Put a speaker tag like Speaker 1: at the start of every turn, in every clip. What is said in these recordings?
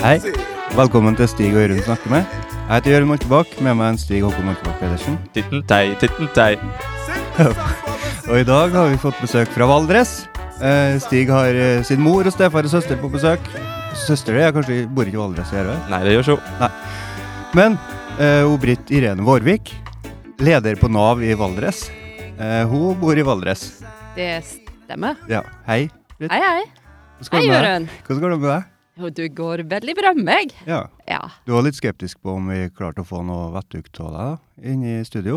Speaker 1: Hei. Velkommen til Stig og Jørund snakker med. Jeg heter Jørund Moltebakk, med meg er en Stig Håkon Moltebakk Pedersen.
Speaker 2: Titteltei, titteltei.
Speaker 1: Og i dag har vi fått besøk fra Valdres. Eh, Stig har eh, sin mor og stefar og søster på besøk. Søster det er kanskje bor ikke i Valdres, gjør hun?
Speaker 2: Nei, det gjør så.
Speaker 1: Men eh, hun Britt Irene Vårvik, leder på Nav i Valdres, eh, hun bor i Valdres.
Speaker 3: Det stemmer.
Speaker 1: Ja, hei.
Speaker 3: Hei, hei.
Speaker 1: Hvordan
Speaker 3: Hei,
Speaker 1: går det med deg?
Speaker 3: Jørund.
Speaker 1: Hvordan går det med deg?
Speaker 3: Jo, du går veldig bra med meg.
Speaker 1: Ja,
Speaker 3: Ja.
Speaker 1: du var litt skeptisk på om vi klarte å få noe vettug av deg da, inne i studio.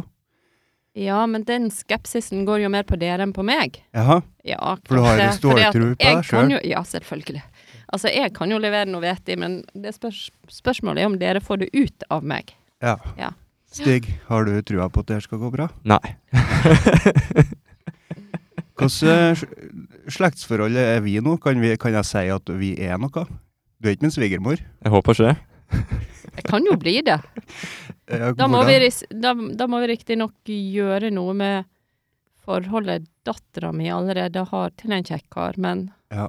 Speaker 3: ja, men den skepsisen går jo mer på dere enn på meg.
Speaker 1: Jaha.
Speaker 3: Ja,
Speaker 1: For du har
Speaker 3: kanskje,
Speaker 1: en stor
Speaker 3: fordi at
Speaker 1: tro på
Speaker 3: jeg
Speaker 1: deg
Speaker 3: kan
Speaker 1: selv.
Speaker 3: jo- Ja, selvfølgelig. Altså, jeg kan jo levere noe vettig, men det spørs spørsmålet er om dere får det ut av meg.
Speaker 1: Ja.
Speaker 3: Ja.
Speaker 1: Stig, har du trua på at det her skal gå bra?
Speaker 2: Nei.
Speaker 1: Hvordan slektsforhold er vi nå? Kan, vi, kan jeg si at vi er noe? Du er ikke min svigermor.
Speaker 2: Jeg håper ikke det.
Speaker 3: Jeg kan jo bli det.
Speaker 1: Eh,
Speaker 3: Da må
Speaker 1: hvordan-
Speaker 3: vi, ris- da, da må vi riktignok gjøre noe med forholdet dattera mi allerede har til en kjekk kar, men
Speaker 1: Ja.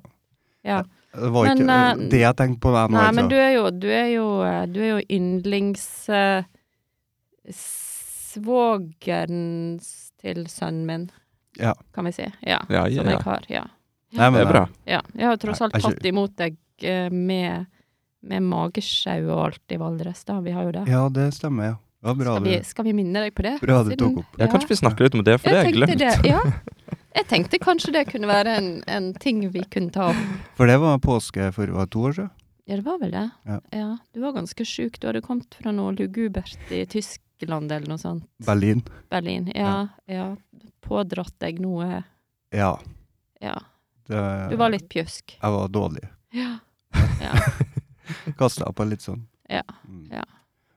Speaker 3: ja.
Speaker 1: Det var ikke
Speaker 3: Men, eh,
Speaker 1: det jeg tenkte på. Nei, nå,
Speaker 3: Nei,
Speaker 1: altså.
Speaker 3: men du er jo, du er jo, eh, du er jo yndlings... Eh, svogerens til sønnen min,
Speaker 1: Ja.
Speaker 3: kan vi si. Ja,
Speaker 2: Ja, ja,
Speaker 3: som jeg
Speaker 2: ja.
Speaker 3: har. Ja.
Speaker 1: Nei, men
Speaker 2: Det er bra.
Speaker 3: Sånn ja. Jeg har tross
Speaker 1: Nei,
Speaker 3: alt
Speaker 1: jeg skjø-
Speaker 3: tatt imot deg eh, med, med magesjau og alt i Valdres, da. Vi har jo det.
Speaker 1: Ja, det stemmer, ja. Det var bra
Speaker 3: Skal vi,
Speaker 1: du,
Speaker 3: skal vi minne deg på det?
Speaker 1: bra du tok
Speaker 3: Siden-
Speaker 1: opp.
Speaker 2: Ja, kanskje vi snakker litt om det, for det har jeg
Speaker 3: tenkte
Speaker 2: glemt.
Speaker 3: det, ja. Jeg tenkte kanskje det kunne være en, en ting vi kunne ta opp.
Speaker 1: For det var påske for var det to år siden.
Speaker 3: Ja, det var vel det.
Speaker 1: Ja.
Speaker 3: Ja. Du var ganske sjuk. Du hadde kommet fra noe lugubert i Tyskland eller noe sånt.
Speaker 1: Berlin.
Speaker 3: Berlin. Ja, ja. Pådratt deg noe
Speaker 1: Ja.
Speaker 3: Ja.
Speaker 1: Det,
Speaker 3: Du var litt pjusk.
Speaker 1: Jeg var dårlig.
Speaker 3: Ja.
Speaker 1: Kasta på litt sånn.
Speaker 3: Ja,
Speaker 1: Mm.
Speaker 3: ja.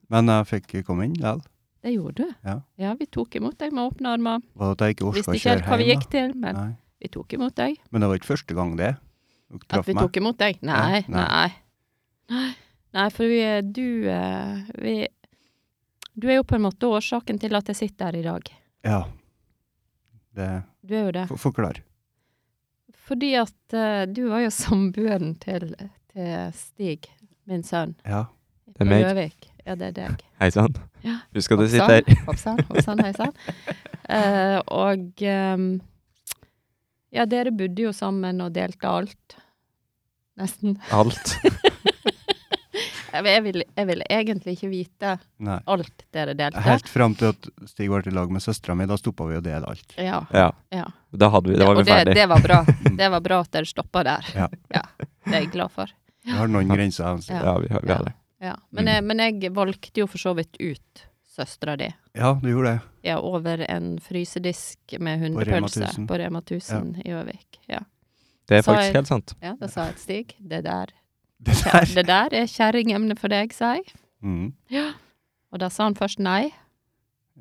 Speaker 1: Men jeg fikk komme inn likevel.
Speaker 3: Det gjorde du.
Speaker 1: Ja.
Speaker 3: vi tok imot deg med åpne armer.
Speaker 1: Var det at jeg ikke orka
Speaker 3: Visste
Speaker 1: å
Speaker 3: ikke
Speaker 1: kjøre
Speaker 3: helt hva vi
Speaker 1: hjem,
Speaker 3: gikk til, men
Speaker 1: Nei.
Speaker 3: vi tok imot deg.
Speaker 1: Men det var ikke første gang det. Dere
Speaker 3: At
Speaker 1: traff
Speaker 3: vi
Speaker 1: meg.
Speaker 3: tok imot deg? Nei,
Speaker 1: Ja, nei.
Speaker 3: nei. Nei, Nei, for vi, du eh, vi, Du er jo på en måte årsaken til at jeg sitter her i dag.
Speaker 1: Ja. Det
Speaker 3: Du er jo det.
Speaker 1: for, Forklar.
Speaker 3: Fordi at eh, du var jo samboeren til, til Stig, min sønn.
Speaker 1: Ja.
Speaker 2: Det er meg.
Speaker 3: Løvik. Ja, det er deg.
Speaker 2: Hei sann.
Speaker 3: Ja.
Speaker 2: Husk at jeg
Speaker 3: Hoppsann,
Speaker 2: sitter her.
Speaker 3: Hoppsann, hoppsann, heisann. Eh, og ehm, ja, dere bodde jo sammen og delte alt. Nesten.
Speaker 2: Alt.
Speaker 3: Jeg vil, jeg vil, jeg vil egentlig ikke vite
Speaker 1: Nei.
Speaker 3: alt dere delte.
Speaker 1: Helt fram til at Stig var til lag med søstera mi. Da stoppa vi å dele alt.
Speaker 3: Ja,
Speaker 2: Ja.
Speaker 3: ja.
Speaker 2: Da, hadde vi, da var
Speaker 3: og
Speaker 2: vi
Speaker 3: det,
Speaker 2: ferdig.
Speaker 3: det var bra. Det var bra at dere stoppa der.
Speaker 1: Ja.
Speaker 3: Det er jeg glad for.
Speaker 1: Vi har noen grenser. altså.
Speaker 3: Ja.
Speaker 2: Ja, vi, har- vi har det.
Speaker 3: Ja. Men, jeg, men jeg valgte jo for så vidt ut søstera di.
Speaker 1: Ja, du gjorde det.
Speaker 3: Ja, over en frysedisk med
Speaker 1: Rema
Speaker 3: hundepølse
Speaker 1: 1000.
Speaker 3: på Rema 1000 i Gjøvik. Ja.
Speaker 2: Det er
Speaker 3: Så
Speaker 2: faktisk
Speaker 3: jeg-
Speaker 2: helt sant.
Speaker 3: Ja, da sa jeg til Stig, det der,
Speaker 1: Det der.
Speaker 3: det der er kjerringemne for deg, sa jeg.
Speaker 1: Mm.
Speaker 3: Og da sa han først nei,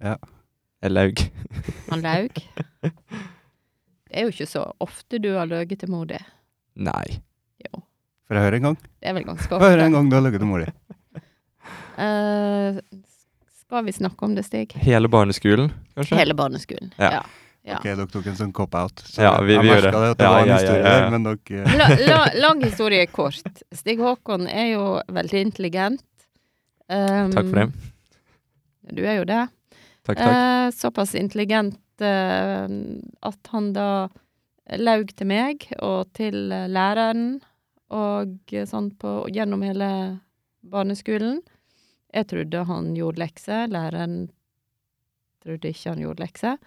Speaker 2: Jeg laug.
Speaker 3: han laug. Det er jo ikke så ofte du har løyet til mor di.
Speaker 2: Nei.
Speaker 3: Jo,
Speaker 1: Får jeg høre en gang?
Speaker 3: det er vel ganske
Speaker 1: Får jeg høre
Speaker 3: ofte.
Speaker 1: en gang du har ligget med mor di?
Speaker 3: Eh, skal vi snakke om det, Stig?
Speaker 2: Hele barneskolen, kanskje?
Speaker 3: Hele barneskolen.
Speaker 2: Ja.
Speaker 3: Ja.
Speaker 1: Ok, dere tok en sånn cop-out. Så
Speaker 2: Ja, vi-
Speaker 1: jeg
Speaker 2: vi gjør
Speaker 1: merket
Speaker 2: det.
Speaker 1: det. at det
Speaker 2: Ja,
Speaker 1: var en
Speaker 2: ja, ja,
Speaker 1: historie
Speaker 2: ja, ja.
Speaker 1: der, men dere
Speaker 3: La, la, lang historie kort. Stig Håkon er jo veldig intelligent. Um,
Speaker 2: Takk for det.
Speaker 3: Du er jo det.
Speaker 2: Takk, takk.
Speaker 3: Eh, såpass intelligent eh, at han da laug til meg og til eh, læreren og eh, sånn på, gjennom hele barneskolen. Jeg trodde han gjorde lekser, læreren trodde ikke han gjorde lekser.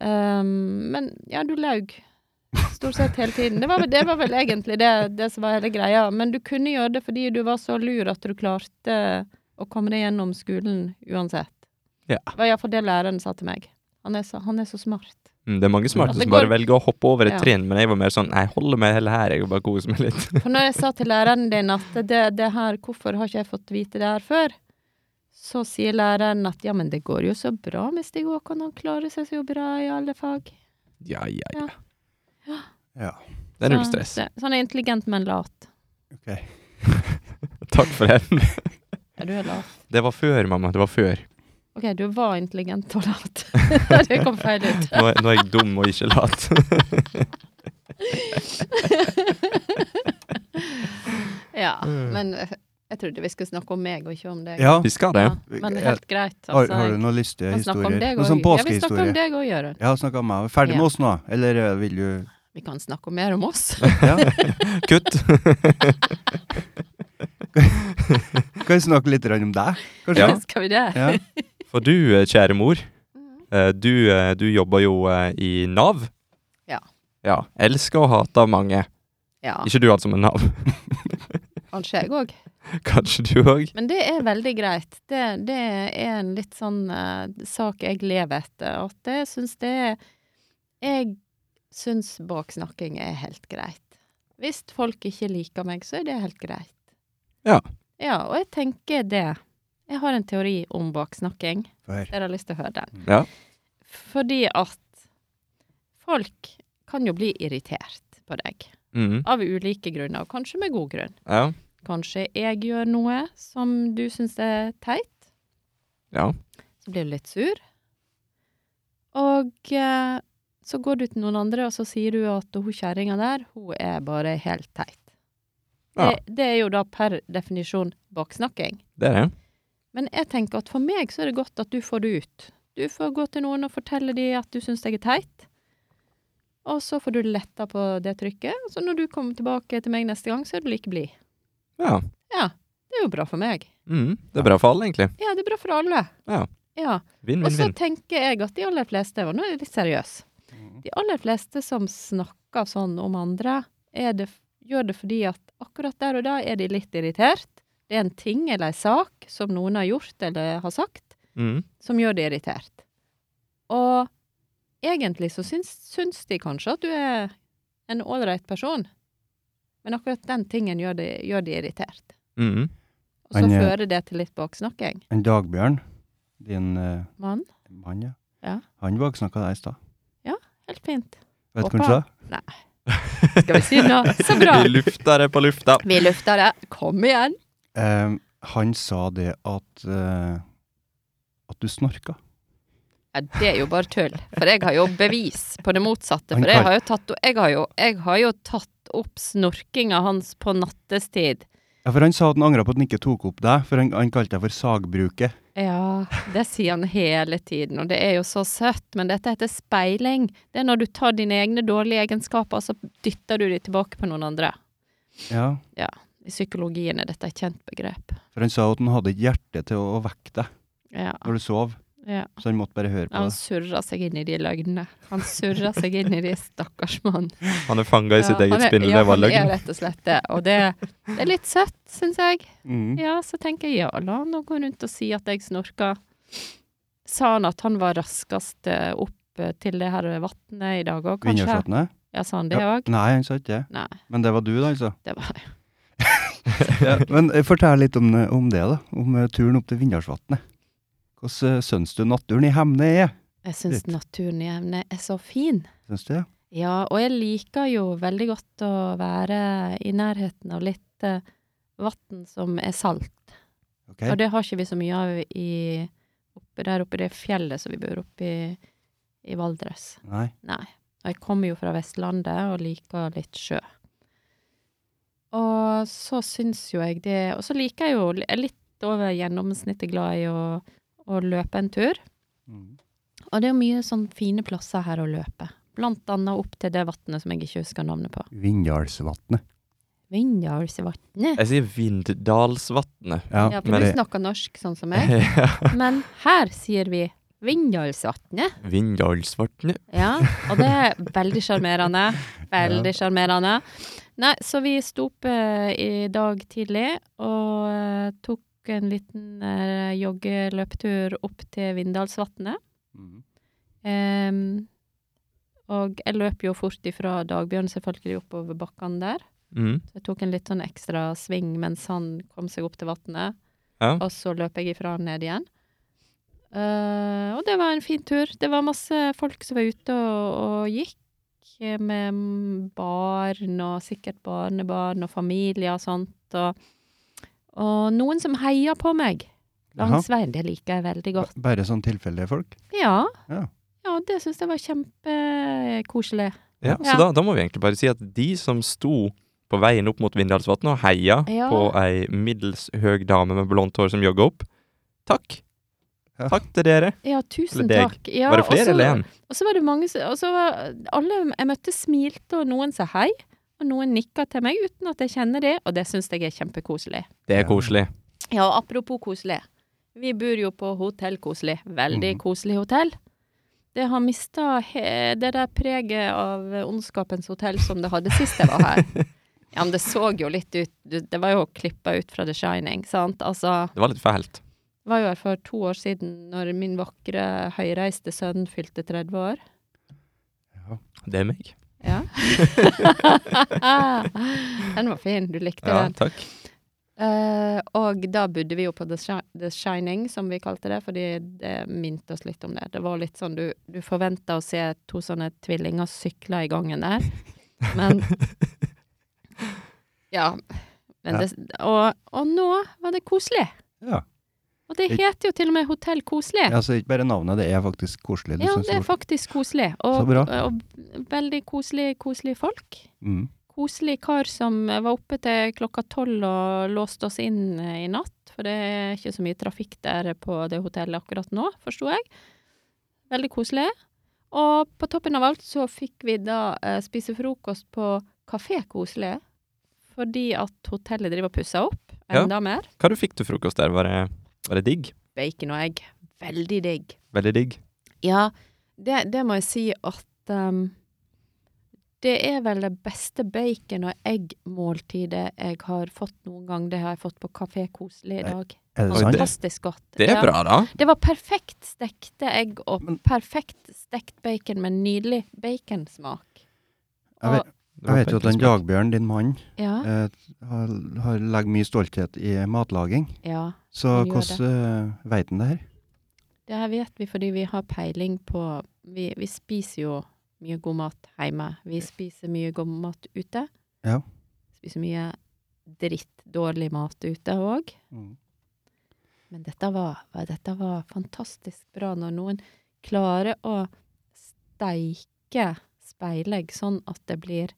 Speaker 3: Um, men ja, du laug stort sett hele tiden. Det var, vel- det var vel egentlig det, det som var hele greia. Men du kunne gjøre det fordi du var så lur at du klarte å komme deg gjennom skolen uansett.
Speaker 2: Ja.
Speaker 3: Det var iallfall det læreren sa til meg. Han er så, han er så smart.
Speaker 2: Mm, Det er mange smarte
Speaker 3: Det
Speaker 2: som
Speaker 3: går-
Speaker 2: bare velger å hoppe over et
Speaker 3: Ja.
Speaker 2: trinn, men jeg var mer sånn Nei, jeg holder meg heller her, jeg og bare koser meg litt.
Speaker 3: For når jeg sa til læreren din at det, det her, hvorfor har ikke jeg fått vite det her før? Så sier læreren at ja, men det går jo så bra med Stig Håkon, han klarer seg så bra i alle fag.
Speaker 2: Ja, ja, ja.
Speaker 1: Ja.
Speaker 2: Det er null
Speaker 3: Så-
Speaker 2: stress.
Speaker 3: Så, så han er intelligent, men lat.
Speaker 2: Takk for det.
Speaker 3: Ja, du er lat.
Speaker 2: Det var før, mamma. Det var før.
Speaker 3: OK, du var intelligent og lat. det kom feil ut.
Speaker 2: Nå er, nå er jeg dum og ikke lat.
Speaker 3: Ja, men eh, Jeg trodde vi skulle snakke om meg og ikke om deg.
Speaker 1: Mm. Ja.
Speaker 2: Vi skal det.
Speaker 3: men det er helt greit.
Speaker 1: Har,
Speaker 3: Altså,
Speaker 1: har du
Speaker 3: jeg
Speaker 1: noen lystige
Speaker 3: kan snakke om
Speaker 1: historier?
Speaker 3: deg
Speaker 1: Noe sånn
Speaker 3: også. Ja, vi snakker om
Speaker 1: påskehistorie?
Speaker 3: deg òg, Jørund.
Speaker 1: Ja, snakk om meg. Ferdig med
Speaker 3: Ja.
Speaker 1: oss nå, eller eh, vil du
Speaker 3: Vi kan snakke om mer om oss.
Speaker 1: ja.
Speaker 2: Kutt.
Speaker 1: Kan vi snakke litt grann om deg, kanskje?
Speaker 3: Skal vi det?
Speaker 1: Ja.
Speaker 2: For du, eh, kjære mor,
Speaker 3: Mm.
Speaker 2: eh, du, eh, du jobber jo eh, i Nav.
Speaker 3: Ja.
Speaker 2: Ja. Elsker og hater mange.
Speaker 3: Ja,
Speaker 2: Ikke du, altså, men Nav.
Speaker 3: kanskje jeg òg.
Speaker 2: Kanskje du òg?
Speaker 3: Men det er veldig greit. Det, det er en litt sånn eh, sak jeg lever etter. At jeg syns det er Jeg syns baksnakking er helt greit. Hvis folk ikke liker meg, så er det helt greit.
Speaker 2: Ja.
Speaker 3: Ja, og jeg tenker det. Jeg har en teori om baksnakking.
Speaker 1: Hør.
Speaker 3: Dere har lyst til å høre den.
Speaker 2: Ja.
Speaker 3: Fordi at folk kan jo bli irritert på deg.
Speaker 2: Mhm.
Speaker 3: Av ulike grunner, og kanskje med god grunn.
Speaker 2: Ja.
Speaker 3: Kanskje jeg gjør noe som du syns er teit.
Speaker 2: Ja.
Speaker 3: Så blir du litt sur. Og eh, så går du til noen andre, og så sier du at hun kjerringa der, hun er bare helt teit.
Speaker 2: Ja.
Speaker 3: Det, det er jo da per definisjon baksnakking.
Speaker 2: Det er det.
Speaker 3: Men jeg tenker at for meg så er det godt at du får det ut. Du får gå til noen og fortelle dem at du syns jeg er teit. Og så får du letta på det trykket. Og så når du kommer tilbake til meg neste gang, så er du like blid.
Speaker 2: Ja.
Speaker 3: Det er jo bra for meg.
Speaker 2: Mhm. Det er bra for alle, egentlig.
Speaker 3: Ja, det er bra for alle.
Speaker 2: Ja.
Speaker 3: Ja.
Speaker 2: Vinn,
Speaker 3: Og
Speaker 2: vinn,
Speaker 3: så
Speaker 2: vinn.
Speaker 3: tenker jeg at de aller fleste, og nå er jeg litt seriøs, de aller fleste som snakker sånn om andre, er det, gjør det fordi at akkurat der og da er de litt irritert. Det er en ting eller en sak som noen har gjort eller har sagt,
Speaker 2: Mhm.
Speaker 3: som gjør det irritert. Og egentlig så syns, syns de kanskje at du er en ålreit person, men akkurat den tingen gjør de, gjør de irritert.
Speaker 2: Mhm.
Speaker 3: Og så
Speaker 1: Men, eh,
Speaker 3: fører det til litt baksnakking.
Speaker 1: En Dagbjørn, din eh,
Speaker 3: Mann,
Speaker 1: mann, ja.
Speaker 3: Ja.
Speaker 1: Han baksnakka deg i stad.
Speaker 3: helt fint.
Speaker 1: Vet du hva
Speaker 3: Hoppa.
Speaker 1: han sa?
Speaker 3: Skal vi si noe? Så bra!
Speaker 2: Vi lufta det på lufta.
Speaker 3: Vi lufter det. Kom igjen!
Speaker 1: Eh, han sa det at eh, At du snorka.
Speaker 3: Ja, det er jo bare tull. For jeg har jo bevis på det motsatte.
Speaker 1: Han
Speaker 3: For jeg
Speaker 1: kan-
Speaker 3: har jo tatt, jeg har jo, jeg har jo tatt opp snorkinga hans på nattestid.
Speaker 1: Ja, for Han sa at han angra på at han ikke tok opp deg, for han, han kalte deg for sagbruket.
Speaker 3: Ja, det sier han hele tiden, og det er jo så søtt. Men dette heter speiling. Det er når du tar dine egne dårlige egenskaper, og så dytter du dem tilbake på noen andre.
Speaker 1: Ja,
Speaker 3: I psykologien er dette et kjent begrep.
Speaker 1: For han sa at han hadde ikke hjerte til å, å vekke deg
Speaker 3: Ja.
Speaker 1: når du sov,
Speaker 3: Ah. ja.
Speaker 1: så han måtte bare høre på
Speaker 3: Han
Speaker 1: det.
Speaker 3: surrer seg inn i de løgnene. Han surrer seg inn i de, stakkars mann.
Speaker 2: Han er fanga i sitt
Speaker 3: Ja, han
Speaker 2: eget
Speaker 3: er-
Speaker 2: spinnel.
Speaker 3: ja,
Speaker 2: Det var
Speaker 3: Han
Speaker 2: løgn.
Speaker 3: er rett og slett det, og det, det er litt søtt, syns jeg.
Speaker 1: Mm.
Speaker 3: Ja, så tenker jeg ja, la han nå gå rundt og si at jeg snorka. Sa han at han var raskest eh, opp eh, til det her vannet i dag òg, kanskje?
Speaker 1: Vinjerslottene?
Speaker 3: Ja, sa han det
Speaker 1: Ja.
Speaker 3: òg?
Speaker 1: Nei, han sa ikke det.
Speaker 3: Nei,
Speaker 1: Men det var du, da, altså.
Speaker 3: det var
Speaker 1: Ja, men eh, fortell litt om, eh, om det, da. Om eh, turen opp til Vindalsvatnet. Hvordan eh, syns du naturen i Hemne er?
Speaker 3: Jeg syns
Speaker 1: Litt.
Speaker 3: naturen i Evne er så fin.
Speaker 1: Syns du det?
Speaker 3: Ja, og jeg liker jo veldig godt å være i nærheten av litt eh, vann som er salt.
Speaker 1: Ok.
Speaker 3: Og det har ikke vi så mye av i, oppe der oppe i det fjellet som vi bor oppe i, i Valdres.
Speaker 1: Nei.
Speaker 3: Nei. Og jeg kommer jo fra Vestlandet og liker litt sjø. Og så syns jo jeg det Og så liker jeg jo jeg er litt over gjennomsnittet glad i å, å løpe en tur.
Speaker 1: Mm.
Speaker 3: Og det er jo mye sånn fine plasser her å løpe. Blant annet opp til det vannet som jeg ikke husker navnet på.
Speaker 1: Vindalsvatnet.
Speaker 3: Vindalsvatnet.
Speaker 2: Jeg sier Vinddalsvatnet.
Speaker 3: Ja, for
Speaker 2: men
Speaker 3: du
Speaker 2: det-
Speaker 3: snakker norsk sånn som meg. Men her sier vi Vindalsvatnet.
Speaker 2: Vinddalsvatnet.
Speaker 3: Ja, og det er veldig sjarmerende. Veldig sjarmerende. Nei, så vi sto opp eh, i dag tidlig og eh, tok en liten eh, joggeløptur opp til Vindalsvatnet.
Speaker 1: Mm.
Speaker 3: Em, og jeg løp jo fort ifra Dagbjørn selvfølgelig oppover bakkene der.
Speaker 2: Mhm.
Speaker 3: Så jeg tok en litt sånn ekstra sving mens han kom seg opp til vannet.
Speaker 2: Ja.
Speaker 3: Og så løp jeg ifra han ned igjen. Eh, og det var en fin tur. Det var masse folk som var ute og, og gikk. eh, Med barn og sikkert barnebarn og familier og sånt. Og, og noen som heia på meg langs veien. Det liker jeg veldig godt.
Speaker 1: Ba- Bare sånn tilfeldige folk?
Speaker 3: Ja.
Speaker 1: Ja.
Speaker 3: ja det syns jeg var kjempekoselig.
Speaker 2: Ja,
Speaker 3: Ja.
Speaker 2: så da, da må vi egentlig bare si at de som sto på veien opp mot Vindalsvatnet og heia
Speaker 3: Ja.
Speaker 2: på ei middels høg dame med blondt hår som jogga opp. Takk.
Speaker 1: Ja.
Speaker 2: Takk til dere.
Speaker 3: Ja, tusen
Speaker 2: Eller deg.
Speaker 3: takk. Ja,
Speaker 2: Var det flere
Speaker 3: og så-
Speaker 2: eller én?
Speaker 3: Og så var det mange som og så var Alle jeg møtte, smilte, og noen sa hei. Og noen nikka til meg uten at jeg kjenner det, og det syns jeg er kjempekoselig.
Speaker 2: Det
Speaker 1: Ja.
Speaker 2: er koselig.
Speaker 3: Ja, og apropos koselig. Vi bor jo på hotell Koselig. Veldig
Speaker 1: Mhm.
Speaker 3: koselig hotell. Det har mista he det der preget av eh, Ondskapens hotell som det hadde sist jeg var her. Ja, men det så jo litt ut Det det var jo klippa ut fra The Shining, sant? Altså
Speaker 2: Det var litt fælt.
Speaker 3: Det var jo her for to år siden, når min vakre høyreiste sønn fylte 30 år.
Speaker 2: Det er meg.
Speaker 3: Ja. den var fin. Du likte
Speaker 2: Ja,
Speaker 3: den.
Speaker 2: takk.
Speaker 3: Eh, og da bodde vi jo på The, Shi- The Shining, som vi kalte det, fordi det minte oss litt om det. Det var litt sånn du, du forventa å se to sånne tvillinger sykle i gangen der, men Ja. Men
Speaker 1: Ja.
Speaker 3: det, og, og nå var det koselig.
Speaker 1: Ja.
Speaker 3: Og det heter jo til og med Hotell Koselig.
Speaker 1: Ja, så ikke bare navnet, det er faktisk koselig. Du
Speaker 3: Ja,
Speaker 1: synes
Speaker 3: det er faktisk koselig.
Speaker 1: Så
Speaker 3: Og,
Speaker 1: bra.
Speaker 3: og veldig koselig, koselige folk.
Speaker 1: Mm.
Speaker 3: Koselig kar som var oppe til klokka tolv og låste oss inn eh, i natt. For det er ikke så mye trafikk der på det hotellet akkurat nå, forsto jeg. Veldig koselig. Og på toppen av alt så fikk vi da eh, spise frokost på Kafé Koselig. Fordi at hotellet driver og pusser opp
Speaker 2: Ja.
Speaker 3: enda mer.
Speaker 2: Hva du fikk til frokost der? Var det, var det digg?
Speaker 3: Bacon og egg. Veldig digg.
Speaker 2: Veldig digg.
Speaker 3: Ja, det, det må jeg si at ehm, det er vel det beste bacon- og eggmåltidet jeg har fått noen gang. Det har jeg fått på Kafé Koselig i dag.
Speaker 1: Er det
Speaker 2: Oi,
Speaker 1: sant?
Speaker 3: Fantastisk godt.
Speaker 2: Det er
Speaker 3: Ja.
Speaker 2: bra, da.
Speaker 3: Det var perfekt stekte egg og
Speaker 1: Men-
Speaker 3: perfekt stekt bacon med nydelig baconsmak.
Speaker 1: Jeg vet,
Speaker 3: Og,
Speaker 1: jeg vet jo at den Jagbjørn, din mann,
Speaker 3: ja,
Speaker 1: eh, har, har legger mye stolthet i matlaging.
Speaker 3: ja.
Speaker 1: Så
Speaker 3: Han gjør det.
Speaker 1: hvordan eh, vet han det her?
Speaker 3: Det her vet vi fordi vi har peiling på Vi, vi spiser jo mye god mat hjemme. Vi spiser mye god mat ute.
Speaker 1: Ja.
Speaker 3: Spiser mye drittdårlig mat ute òg.
Speaker 1: Mm.
Speaker 3: Men dette var, var- dette var fantastisk bra når noen klarer å steike speilegg sånn at det blir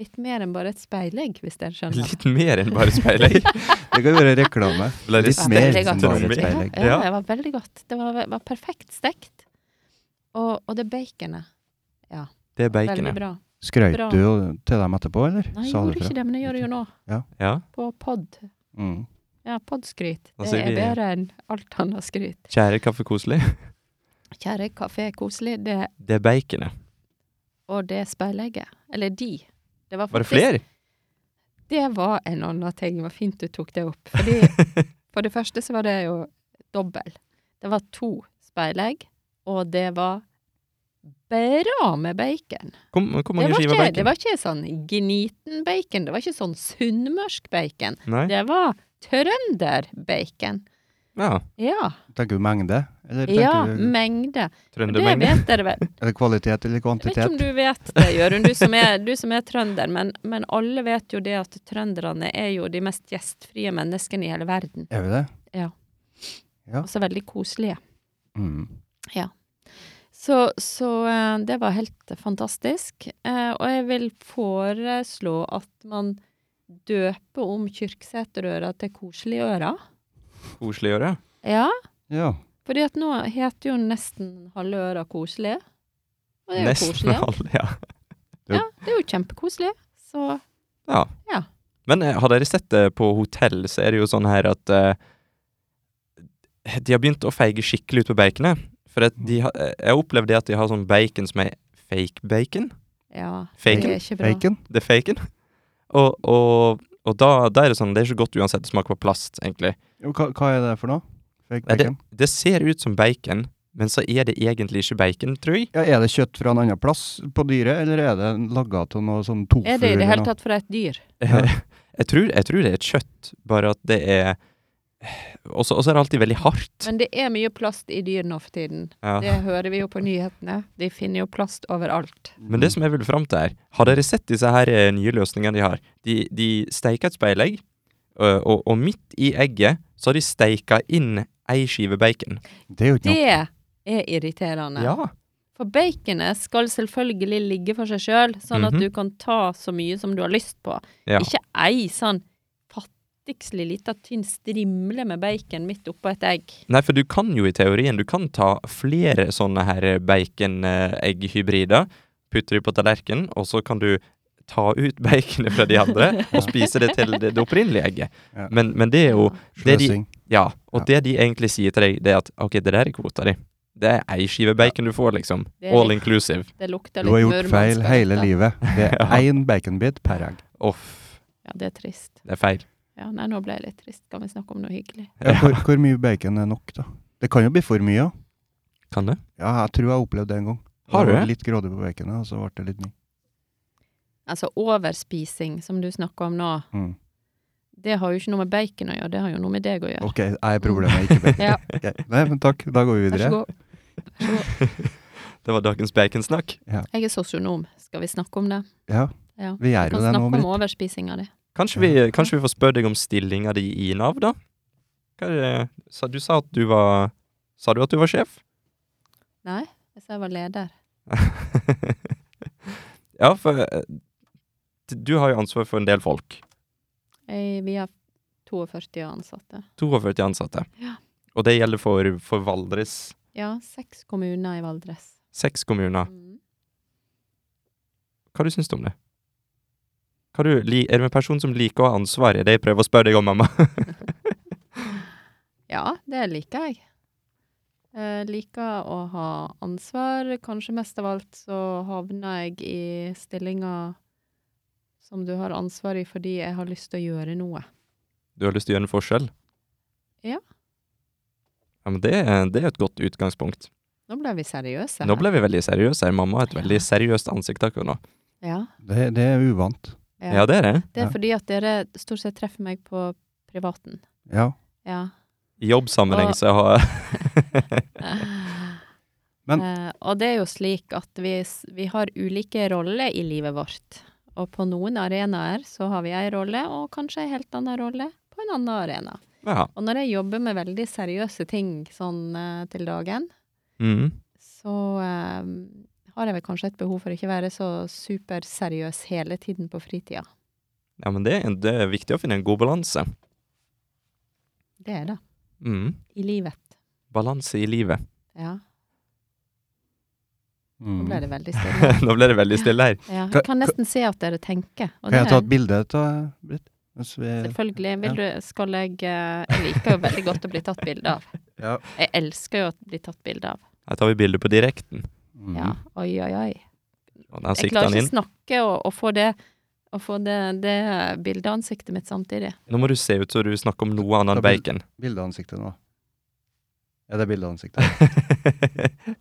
Speaker 3: litt mer enn bare et speilegg, hvis dere skjønner.
Speaker 2: Litt mer enn bare speilegg.
Speaker 1: Det kan jo være reklame.
Speaker 2: Ble det
Speaker 1: Litt
Speaker 3: Ja,
Speaker 1: mer
Speaker 3: veldig
Speaker 1: enn
Speaker 3: godt.
Speaker 1: bare et
Speaker 2: Veldig.
Speaker 1: speilegg.
Speaker 3: Ja,
Speaker 2: Ja.
Speaker 3: det var veldig godt. Det var, var perfekt stekt. Og, og det baconet.
Speaker 2: Det er
Speaker 3: Veldig
Speaker 2: baconet.
Speaker 3: bra.
Speaker 1: Skrøt
Speaker 3: Bra.
Speaker 1: du jo til dem etterpå, eller?
Speaker 3: Nei, jeg
Speaker 1: Sa du
Speaker 3: gjorde
Speaker 1: fra?
Speaker 3: ikke det, men jeg gjør det jo nå.
Speaker 2: Ja.
Speaker 3: På pod.
Speaker 1: Mm.
Speaker 3: Ja, podskryt.
Speaker 2: Da
Speaker 3: Det
Speaker 2: sier
Speaker 3: er
Speaker 2: vi-
Speaker 3: bedre enn alt annet skryt.
Speaker 2: Kjære kaffekoselig.
Speaker 3: Kjære kafé koselig, det
Speaker 2: Det er baconet.
Speaker 3: og det speilegget. Eller de. Det var,
Speaker 2: Var det
Speaker 3: faktisk-
Speaker 2: flere?
Speaker 3: Det var en annen ting. Det var fint du tok det opp. Fordi for det første så var det jo dobbel. Det var to speilegg, og det var bra med bacon.
Speaker 2: Hvor, hvor
Speaker 3: Det
Speaker 2: mange
Speaker 3: var,
Speaker 2: skiver
Speaker 3: ikke,
Speaker 2: bacon?
Speaker 3: det var ikke sånn gniten bacon. Det var ikke sånn sunnmørsk bacon.
Speaker 2: Nei?
Speaker 3: Det var trønder-bacon.
Speaker 2: Ja.
Speaker 3: Ja.
Speaker 1: Tenker du mengde? Eller tenker
Speaker 3: Ja,
Speaker 1: du
Speaker 3: mengde. Det
Speaker 2: Trøndermengde.
Speaker 3: vet dere vel.
Speaker 1: er det kvalitet eller
Speaker 3: Jeg vet ikke om
Speaker 1: kvantitet?
Speaker 3: du vet det, Jørund, du som er, du som er trønder. Men, men alle vet jo det at trønderne er jo de mest gjestfrie menneskene i hele verden.
Speaker 1: Er vi det? Ja.
Speaker 3: Også veldig koselige.
Speaker 1: Mm.
Speaker 3: Så, så eh, det var helt fantastisk. Eh, og jeg vil foreslå at man døper om Kyrksæterøra til Koseligøra.
Speaker 2: Koselig å gjøre.
Speaker 3: Ja,
Speaker 1: Ja.
Speaker 3: fordi at nå heter jo nesten halve øra koselig. Og det er jo
Speaker 2: Nesten
Speaker 3: koselig.
Speaker 2: alle, ja.
Speaker 3: Ja, det er jo kjempekoselig. Så
Speaker 2: ja.
Speaker 3: Ja.
Speaker 2: Men eh, har dere sett det på hotell, så er det jo sånn her at eh, De har begynt å feige skikkelig ut på baconet. For at de har, eh, jeg opplevde det at de har sånn bacon som er fake bacon.
Speaker 3: ja, det
Speaker 2: Faken?
Speaker 3: er ikke bra.
Speaker 1: Bacon?
Speaker 2: Det er faken. Og, og, og da, da er det sånn Det er ikke godt uansett. Det smaker på plast, egentlig.
Speaker 1: Jo, Hva, hva er det for noe? Fake
Speaker 2: Nei,
Speaker 1: bacon?
Speaker 2: Det ser ut som bacon, men så er det egentlig ikke bacon, tror jeg.
Speaker 1: Ja, er det kjøtt fra en annen plass på dyret, eller er det laga av noe sånn tofu?
Speaker 3: Er det i det
Speaker 1: eller
Speaker 3: hele
Speaker 1: noe?
Speaker 3: tatt fra et dyr?
Speaker 1: Ja.
Speaker 2: Jeg tror, jeg tror det er kjøtt, bare at det er Og så og så er det alltid veldig hardt.
Speaker 3: Men det er mye plast i dyr nå for tiden.
Speaker 2: Ja.
Speaker 3: Det hører vi jo på nyhetene. De finner jo plast overalt.
Speaker 2: Men det som jeg vil fram til her Har dere sett disse her eh, nye løsningene de har? De, de steiker et speilegg, ø, og, og midt i egget så har de steika inn ei skive bacon.
Speaker 1: Det er jo ikke noe
Speaker 3: Det er irriterende.
Speaker 2: Ja.
Speaker 3: For baconet skal selvfølgelig ligge for seg sjøl, sånn at
Speaker 2: Mhm.
Speaker 3: du kan ta så mye som du har lyst på.
Speaker 2: Ja.
Speaker 3: Ikke ei sånn fattigslig lita tynn strimle med bacon midt oppå et egg.
Speaker 2: Nei, for du kan jo i teorien, du kan ta flere sånne her eh, bacon-egg-hybrider, putte de på tallerkenen, og så kan du ta ut baconet fra de andre og spise det til det, det opprinnelige egget.
Speaker 1: Ja.
Speaker 2: Men, men det er jo det de,
Speaker 1: Sløsing.
Speaker 2: Ja, og
Speaker 1: Ja.
Speaker 2: det de egentlig sier til deg, det er at OK, det der er kvota di. Det er ei skive bacon du får, liksom.
Speaker 3: Det er
Speaker 2: All
Speaker 3: litt-
Speaker 2: inclusive.
Speaker 3: Det lukter
Speaker 1: Du
Speaker 3: litt
Speaker 1: har gjort feil
Speaker 3: murmansk av
Speaker 1: hele
Speaker 3: dette.
Speaker 1: livet. Det er
Speaker 2: Ja.
Speaker 1: én baconbit per egg.
Speaker 2: Off.
Speaker 3: Ja, det er trist.
Speaker 2: Det er feil.
Speaker 3: Ja, nei, nå ble jeg litt trist. Kan vi snakke om noe hyggelig?
Speaker 1: Ja, hvor, hvor mye bacon er nok, da? Det kan jo bli for mye òg.
Speaker 2: Kan det?
Speaker 1: Ja, jeg tror jeg har opplevd det en gang.
Speaker 2: Har du
Speaker 1: Jeg var
Speaker 2: det?
Speaker 1: Litt grådig på baconet, og så ble det litt mye.
Speaker 3: Altså overspising, som du snakker om nå,
Speaker 1: Mm.
Speaker 3: det har jo ikke noe med bacon å gjøre, det har jo noe med deg å gjøre.
Speaker 1: Ok, jeg er problemet ikke bacon.
Speaker 3: Ja.
Speaker 1: Ok, Nei, men takk. Da går vi
Speaker 3: Vær så
Speaker 1: videre.
Speaker 3: god. Vær så god.
Speaker 2: Det var dagens baconsnakk.
Speaker 3: Jeg er sosionom. Skal vi snakke om det?
Speaker 1: Ja,
Speaker 3: Ja.
Speaker 1: vi
Speaker 3: Vi
Speaker 1: gjør
Speaker 3: kan
Speaker 1: jo det nå,
Speaker 3: snakke om
Speaker 1: Britt.
Speaker 3: overspisinga di.
Speaker 2: Kanskje vi, kanskje vi får spørre deg om stillinga di i Nav, da? Hva er det? Sa, du sa at du var Sa du at du var sjef?
Speaker 3: Nei, jeg sa jeg var leder.
Speaker 2: ja, for eh, d- du har jo ansvar for en del folk.
Speaker 3: Jeg, vi har 42 ansatte.
Speaker 2: 42 ansatte.
Speaker 3: Ja.
Speaker 2: Og det gjelder for, for Valdres
Speaker 3: Ja, seks kommuner i Valdres.
Speaker 2: seks kommuner.
Speaker 3: Mm.
Speaker 2: Hva du syns du om det? Hva du, li- er du en person som liker å ha ansvar? Er det jeg prøver å spørre deg om, mamma?
Speaker 3: Ja, det liker jeg. Jeg liker å ha ansvar. Kanskje mest av alt så havner jeg i stillinga som du har ansvar i fordi jeg har lyst til å gjøre noe.
Speaker 2: Du har lyst til å gjøre en forskjell?
Speaker 3: Ja.
Speaker 2: Ja, men det, er- det er et godt utgangspunkt.
Speaker 3: Nå ble vi seriøse.
Speaker 2: Nå ble vi veldig seriøse her. Mamma har et
Speaker 3: Ja.
Speaker 2: veldig seriøst ansikt akkurat nå.
Speaker 3: ja,
Speaker 1: Det, det er uvant.
Speaker 3: ja.
Speaker 2: Ja, det er det.
Speaker 3: Det
Speaker 1: Ja.
Speaker 3: er fordi at dere stort sett treffer meg på privaten.
Speaker 1: Ja.
Speaker 3: Ja.
Speaker 2: I jobbsammenheng
Speaker 3: Og-
Speaker 2: så har
Speaker 1: Men-
Speaker 3: Eh, og det er jo slik at vi, s- vi har ulike roller i livet vårt. Og på noen arenaer så har vi ei rolle, og kanskje ei helt annen rolle på en annen arena.
Speaker 2: Ja.
Speaker 3: Og når jeg jobber med veldig seriøse ting sånn eh, til dagen,
Speaker 2: Mm.
Speaker 3: så eh, har jeg vel kanskje et behov for å ikke være så superseriøs hele tiden på fritida.
Speaker 2: Ja, men det, er en- det er viktig å finne en god balanse.
Speaker 3: Det er det.
Speaker 2: Mm.
Speaker 3: I livet.
Speaker 2: Balanse i livet.
Speaker 3: Ja. Nå
Speaker 1: Mm.
Speaker 3: ble det veldig stille.
Speaker 2: Nå ble det veldig stille her.
Speaker 3: Ja,
Speaker 1: Ka-
Speaker 3: jeg kan nesten se at dere tenker. Og
Speaker 1: Kan jeg
Speaker 3: det
Speaker 1: ta
Speaker 3: er-
Speaker 1: et bilde av deg, Britt? Mens vi
Speaker 3: Selvfølgelig. Vil du, skal jeg eh, Jeg liker jo veldig godt å bli tatt bilde av.
Speaker 1: Ja.
Speaker 3: Jeg elsker jo å bli tatt bilde av.
Speaker 2: Her tar vi bilde på direkten.
Speaker 1: Mm.
Speaker 3: Ja. Oi, oi, oi.
Speaker 2: Mhm. Og der
Speaker 3: Jeg
Speaker 2: sikter han
Speaker 3: klarer
Speaker 2: inn.
Speaker 3: ikke å snakke og, og få det å få det, det bildet av ansiktet mitt samtidig.
Speaker 2: Nå må du se ut som du snakker om noe annet enn
Speaker 1: Da blir-
Speaker 2: bacon.
Speaker 1: Bilde av ansiktet nå. Ja, det er bilde av ansiktet.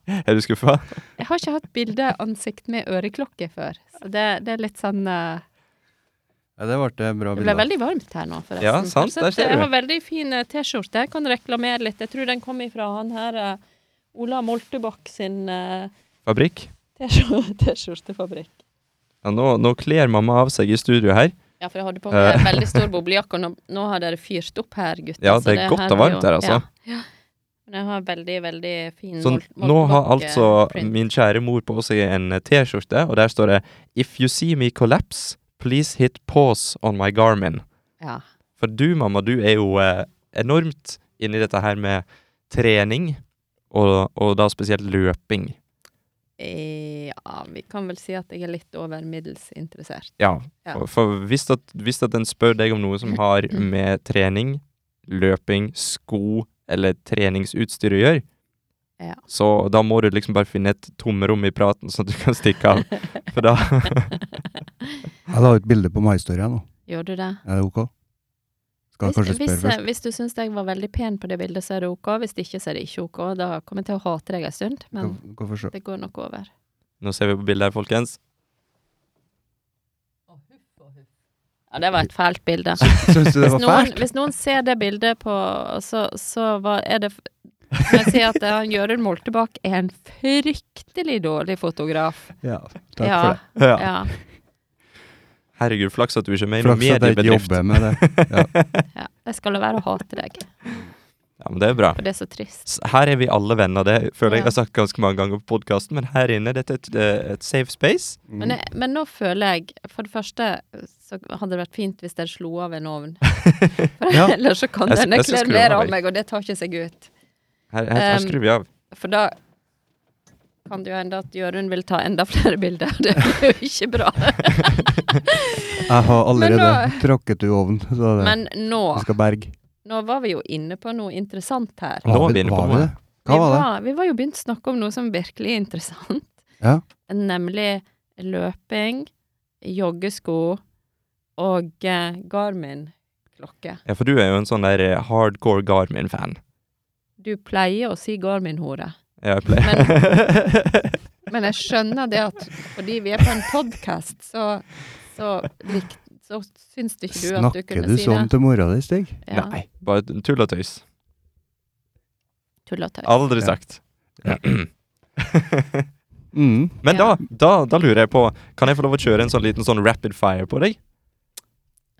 Speaker 2: er du skuffa?
Speaker 3: Jeg har ikke hatt bildeansikt med øreklokke før, så det, det er litt sånn eh,
Speaker 1: Ja, det ble et bra
Speaker 3: Det ble
Speaker 1: bilde.
Speaker 3: veldig varmt her nå, forresten.
Speaker 2: Ja, sant,
Speaker 3: Så
Speaker 2: der ser
Speaker 3: Jeg
Speaker 2: du.
Speaker 3: har veldig fin eh, T-skjorte. Jeg kan reklamere litt. Jeg tror den kom ifra han her eh, Ola Moltebakk sin eh,
Speaker 2: Fabrikk?
Speaker 3: T-skjor- T-skjortefabrikk.
Speaker 2: Ja, nå, nå kler mamma av seg i studio her.
Speaker 3: Ja, for jeg hadde
Speaker 2: Eh.
Speaker 3: på meg en veldig stor boblejakke, og nå, nå har dere fyrt opp her, gutter.
Speaker 2: Ja,
Speaker 3: så
Speaker 2: det er godt
Speaker 3: her
Speaker 2: og varmt
Speaker 3: jo-
Speaker 2: her, altså.
Speaker 3: Ja, ja. Men jeg har veldig, veldig fin
Speaker 2: Så
Speaker 3: mol-
Speaker 2: Sånn, nå har altså
Speaker 3: moltebakke-print.
Speaker 2: min kjære mor på seg en eh, T-skjorte, og der står det If you see me collapse, please hit pause on my Garmin.
Speaker 3: Ja.
Speaker 2: For du, mamma, du er jo eh, enormt inni dette her med trening, og, og da spesielt løping.
Speaker 3: Eh, ja, vi kan vel si at jeg er litt over middels interessert.
Speaker 2: Ja.
Speaker 3: Ja.
Speaker 2: For, for hvis, at, hvis at en spør deg om noe som har med trening, løping, sko eller treningsutstyr å gjøre,
Speaker 3: Ja.
Speaker 2: så da må du liksom bare finne et tomrom i praten, sånn at du kan stikke av. For da
Speaker 1: Jeg la ut bilde på MyStory nå.
Speaker 3: Gjør du det?
Speaker 1: Er det ok? Skal jeg
Speaker 3: Hvis,
Speaker 1: kanskje
Speaker 3: hvis, eh,
Speaker 1: spørre først.
Speaker 3: hvis du syns jeg var veldig pen på det bildet, så er det ok. Hvis ikke, så er det ikke ok. Da kommer jeg til å hate deg en stund, men
Speaker 1: Gå- Gå for se.
Speaker 3: det går nok over.
Speaker 2: Nå ser vi på bildet her, folkens.
Speaker 3: Ja, det var et fælt bilde.
Speaker 1: Syns du det
Speaker 3: Hvis
Speaker 1: var
Speaker 3: noen,
Speaker 1: fælt?
Speaker 3: hvis noen ser det bildet på Så, så hva er det f- Må jeg si at eh, han Jørund Moltebakk er en fryktelig dårlig fotograf.
Speaker 1: Ja, takk
Speaker 3: ja,
Speaker 1: for det.
Speaker 2: Ja.
Speaker 3: Ja.
Speaker 2: Herregud, flaks at du ikke er med i noen
Speaker 1: Flaks at jeg ikke
Speaker 2: mediebedrift.
Speaker 1: jobber med det.
Speaker 3: ja. Jeg skal la være å hate deg.
Speaker 2: Ja, men det er bra.
Speaker 3: Og det er så trist.
Speaker 2: S- Her er vi alle venner, det føler jeg
Speaker 3: Ja.
Speaker 2: jeg har sagt ganske mange ganger på podkasten, men her inne, dette er et, eh, et safe space.
Speaker 3: Men, jeg, men nå føler jeg For det første så hadde det vært fint hvis dere slo av en ovn. For
Speaker 1: Ja.
Speaker 3: ellers så kan
Speaker 2: Jeg s-
Speaker 3: denne
Speaker 2: jeg skal
Speaker 3: kler
Speaker 2: skru
Speaker 3: mer
Speaker 2: av
Speaker 3: av
Speaker 2: meg.
Speaker 3: meg, og det tar ikke seg ut.
Speaker 2: Her, her, her
Speaker 3: Um,
Speaker 2: skrur vi av.
Speaker 3: For da kan det jo hende at Jørund vil ta enda flere bilder. Det er jo ikke bra.
Speaker 1: Mm. Jeg har allerede
Speaker 3: Men
Speaker 1: tråkket i ovnen, så det
Speaker 3: Men nå
Speaker 1: vi skal berge.
Speaker 3: Nå var vi jo inne på noe interessant her.
Speaker 2: Nå
Speaker 1: Var
Speaker 2: er vi inne på
Speaker 1: var vi
Speaker 2: noe.
Speaker 1: det? Hva var
Speaker 3: vi,
Speaker 1: det?
Speaker 3: var, vi var jo begynt å snakke om noe som virkelig er interessant.
Speaker 1: Ja.
Speaker 3: Nemlig løping, joggesko og eh, Garmin-klokke.
Speaker 2: Ja, for du er jo en sånn der eh, hardcore Garmin-fan.
Speaker 3: Du pleier å si Garmin-hore,
Speaker 2: Ja, jeg pleier.
Speaker 3: men jeg skjønner det at fordi vi er på en podkast, så, så, lik- så syns det ikke du at du
Speaker 1: Snakker
Speaker 3: kunne
Speaker 1: du
Speaker 3: si
Speaker 1: sånn
Speaker 3: det.
Speaker 1: til mora di, Stig?
Speaker 3: Ja,
Speaker 2: Nei, bare tull og tøys.
Speaker 3: tull og tøys.
Speaker 2: Aldri
Speaker 1: Ja.
Speaker 2: sagt.
Speaker 1: Ja. Mm.
Speaker 2: Men da,
Speaker 3: Ja.
Speaker 2: da, da lurer jeg på, kan jeg få lov å kjøre en sånn liten sånn rapid fire på deg?
Speaker 1: Ja,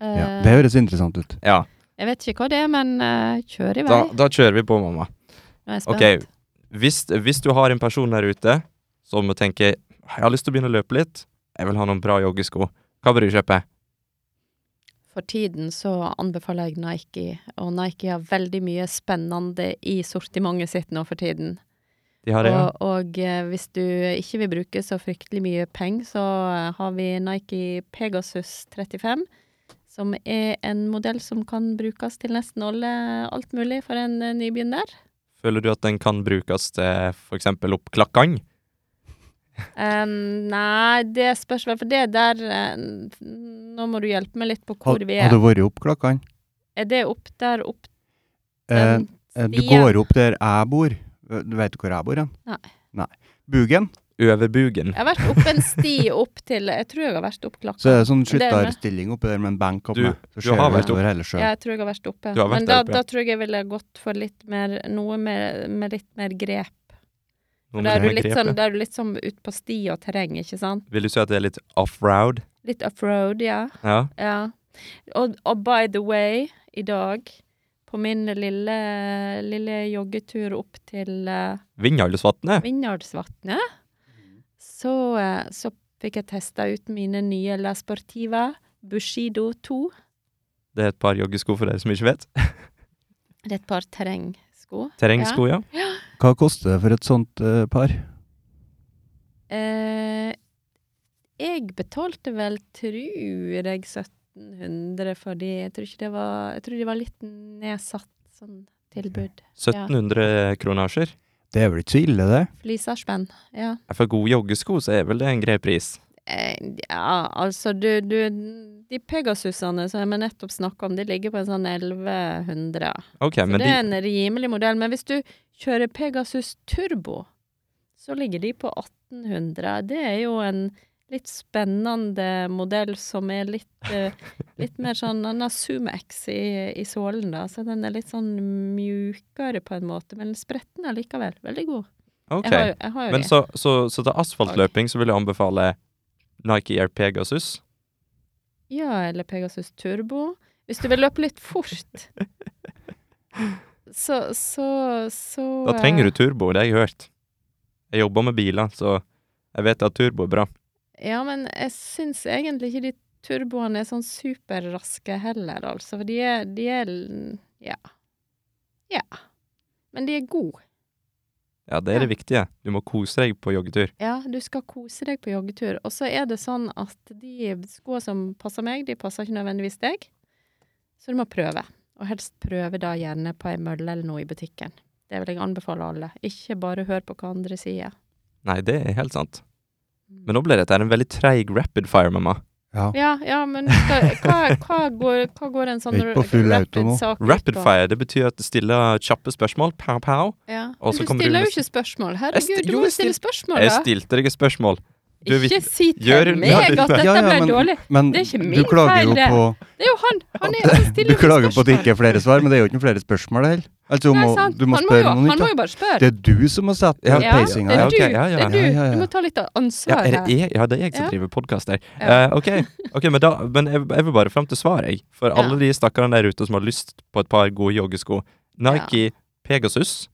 Speaker 3: Eh,
Speaker 1: det høres interessant ut.
Speaker 2: Ja,
Speaker 3: jeg vet ikke hva det er, men eh, kjør i vei.
Speaker 2: da, da kjører vi på, mamma.
Speaker 3: Nå er jeg spent.
Speaker 2: Ok, hvis, hvis du har en person der ute som tenker Jeg har lyst til å begynne å løpe litt, jeg vil ha noen bra joggesko. Hva bør du kjøpe?
Speaker 3: For tiden så anbefaler jeg Nike, og Nike har veldig mye spennende i sortimentet sitt nå for tiden.
Speaker 2: De har det, ja.
Speaker 3: og, og eh, hvis du ikke vil bruke så fryktelig mye penger, så eh, har vi Nike Pegasus 35, som er en modell som kan brukes til nesten alle, alt mulig for en eh, nybegynner.
Speaker 2: Føler du at den kan brukes til f.eks. opp klakkang?
Speaker 3: Eh, nei, det spørs vel, for det der eh, Nå må du hjelpe meg litt på
Speaker 1: Har,
Speaker 3: hvor vi
Speaker 1: har
Speaker 3: er.
Speaker 1: du vært opp klokka?
Speaker 3: Er det opp der opp
Speaker 1: Eh,
Speaker 3: den
Speaker 1: eh, du
Speaker 3: stien?
Speaker 1: går opp der jeg bor. Eh, Du vet hvor jeg bor, hen?
Speaker 3: Nei.
Speaker 1: Nei. Bugen.
Speaker 2: Over bugen?
Speaker 3: Jeg har vært opp en sti opp til Jeg tror jeg har vært opp klokka.
Speaker 1: Så er det sånn
Speaker 3: Det er det.
Speaker 1: skytterstilling oppi der med en benk oppe.
Speaker 2: Du-
Speaker 1: med. så
Speaker 2: du har
Speaker 1: vi
Speaker 2: vært
Speaker 1: utover hele sjøen.
Speaker 3: Ja, jeg tror jeg har vært oppe.
Speaker 2: Du har vært der
Speaker 3: Men da,
Speaker 2: oppe, ja.
Speaker 3: da tror jeg jeg ville gått for litt mer, noe med, med litt mer grep.
Speaker 2: Noe
Speaker 3: For da
Speaker 2: med
Speaker 3: er du
Speaker 2: det
Speaker 3: litt
Speaker 2: grepet.
Speaker 3: sånn, da er du litt sånn ut på sti og terreng, ikke sant?
Speaker 2: Vil du si at det er litt offroad?
Speaker 3: Litt offroad, ja.
Speaker 2: Ja.
Speaker 3: ja. Og, og by the way, i dag, på min lille, lille joggetur opp til uh,
Speaker 2: Vindhaldesvatnet?
Speaker 3: Vinjardsvatnet, så, eh, så fikk jeg testa ut mine nye La Sportiva Bushido 2.
Speaker 2: Det er et par joggesko for dere som ikke vet.
Speaker 3: Det er et par terrengsko.
Speaker 2: Terrengsko, ja.
Speaker 1: Hva koster det for et sånt eh, par?
Speaker 3: Eh, jeg betalte vel, tror jeg, 1700 for de. Jeg tror ikke det var Jeg tror de var litt nedsatt sånn tilbud.
Speaker 2: 1700 kronasjer.
Speaker 1: Det er vel ikke så ille, det?
Speaker 3: Fliserspenn, ja.
Speaker 2: Ja, For gode joggesko så er vel det en grei pris.
Speaker 3: Eh, ja, altså du, du De Pegasusene som jeg nettopp snakka om, de ligger på en sånn 1100.
Speaker 2: Ok,
Speaker 3: Så
Speaker 2: men
Speaker 3: det
Speaker 2: de,
Speaker 3: er en rimelig modell. Men hvis du kjører Pegasus Turbo, så ligger de på 1800. Det er jo en litt spennende modell som er litt, eh, litt mer sånn Den har Zoom-X i, i sålen, da, så den er litt sånn mjukere på en måte. Men spretten er likevel veldig god.
Speaker 2: ok.
Speaker 3: Jeg har jo, jeg har jo
Speaker 2: Men
Speaker 3: de.
Speaker 2: så, så, så til asfaltløping så vil jeg anbefale Nike Air Pegasus.
Speaker 3: Ja, eller Pegasus Turbo. Hvis du vil løpe litt fort, så, så, så
Speaker 2: Da trenger du turbo, det har jeg hørt. Jeg jobber med biler, så jeg vet at turbo er bra.
Speaker 3: Ja, men jeg syns egentlig ikke de turboene er sånn superraske heller, altså. For de er, de er l- Ja. Ja. Men de er gode.
Speaker 2: Ja, det er det viktige. Du må kose deg på joggetur.
Speaker 3: Ja, du skal kose deg på joggetur. Og så er det sånn at de skoene som passer meg, de passer ikke nødvendigvis deg. Så du må prøve. Og helst prøve da gjerne på ei mølle eller noe i butikken. Det vil jeg anbefale alle. Ikke bare hør på hva andre sier.
Speaker 2: Nei, det er helt sant. Men nå ble dette en veldig treig rapid fire, mamma.
Speaker 1: Ja.
Speaker 3: Ja, ja, men hva, hva, hva, går, hva går en sånn
Speaker 1: Det er ikke på full
Speaker 3: rapid
Speaker 1: auto nå.
Speaker 3: sak ut
Speaker 2: Rapid
Speaker 3: på?
Speaker 2: fire, det betyr at det stiller kjappe spørsmål. Pow, pow.
Speaker 3: Ja.
Speaker 2: Og
Speaker 3: Men
Speaker 2: så
Speaker 3: du
Speaker 2: kommer du
Speaker 3: stiller jo
Speaker 2: med-
Speaker 3: ikke spørsmål.
Speaker 2: Jeg
Speaker 3: Herregud,
Speaker 2: sti-
Speaker 3: du
Speaker 2: jo,
Speaker 3: må
Speaker 2: jeg
Speaker 3: jo stille
Speaker 2: stil-
Speaker 3: spørsmål,
Speaker 2: Jeg
Speaker 3: da.
Speaker 2: stilte deg et spørsmål. Du er
Speaker 3: Ikke
Speaker 2: vit-
Speaker 3: si til
Speaker 2: Jørund,
Speaker 3: meg
Speaker 2: ja,
Speaker 3: at
Speaker 2: det-
Speaker 3: dette
Speaker 1: Ja, ja, men-
Speaker 3: ble dårlig.
Speaker 1: Men
Speaker 3: Det er ikke
Speaker 1: du
Speaker 3: min
Speaker 1: klager jo
Speaker 3: feil, det.
Speaker 1: på
Speaker 3: Det er jo han! Han er som
Speaker 1: Du
Speaker 3: stiller
Speaker 1: klager
Speaker 3: spørsmål.
Speaker 1: på at det ikke er flere svar, men det er jo ikke flere spørsmål heller. Altså, du
Speaker 3: Nei,
Speaker 1: må,
Speaker 3: sant.
Speaker 1: du må
Speaker 3: Han
Speaker 1: spørre noe
Speaker 3: jo- Han må
Speaker 1: nytt.
Speaker 3: jo bare
Speaker 1: da.
Speaker 3: spørre.
Speaker 1: Det er du som må sette
Speaker 2: Ja,
Speaker 1: ja,
Speaker 3: ja, det
Speaker 1: peisinga
Speaker 3: er
Speaker 1: her.
Speaker 3: du.
Speaker 2: Ok, ja, ja,
Speaker 3: det er du.
Speaker 1: ja, ja, ja.
Speaker 3: Du må ta litt
Speaker 2: Ja,
Speaker 3: ansvar
Speaker 2: er det
Speaker 3: her.
Speaker 2: jeg? ja, det er jeg som
Speaker 3: Ja.
Speaker 2: driver podkast her.
Speaker 3: Ja.
Speaker 2: Eh, ok, Ok, men, da, men jeg, jeg vil bare fram til svaret, jeg. For
Speaker 3: Ja.
Speaker 2: alle de stakkarene der ute som har lyst på et par gode joggesko. Nike Pegasus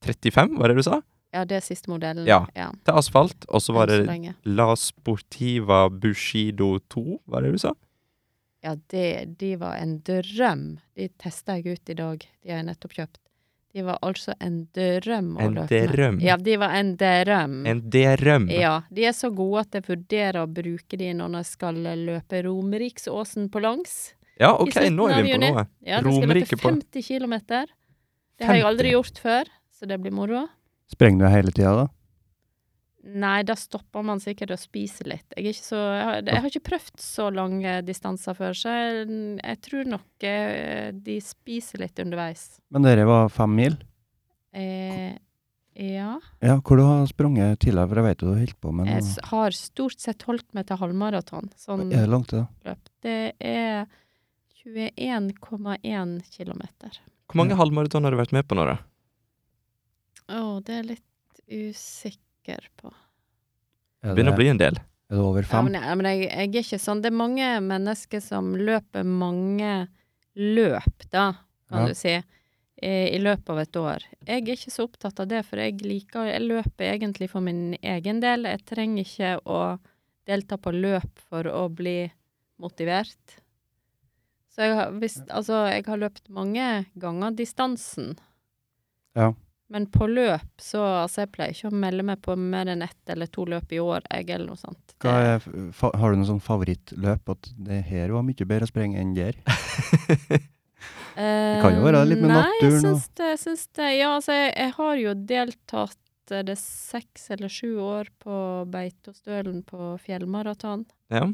Speaker 2: 35, var det du sa?
Speaker 3: Ja, det er siste modellen.
Speaker 2: Ja.
Speaker 3: ja.
Speaker 2: Til asfalt. Og så var
Speaker 3: Enn så
Speaker 2: det
Speaker 3: lenge.
Speaker 2: La Sportiva Bushido 2, var det du sa?
Speaker 3: Ja, det, de var en drøm. De testa jeg ut i dag. De har jeg nettopp kjøpt. De var altså en drøm å
Speaker 2: En
Speaker 3: løpe med.
Speaker 2: drøm.
Speaker 3: Ja, de var en drøm.
Speaker 2: En drøm.
Speaker 3: Mm. Ja, de er så gode at jeg vurderer å bruke de når jeg skal løpe Romeriksåsen på langs.
Speaker 2: Ja, OK,
Speaker 3: I slutten
Speaker 2: nå er
Speaker 3: av
Speaker 2: vi på
Speaker 3: juni.
Speaker 2: noe.
Speaker 3: Ja, da skal jeg
Speaker 2: Romerike
Speaker 3: løpe
Speaker 2: på-
Speaker 3: 50 km. Det har jeg aldri gjort før, så det blir moro.
Speaker 1: Sprenger du hele tida, da?
Speaker 3: Nei, da stopper man sikkert å spise litt. Jeg, er ikke så, jeg, har, jeg har ikke prøvd så lange distanser før, så jeg, jeg tror nok eh, de spiser litt underveis.
Speaker 1: Men dere var fem mil?
Speaker 3: Eh, ja.
Speaker 1: Ja, hvor du har sprunget tidligere, for jeg vet jo du holdt på med
Speaker 3: Jeg
Speaker 1: noe.
Speaker 3: s- har stort sett holdt meg til halvmaraton. Sånn
Speaker 1: Er det langt, det? da?
Speaker 3: løp. Det er 21,1 km.
Speaker 2: Hvor mange halvmaraton har du vært med på nå, da?
Speaker 3: Å, det er jeg litt usikker på.
Speaker 1: Er
Speaker 2: Begynner å
Speaker 1: det,
Speaker 2: bli en del.
Speaker 1: er det over
Speaker 3: Ja,
Speaker 1: fem?
Speaker 3: men, jeg, men jeg, jeg er ikke sånn. Det er mange mennesker som løper mange løp, da,
Speaker 1: Ja.
Speaker 3: kan du si, eh, i løpet av et år. Jeg er ikke så opptatt av det, for jeg liker Jeg løper egentlig for min egen del. Jeg trenger ikke å delta på løp for å bli motivert. Så jeg har, hvis, altså, jeg har løpt mange ganger distansen.
Speaker 1: Ja.
Speaker 3: Men på løp, så altså, jeg pleier ikke å melde meg på mer enn ett eller to løp i år, jeg, eller noe sånt.
Speaker 1: Hva er, f- fa har du noen sånn favorittløp at det her var mye bedre å sprenge enn der?
Speaker 3: Det
Speaker 1: kan jo være litt med
Speaker 3: Eh, Nei, jeg
Speaker 1: naturen og-
Speaker 3: syns det, jeg syns det. Ja, altså, jeg, jeg har jo deltatt eh, det er seks eller sju år på Beitostølen på fjellmaraton.
Speaker 2: Ja.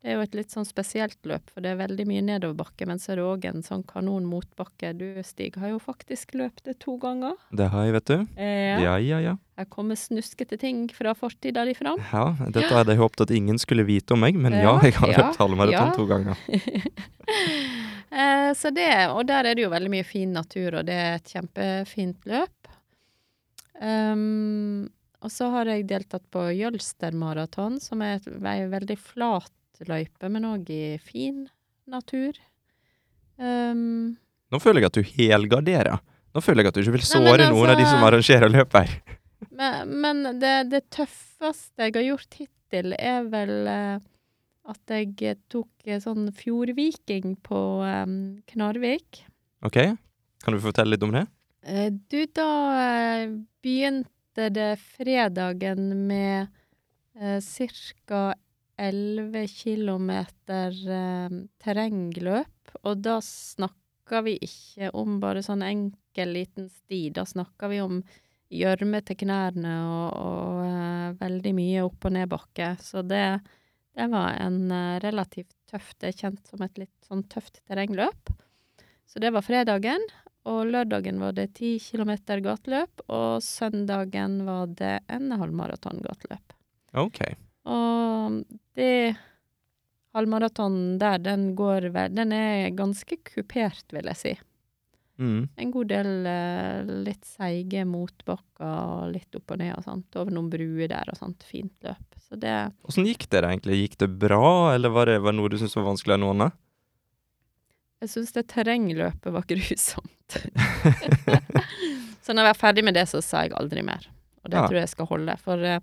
Speaker 3: Det er jo et litt sånn spesielt løp, for det er veldig mye nedoverbakke, men så er det òg en sånn kanon motbakke. Du, Stig, har jo faktisk løpt det to ganger.
Speaker 2: Det har jeg, vet du.
Speaker 3: Eh,
Speaker 2: Ja, ja, ja.
Speaker 3: Her kommer snuskete ting fra fortida di fram.
Speaker 2: ja dette hadde jeg håpet at ingen skulle vite om meg, men ja,
Speaker 3: Ja,
Speaker 2: jeg har
Speaker 3: ja,
Speaker 2: løpt halvmaraton
Speaker 3: ja.
Speaker 2: to ganger.
Speaker 3: Eh, så det, og der er det jo veldig mye fin natur, og det er et kjempefint løp. Ehm, og så har jeg deltatt på Jølstermaraton, som er et- ei veldig flat løype, men òg i fin natur. Ehm,
Speaker 2: Nå føler jeg at du helgarderer. Nå føler jeg at du ikke vil
Speaker 3: Nei, men
Speaker 2: såre noen av de
Speaker 3: altså-
Speaker 2: som arrangerer løp her.
Speaker 3: men men det, det tøffeste jeg har gjort hittil, er vel eh, at jeg tok eh, sånn fjordviking på eh, Knarvik.
Speaker 2: OK, kan du fortelle litt om det?
Speaker 3: Eh, Du, da eh, begynte det fredagen med eh, ca. 11 km eh, terrengløp, og da snakker vi ikke om bare sånn enkel liten sti, da snakker vi om gjørme til knærne og, og eh, veldig mye opp- og nedbakke. Så det, det var en eh, relativt tøff Det er kjent som et litt sånn tøft terrengløp. Så det var fredagen. Og lørdagen var det 10 km gateløp, og søndagen var det en halvmaraton gateløp.
Speaker 2: OK.
Speaker 3: Og det halvmaratonen der, den går vel Den er ganske kupert, vil jeg si.
Speaker 2: Mm.
Speaker 3: En god del eh, litt seige motbakker og litt opp og ned og sånt. Over noen bruer der og sånt. Fint løp. Så det
Speaker 2: Åssen gikk det da egentlig? Gikk det bra, eller var det var det noe du syntes var vanskeligere enn noe annet?
Speaker 3: Jeg syns det terrengløpet var grusomt. så når jeg var ferdig med det, så sa jeg aldri mer. Og det
Speaker 2: Ja.
Speaker 3: tror jeg skal holde. For, eh,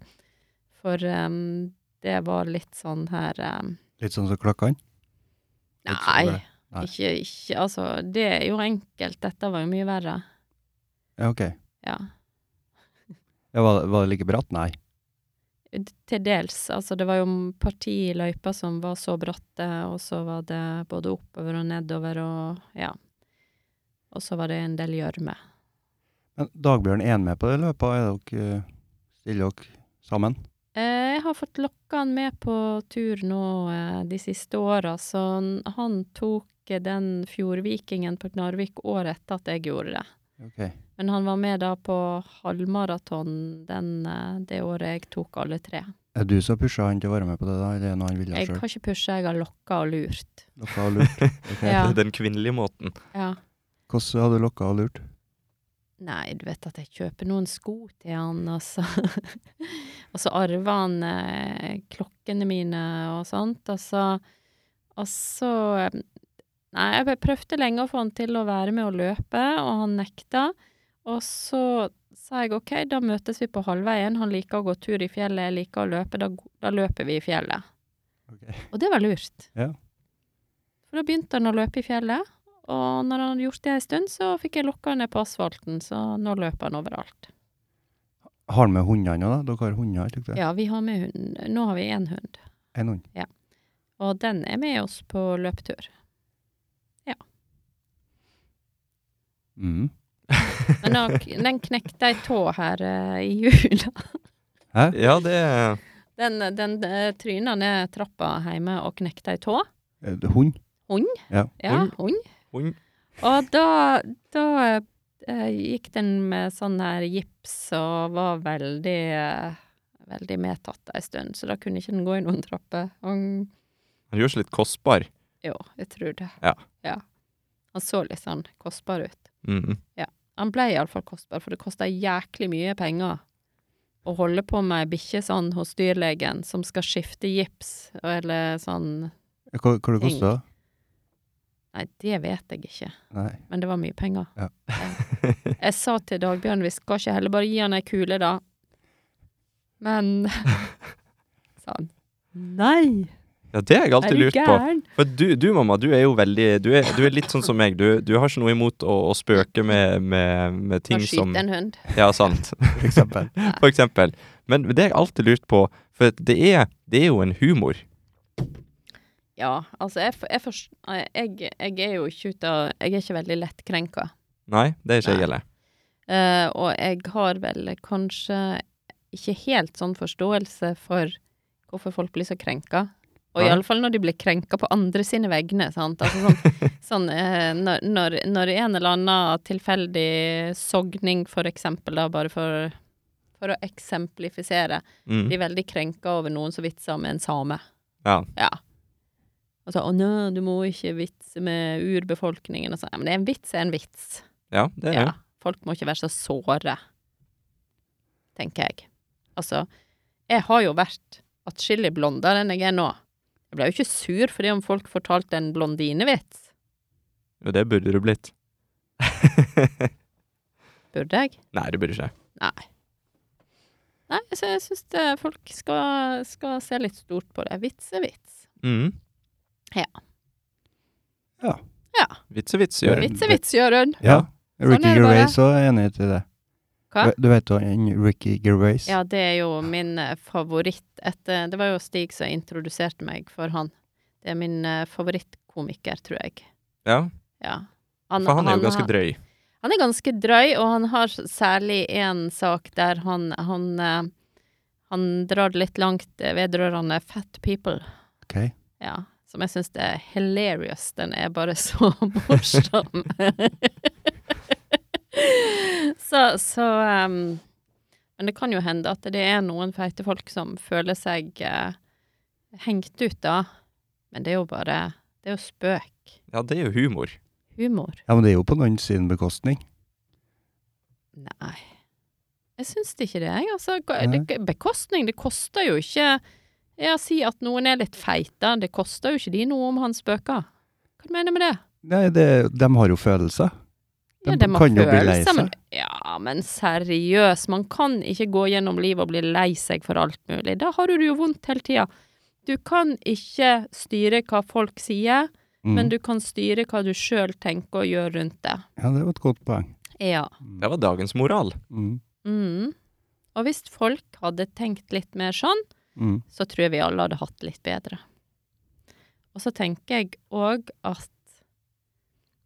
Speaker 3: for em, det var litt sånn her em,
Speaker 1: Litt sånn som klokkene? Litt sånn
Speaker 3: Nei,
Speaker 1: det. Nei.
Speaker 3: Ikke, ikke Altså, det er jo enkelt. Dette var jo mye verre.
Speaker 1: Ja, ok.
Speaker 3: Ja.
Speaker 1: Ja, var, det- var det like bratt? Nei.
Speaker 3: Til dels. Altså, det var jo parti i løypa som var så bratte, og så var det både oppover og nedover og Ja. Og så var det en del gjørme.
Speaker 1: Men Dagbjørn er med på det løpet? Er dere, eh, stiller dere sammen?
Speaker 3: Eh, Jeg har fått lokka han med på tur nå eh, de siste åra, så han- han tok eh, den fjordvikingen på Knarvik året etter at jeg gjorde det.
Speaker 1: Ok.
Speaker 3: Men han var med da på halvmaraton den, eh, det året jeg tok alle tre.
Speaker 1: Er du som pusha han til å være med på det, da? Eller er det noe han ville
Speaker 3: Jeg
Speaker 1: sjøl?
Speaker 3: har ikke pusha, jeg har lokka og lurt.
Speaker 1: Lokka og lurt? Ok.
Speaker 3: Ja.
Speaker 2: Den kvinnelige måten.
Speaker 3: Ja.
Speaker 1: Hvordan har du lokka og lurt?
Speaker 3: Nei, du vet at jeg kjøper noen sko til han, og så, og så arver han eh, klokkene mine og sånt, og så, og så eh, Nei, jeg prøvde lenge å få han til å være med og løpe, og han nekta. Og så sa jeg OK, da møtes vi på halvveien. Han liker å gå tur i fjellet, jeg liker å løpe. Da, g- da løper vi i fjellet.
Speaker 1: Ok.
Speaker 3: Og det var lurt.
Speaker 1: Ja.
Speaker 3: For da begynte han å løpe i fjellet. Og når han hadde gjort det en stund, så fikk jeg lokka han ned på asfalten, så nå løper han overalt.
Speaker 1: Har med hundene òg, da? Dere har hunder, ikke sant?
Speaker 3: Ja, vi har med hund. Nå har vi én hund,
Speaker 1: En hund.
Speaker 3: og den er med oss på løpetur.
Speaker 1: Mm.
Speaker 3: Men da, den knekte ei tå her eh, i jula.
Speaker 1: Hæ?
Speaker 2: Ja, det er
Speaker 3: Den, den eh, tryna ned trappa hjemme og knekte ei tå.
Speaker 1: Er det Hund?
Speaker 3: Ja,
Speaker 2: Hund?
Speaker 3: hund.
Speaker 2: Hund.
Speaker 3: Og da, da eh, gikk den med sånn her gips og var veldig eh, Veldig medtatt ei stund, så da kunne ikke den gå i noen trapper. Han,
Speaker 2: Han gjør seg litt kostbar.
Speaker 3: jo, jeg tror det.
Speaker 2: Ja.
Speaker 3: Han så litt sånn kostbar ut.
Speaker 2: Mhm.
Speaker 3: Han ble iallfall kostbar, for det kosta jæklig mye penger å holde på med ei bikkje sånn hos dyrlegen som skal skifte gips, eller sånn
Speaker 1: Hva, hva det kosta det?
Speaker 3: Nei, det vet jeg ikke.
Speaker 1: Nei.
Speaker 3: Men det var mye penger.
Speaker 1: Ja.
Speaker 3: Jeg sa til Dagbjørn vi skal ikke heller bare gi han ei kule, da. Men sa han. Nei,
Speaker 2: Ja, det har jeg alltid lurt på.
Speaker 3: gæren?
Speaker 2: For du, du mamma, du er jo veldig Du er, du er litt sånn som meg. Du, du har ikke noe imot å, å spøke med, med, med ting
Speaker 3: Han
Speaker 2: som
Speaker 3: skyter en hund.
Speaker 2: Ja, sant.
Speaker 1: For eksempel.
Speaker 2: For eksempel. Men det har jeg alltid lurt på, for det er, det er jo en humor.
Speaker 3: Ja, altså, jeg, for- jeg, forst- jeg, jeg er jo ikke ute av Jeg er ikke veldig lettkrenka.
Speaker 2: Nei, det er ikke jeg
Speaker 3: Nei.
Speaker 2: heller.
Speaker 3: Eh, og jeg har vel kanskje ikke helt sånn forståelse for hvorfor folk blir så krenka. Og
Speaker 2: Nei.
Speaker 3: iallfall når de blir krenka på andre sine vegne, sant. Altså sånn, sånn eh, når, når, når en eller annen tilfeldig sogning, for eksempel, da, bare for, for å eksemplifisere,
Speaker 2: Mm.
Speaker 3: blir veldig krenka over noen som vitser med en same.
Speaker 2: Ja.
Speaker 3: Altså 'Å nei, du må ikke vitse med urbefolkningen', og sånn. Ja, Men det er en vits er en vits.
Speaker 2: ja, det er
Speaker 3: Ja.
Speaker 2: det.
Speaker 3: Folk må ikke være så såre, tenker jeg. Altså, jeg har jo vært atskillig blondere enn jeg er nå. Jeg ble jo ikke sur fordi om folk fortalte en blondinevits.
Speaker 2: Jo, det burde du blitt.
Speaker 3: Burde jeg?
Speaker 2: Nei, det burde ikke.
Speaker 3: Nei, så jeg syns folk skal, skal se litt stort på det. Vits er vits.
Speaker 2: Mm.
Speaker 3: Ja.
Speaker 1: Ja.
Speaker 3: Ja.
Speaker 2: Vitsevits gjør
Speaker 1: Vits
Speaker 2: det.
Speaker 3: Vits er vits, Jørund.
Speaker 1: Ja. Ricky
Speaker 3: Sånn er det bare.
Speaker 1: Gervais òg er enig i det.
Speaker 3: Hva?
Speaker 1: Du vet jo han Ricky Gervais?
Speaker 3: Ja, det er jo min eh, favoritt etter Det var jo Stig som introduserte meg for han. Det er min eh, favorittkomiker, tror jeg.
Speaker 2: Ja,
Speaker 3: Ja.
Speaker 2: for han er jo
Speaker 3: har-
Speaker 2: ganske drøy.
Speaker 3: Han er ganske drøy, og han har s- særlig én sak der han han, eh, han drar det litt langt eh, vedrørende fat people,
Speaker 1: Ok.
Speaker 3: ja, som jeg syns er hilarious. Den er bare så morsom. så så ehm, Men det kan jo hende at det er noen feite folk som føler seg eh, hengt ut, da. Men det er jo bare Det er jo spøk.
Speaker 2: Ja, det er jo humor.
Speaker 3: Humor.
Speaker 1: Ja, men det er jo på noen sin bekostning.
Speaker 3: Nei. Jeg syns det ikke det, jeg. Altså,
Speaker 1: Nei.
Speaker 3: det, bekostning, det koster jo ikke Ja, si at noen er litt feita, det koster jo ikke de noe om han spøker. Hva du mener du med det?
Speaker 1: Nei, det, de har jo følelser. De
Speaker 3: ja, det
Speaker 1: kan jo bli lei seg.
Speaker 3: men sånn, Ja, men seriøst, man kan ikke gå gjennom livet og bli lei seg for alt mulig. Da har du det jo vondt hele tida. Du kan ikke styre hva folk sier,
Speaker 1: Mm.
Speaker 3: men du kan styre hva du sjøl tenker og gjør rundt det.
Speaker 1: Ja, det var et godt poeng.
Speaker 3: Ja.
Speaker 2: Det var dagens moral.
Speaker 1: Mm.
Speaker 3: Mm. Og hvis folk hadde tenkt litt mer sånn,
Speaker 1: Mm.
Speaker 3: så tror jeg vi alle hadde hatt det litt bedre. Og så tenker jeg òg at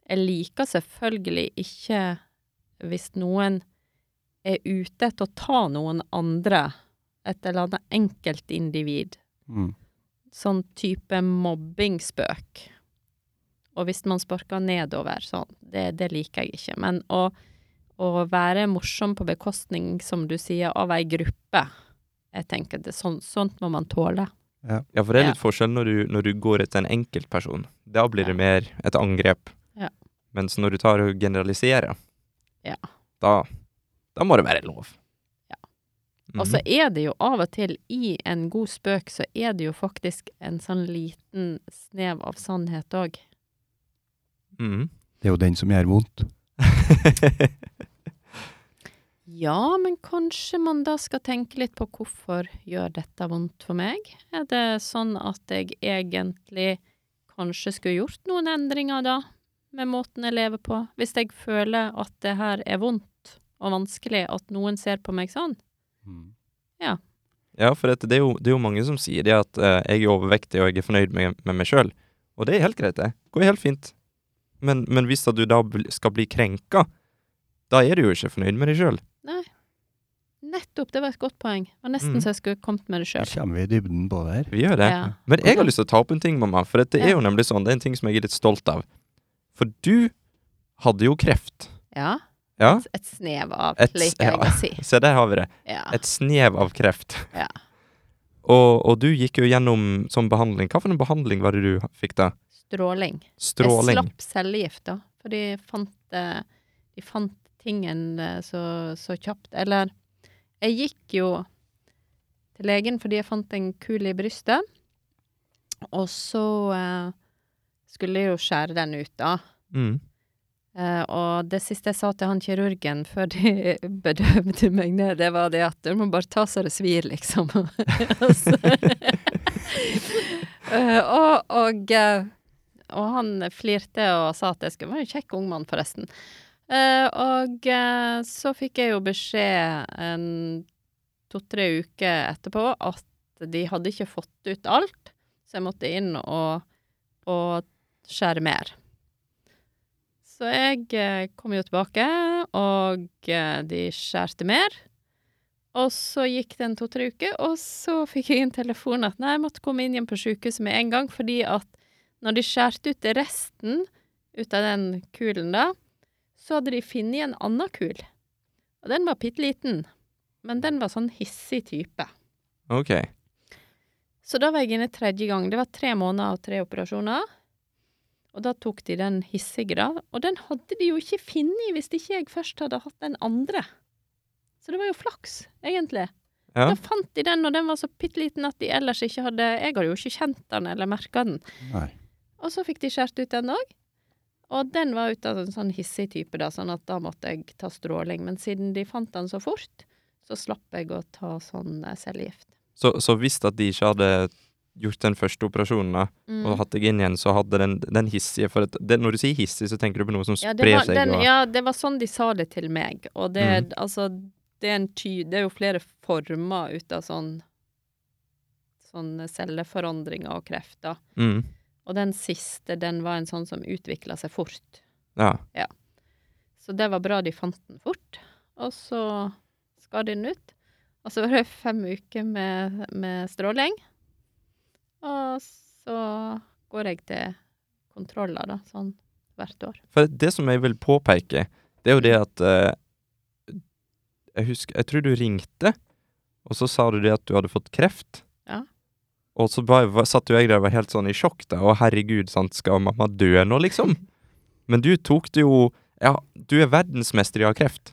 Speaker 3: jeg liker selvfølgelig ikke hvis noen er ute etter å ta noen andre, et eller annet enkeltindivid,
Speaker 1: Mm.
Speaker 3: sånn type mobbingspøk. Og hvis man sparker nedover, sånn, det, det liker jeg ikke. Men å, å være morsom på bekostning, som du sier, av ei gruppe, jeg tenker det, sånn, sånt må man tåle.
Speaker 2: Ja, for det er
Speaker 3: Ja.
Speaker 2: litt forskjell når du, når du går etter en enkeltperson. Da blir
Speaker 3: Ja.
Speaker 2: det mer et angrep.
Speaker 3: Ja.
Speaker 2: Mens når du tar og generaliserer,
Speaker 3: Ja.
Speaker 2: da, da må det være lov.
Speaker 3: Ja.
Speaker 2: Mhm.
Speaker 3: Og så Altså, er det jo av og til, i en god spøk, så er det jo faktisk en sånn liten snev av sannhet òg.
Speaker 2: Mhm.
Speaker 1: Det er jo den som gjør vondt.
Speaker 3: Ja, men kanskje man da skal tenke litt på hvorfor gjør dette vondt for meg? Er det sånn at jeg egentlig kanskje skulle gjort noen endringer da, med måten jeg lever på? Hvis jeg føler at det her er vondt og vanskelig, at noen ser på meg sånn?
Speaker 1: Mm.
Speaker 2: Ja, for dette, det, er jo, det er jo mange som sier det at eh, jeg er overvektig og jeg er fornøyd med, med meg sjøl. Og det er helt greit, det. Går helt fint. Men, men hvis at du da bl- skal bli krenka, da er du jo ikke fornøyd med deg sjøl.
Speaker 3: Nettopp, det var et godt poeng. Det var nesten
Speaker 2: Mm.
Speaker 3: så jeg skulle kommet med
Speaker 1: Nå
Speaker 3: det sjøl.
Speaker 1: kommer vi i dybden på det her.
Speaker 2: Vi gjør det.
Speaker 3: Ja.
Speaker 2: Men jeg har lyst til å ta opp en ting, mamma. For dette
Speaker 3: Ja.
Speaker 2: er jo nemlig sånn, det er en ting som jeg er litt stolt av. For du hadde jo kreft.
Speaker 3: Ja.
Speaker 2: Ja,
Speaker 3: Et snev av,
Speaker 2: Et-
Speaker 3: liker jeg
Speaker 2: ja.
Speaker 3: å si.
Speaker 2: se der har vi det.
Speaker 3: Ja.
Speaker 2: Et snev av kreft.
Speaker 3: Ah. Ja.
Speaker 2: Og, og du gikk jo gjennom sånn behandling. Hva for en behandling var det du fikk da?
Speaker 3: Stråling.
Speaker 2: Stråling.
Speaker 3: Jeg slapp cellegift, da. For de fant, eh, de fant tingen eh, så, så kjapt. Eller Jeg gikk jo til legen fordi jeg fant en kule i brystet. Og så eh, skulle jeg jo skjære den ut, da.
Speaker 2: Mm.
Speaker 3: Eh, og det siste jeg sa til han kirurgen før de bedøvde meg ned, det var det at du må bare ta så det svir, liksom. Og så- Eh, og, og, eh, og han flirte og sa at jeg skulle være en kjekk ung mann, forresten. Eh, og eh, så fikk jeg jo beskjed en to-tre uker etterpå at de hadde ikke fått ut alt, så jeg måtte inn og, og skjære mer. Så jeg eh, kom jo tilbake, og eh, de skjærte mer. Og så gikk det en to-tre uker, og så fikk jeg en telefon at nei, jeg måtte komme inn igjen på sykehuset med en gang, fordi at når de skjærte ut resten ut av den kulen da, så hadde de funnet en annen kul. Og den var bitte liten, men den var sånn hissig type.
Speaker 2: Ok.
Speaker 3: Så da var jeg inne tredje gang. Det var tre måneder og tre operasjoner. Og da tok de den hissige, da. Og den hadde de jo ikke funnet hvis ikke jeg først hadde hatt den andre. Så det var jo flaks, egentlig.
Speaker 2: Ja.
Speaker 3: Da fant de den, og den var så bitte liten at de ellers ikke hadde Jeg hadde jo ikke kjent den eller merka den.
Speaker 1: Nei.
Speaker 3: Og så fikk de skåret ut den òg. Og den var ut av en sånn hissig type, da, sånn at da måtte jeg ta stråling. Men siden de fant den så fort, så slapp jeg å ta sånn eh, cellegift.
Speaker 2: Så, så hvis at de ikke hadde gjort den første operasjonen da,
Speaker 3: Mm.
Speaker 2: og hatt deg inn igjen, så hadde den, den hissige for at, det, Når du sier hissig, så tenker du på noe som
Speaker 3: Ja, det
Speaker 2: sprer
Speaker 3: var,
Speaker 2: seg?
Speaker 3: den,
Speaker 2: og,
Speaker 3: ja, det var sånn de sa det til meg. Og det,
Speaker 2: Mhm.
Speaker 3: altså, det, er, en ty, det er jo flere former ut av sånn Sånne celleforandringer og krefter.
Speaker 2: Mm,
Speaker 3: Og den siste, den var en sånn som utvikla seg fort.
Speaker 2: ja.
Speaker 3: Så det var bra de fant den fort. Og så skar de den ut. Og så var det fem uker med, med stråling. Og så går jeg til kontroller, da, sånn hvert år.
Speaker 2: For det som jeg vil påpeke, det er jo det
Speaker 3: Mm.
Speaker 2: at eh, Jeg husker Jeg tror du ringte, og så sa du det at du hadde fått kreft.
Speaker 3: Ja.
Speaker 2: Og så bare, var- satt jo jeg der og var helt sånn i sjokk. da, Å, herregud, sant, skal mamma dø nå, liksom? Men du tok det jo Ja, du er verdensmester i å ha kreft.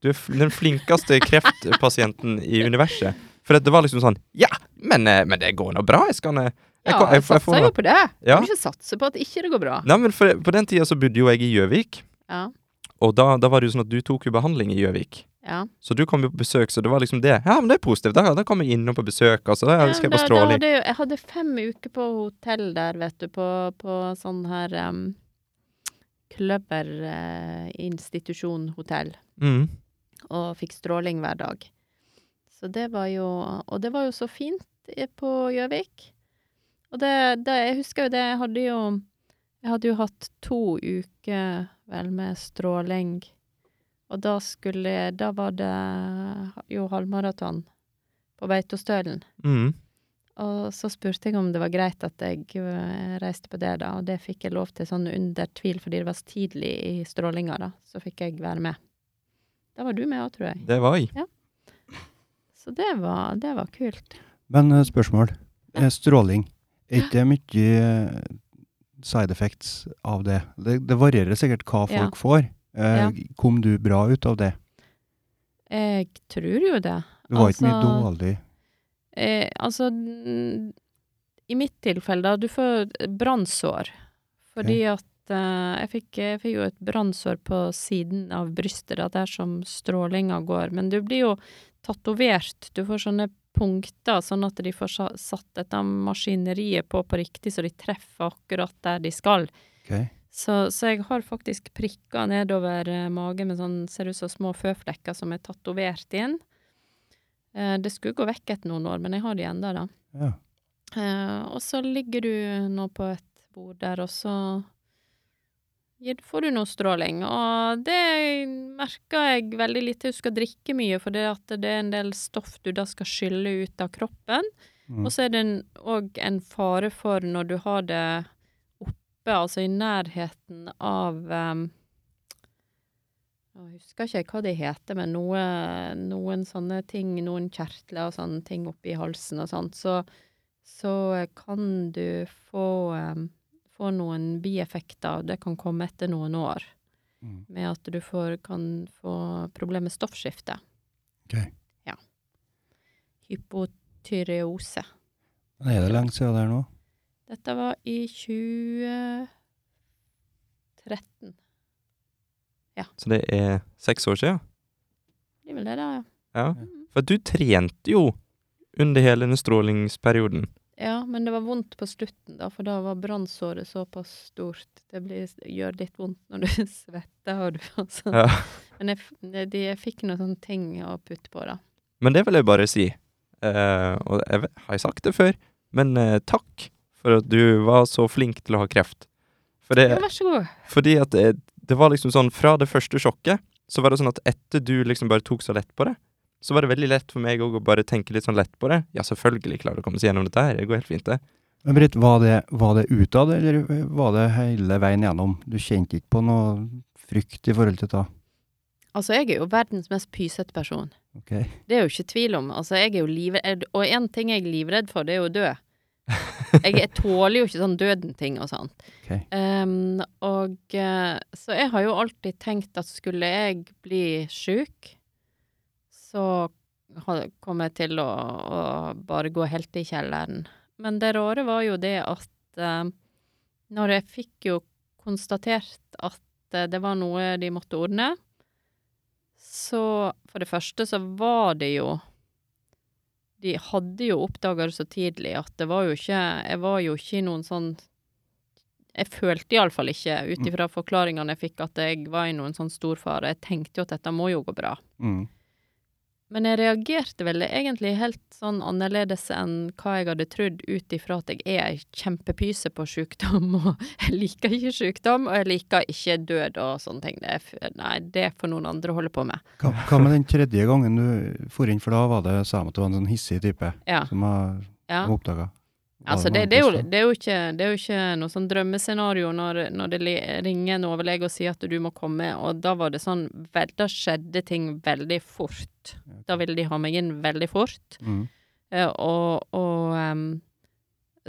Speaker 2: Du er f den flinkeste kreftpasienten i universet. For at det var liksom sånn Ja, men, eh, men det går nå bra. Jeg skal eh,
Speaker 3: Ja,
Speaker 2: kan-
Speaker 3: jeg,
Speaker 2: får- får
Speaker 3: satser
Speaker 2: nå-
Speaker 3: jo på det.
Speaker 2: Ja.
Speaker 3: Kan ikke satse på at ikke det går bra.
Speaker 2: Nei, men for, på den tida så bodde jo jeg i Gjøvik.
Speaker 3: Ja.
Speaker 2: Og da, da var det jo sånn at du tok jo behandling i Gjøvik.
Speaker 3: Ja.
Speaker 2: Så du kom jo på besøk, så det var liksom det. Ja, men det er positivt. Da, da kom jeg innom på besøk, altså. Da skal jeg
Speaker 3: Eh, da,
Speaker 2: bare
Speaker 3: da
Speaker 2: stråle inn.
Speaker 3: hadde jeg, jo- jeg hadde fem uker på hotell der, vet du, på, på sånn her um, eh, kløverinstitusjonhotell,
Speaker 2: Mm.
Speaker 3: og fikk stråling hver dag. Så det var jo Og det var jo så fint eh, på Gjøvik. Og det, det Jeg husker jo det, jeg hadde jo Jeg hadde jo hatt to uker vel med stråling. Og da skulle Da var det jo halvmaraton på Beitostølen.
Speaker 2: Mm.
Speaker 3: Og så spurte jeg om det var greit at jeg eh, reiste på det, da, og det fikk jeg lov til sånn under tvil, fordi det var så tidlig i strålinga, da. Så fikk jeg være med. Da var du med òg, tror jeg.
Speaker 2: Det var jeg.
Speaker 3: Så det var, det var kult.
Speaker 1: Men eh, spørsmål. Eh, Stråling. Er ikke det mye eh, side effects av det? Det, det varierer sikkert hva
Speaker 3: Ja.
Speaker 1: folk får. Eh,
Speaker 3: Ja.
Speaker 1: Kom du bra ut av det?
Speaker 3: Jeg tror jo det.
Speaker 1: Det var ikke mye
Speaker 3: Altså-
Speaker 1: dårlig
Speaker 3: Eh, altså n- I mitt tilfelle, da. Du får brannsår. Fordi at eh, jeg, fikk, jeg fikk jo et brannsår på siden av brystet, da, der som strålinga går. Men du blir jo tatovert. Du får sånne punkter, sånn at de får sa- satt dette maskineriet på på riktig, så de treffer akkurat der de skal.
Speaker 1: Ok.
Speaker 3: Så, så jeg har faktisk prikker nedover eh, magen med sånn, ser ut som små føflekker som er tatovert inn. Eh, det skulle gå vekk etter noen år, men jeg har de enda da.
Speaker 1: Ja.
Speaker 3: Eh, og så ligger du nå på et bord der, og så gir- får du noe stråling. Og det merker jeg veldig lite. Du skal drikke mye, for det, at det er en del stoff du da skal skylle ut av kroppen.
Speaker 1: Mm.
Speaker 3: Og så er det òg en fare for når du har det oppe, altså i nærheten av em, jeg husker ikke hva det heter, men noe, noen sånne ting, noen kjertler og sånne ting oppi halsen og sånt, så, så eh, kan du få, em, få noen bieffekter, og det kan komme etter noen år,
Speaker 1: Mm.
Speaker 3: med at du får, kan få problemer med stoffskifte.
Speaker 1: Ok.
Speaker 3: Ja. Hypotyreose.
Speaker 1: Men er det lenge siden det er nå?
Speaker 3: Dette var i 2013.
Speaker 2: Så det er seks år siden.
Speaker 3: Det er vel det, da, ja.
Speaker 2: Ja. For du trente jo under hele denne strålingsperioden.
Speaker 3: Ja, men det var vondt på slutten, da, for da var brannsåret såpass stort. Det blir, gjør litt vondt når du svetter. Og du, altså.
Speaker 2: Ja.
Speaker 3: Men jeg, f- de, jeg fikk noen sånne ting å putte på, da.
Speaker 2: Men det vil jeg bare si. Eh, og jeg vet, har jeg sagt det før, men eh, takk for at du var så flink til å ha kreft. For det,
Speaker 3: Ja, vær så god.
Speaker 2: Fordi at det, det var liksom sånn Fra det første sjokket, så var det sånn at etter du liksom bare tok så lett på det, så var det veldig lett for meg òg å bare tenke litt sånn lett på det. Ja, selvfølgelig klarer du å komme seg gjennom dette her. Det går helt fint, det.
Speaker 1: Men Britt, var det, var det utad, eller var det hele veien gjennom? Du kjente ikke på noe frykt i forhold til det?
Speaker 3: Altså, jeg er jo verdens mest pysete person.
Speaker 1: Ok.
Speaker 3: Det er jo ikke tvil om. Altså, jeg er jo livredd, og én ting jeg er livredd for, det er jo å dø. Jeg, jeg tåler jo ikke sånn døden-ting og sånt.
Speaker 1: Ok.
Speaker 3: Ehm, og eh, så jeg har jo alltid tenkt at skulle jeg bli sjuk, så ha- kommer jeg til å, å bare gå helt i kjelleren. Men det rare var jo det at eh, når jeg fikk jo konstatert at eh, det var noe de måtte ordne, så for det første så var det jo De hadde jo oppdaga det så tidlig at det var jo ikke Jeg var jo ikke i noen sånn Jeg følte iallfall ikke, ut ifra forklaringene jeg fikk, at jeg var i noen sånn stor fare. Jeg tenkte jo at dette må jo gå bra.
Speaker 1: Mm.
Speaker 3: Men jeg reagerte vel egentlig helt sånn annerledes enn hva jeg hadde trodd, ut ifra at jeg er ei kjempepyse på sjukdom, og jeg liker ikke sjukdom, og jeg liker ikke død og sånne ting. Det er, f- nei, det får noen andre holde på med.
Speaker 1: Hva, hva med den tredje gangen du for inn, for da var det sa de at du var en sånn hissig type
Speaker 3: Ja.
Speaker 1: som var
Speaker 3: ja.
Speaker 1: oppdaga?
Speaker 3: Altså, det, det, er jo, det, er jo ikke, det er jo ikke noe sånn drømmescenario når, når det li- ringer en overlege og sier at du må komme, og da var det sånn vel, Da skjedde ting veldig fort. Da ville de ha meg inn veldig fort.
Speaker 1: mm.
Speaker 3: Eh, Og, og em,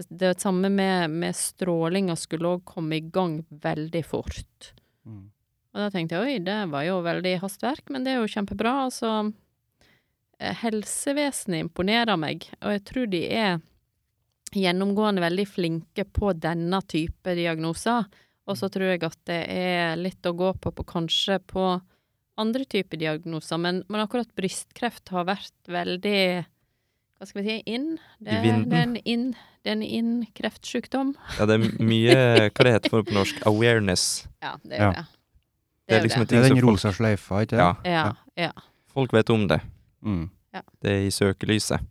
Speaker 3: det samme med, med strålinga skulle òg komme i gang veldig fort.
Speaker 1: Mm.
Speaker 3: Og da tenkte jeg oi, det var jo veldig hastverk, men det er jo kjempebra. Altså, eh, helsevesenet imponerer meg, og jeg tror de er gjennomgående veldig flinke på denne type diagnoser. Og så tror jeg at det er litt å gå på, på kanskje på andre typer diagnoser, men, men akkurat brystkreft har vært veldig hva skal vi si, inn. Det,
Speaker 2: I
Speaker 3: det
Speaker 2: vinden.
Speaker 3: er en inn. Det er en inn-kreftsykdom.
Speaker 2: Ja, det er mye Hva det heter for det på norsk? Awareness.
Speaker 3: Ja, det er
Speaker 1: Ja.
Speaker 3: jo det.
Speaker 2: Det
Speaker 3: Det
Speaker 2: er
Speaker 3: er jo
Speaker 2: liksom en
Speaker 3: det.
Speaker 1: Det
Speaker 2: ting
Speaker 1: er den
Speaker 2: som folk,
Speaker 1: rosa sløyfa, ikke
Speaker 2: ja,
Speaker 3: Ja, ja.
Speaker 2: folk vet om det.
Speaker 1: Mm.
Speaker 2: Det er i søkelyset.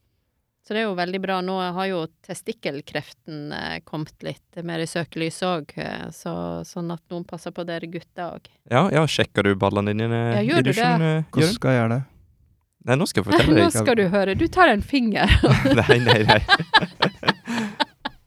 Speaker 3: Så det er jo veldig bra. Nå har jo testikkelkreften eh, kommet litt mer i søkelyset òg, eh, så, sånn at noen passer på dere gutter òg.
Speaker 2: Ja, ja, sjekker du ballene dine
Speaker 3: Ja, gjør
Speaker 2: i
Speaker 3: du
Speaker 2: dusjen, eh,
Speaker 1: Hvordan
Speaker 2: Jørund?
Speaker 1: skal jeg gjøre det?
Speaker 2: Nei, nå skal jeg
Speaker 3: Nå
Speaker 2: fortelle deg.
Speaker 3: skal du høre. Du tar en finger.
Speaker 2: Nei, nei, nei.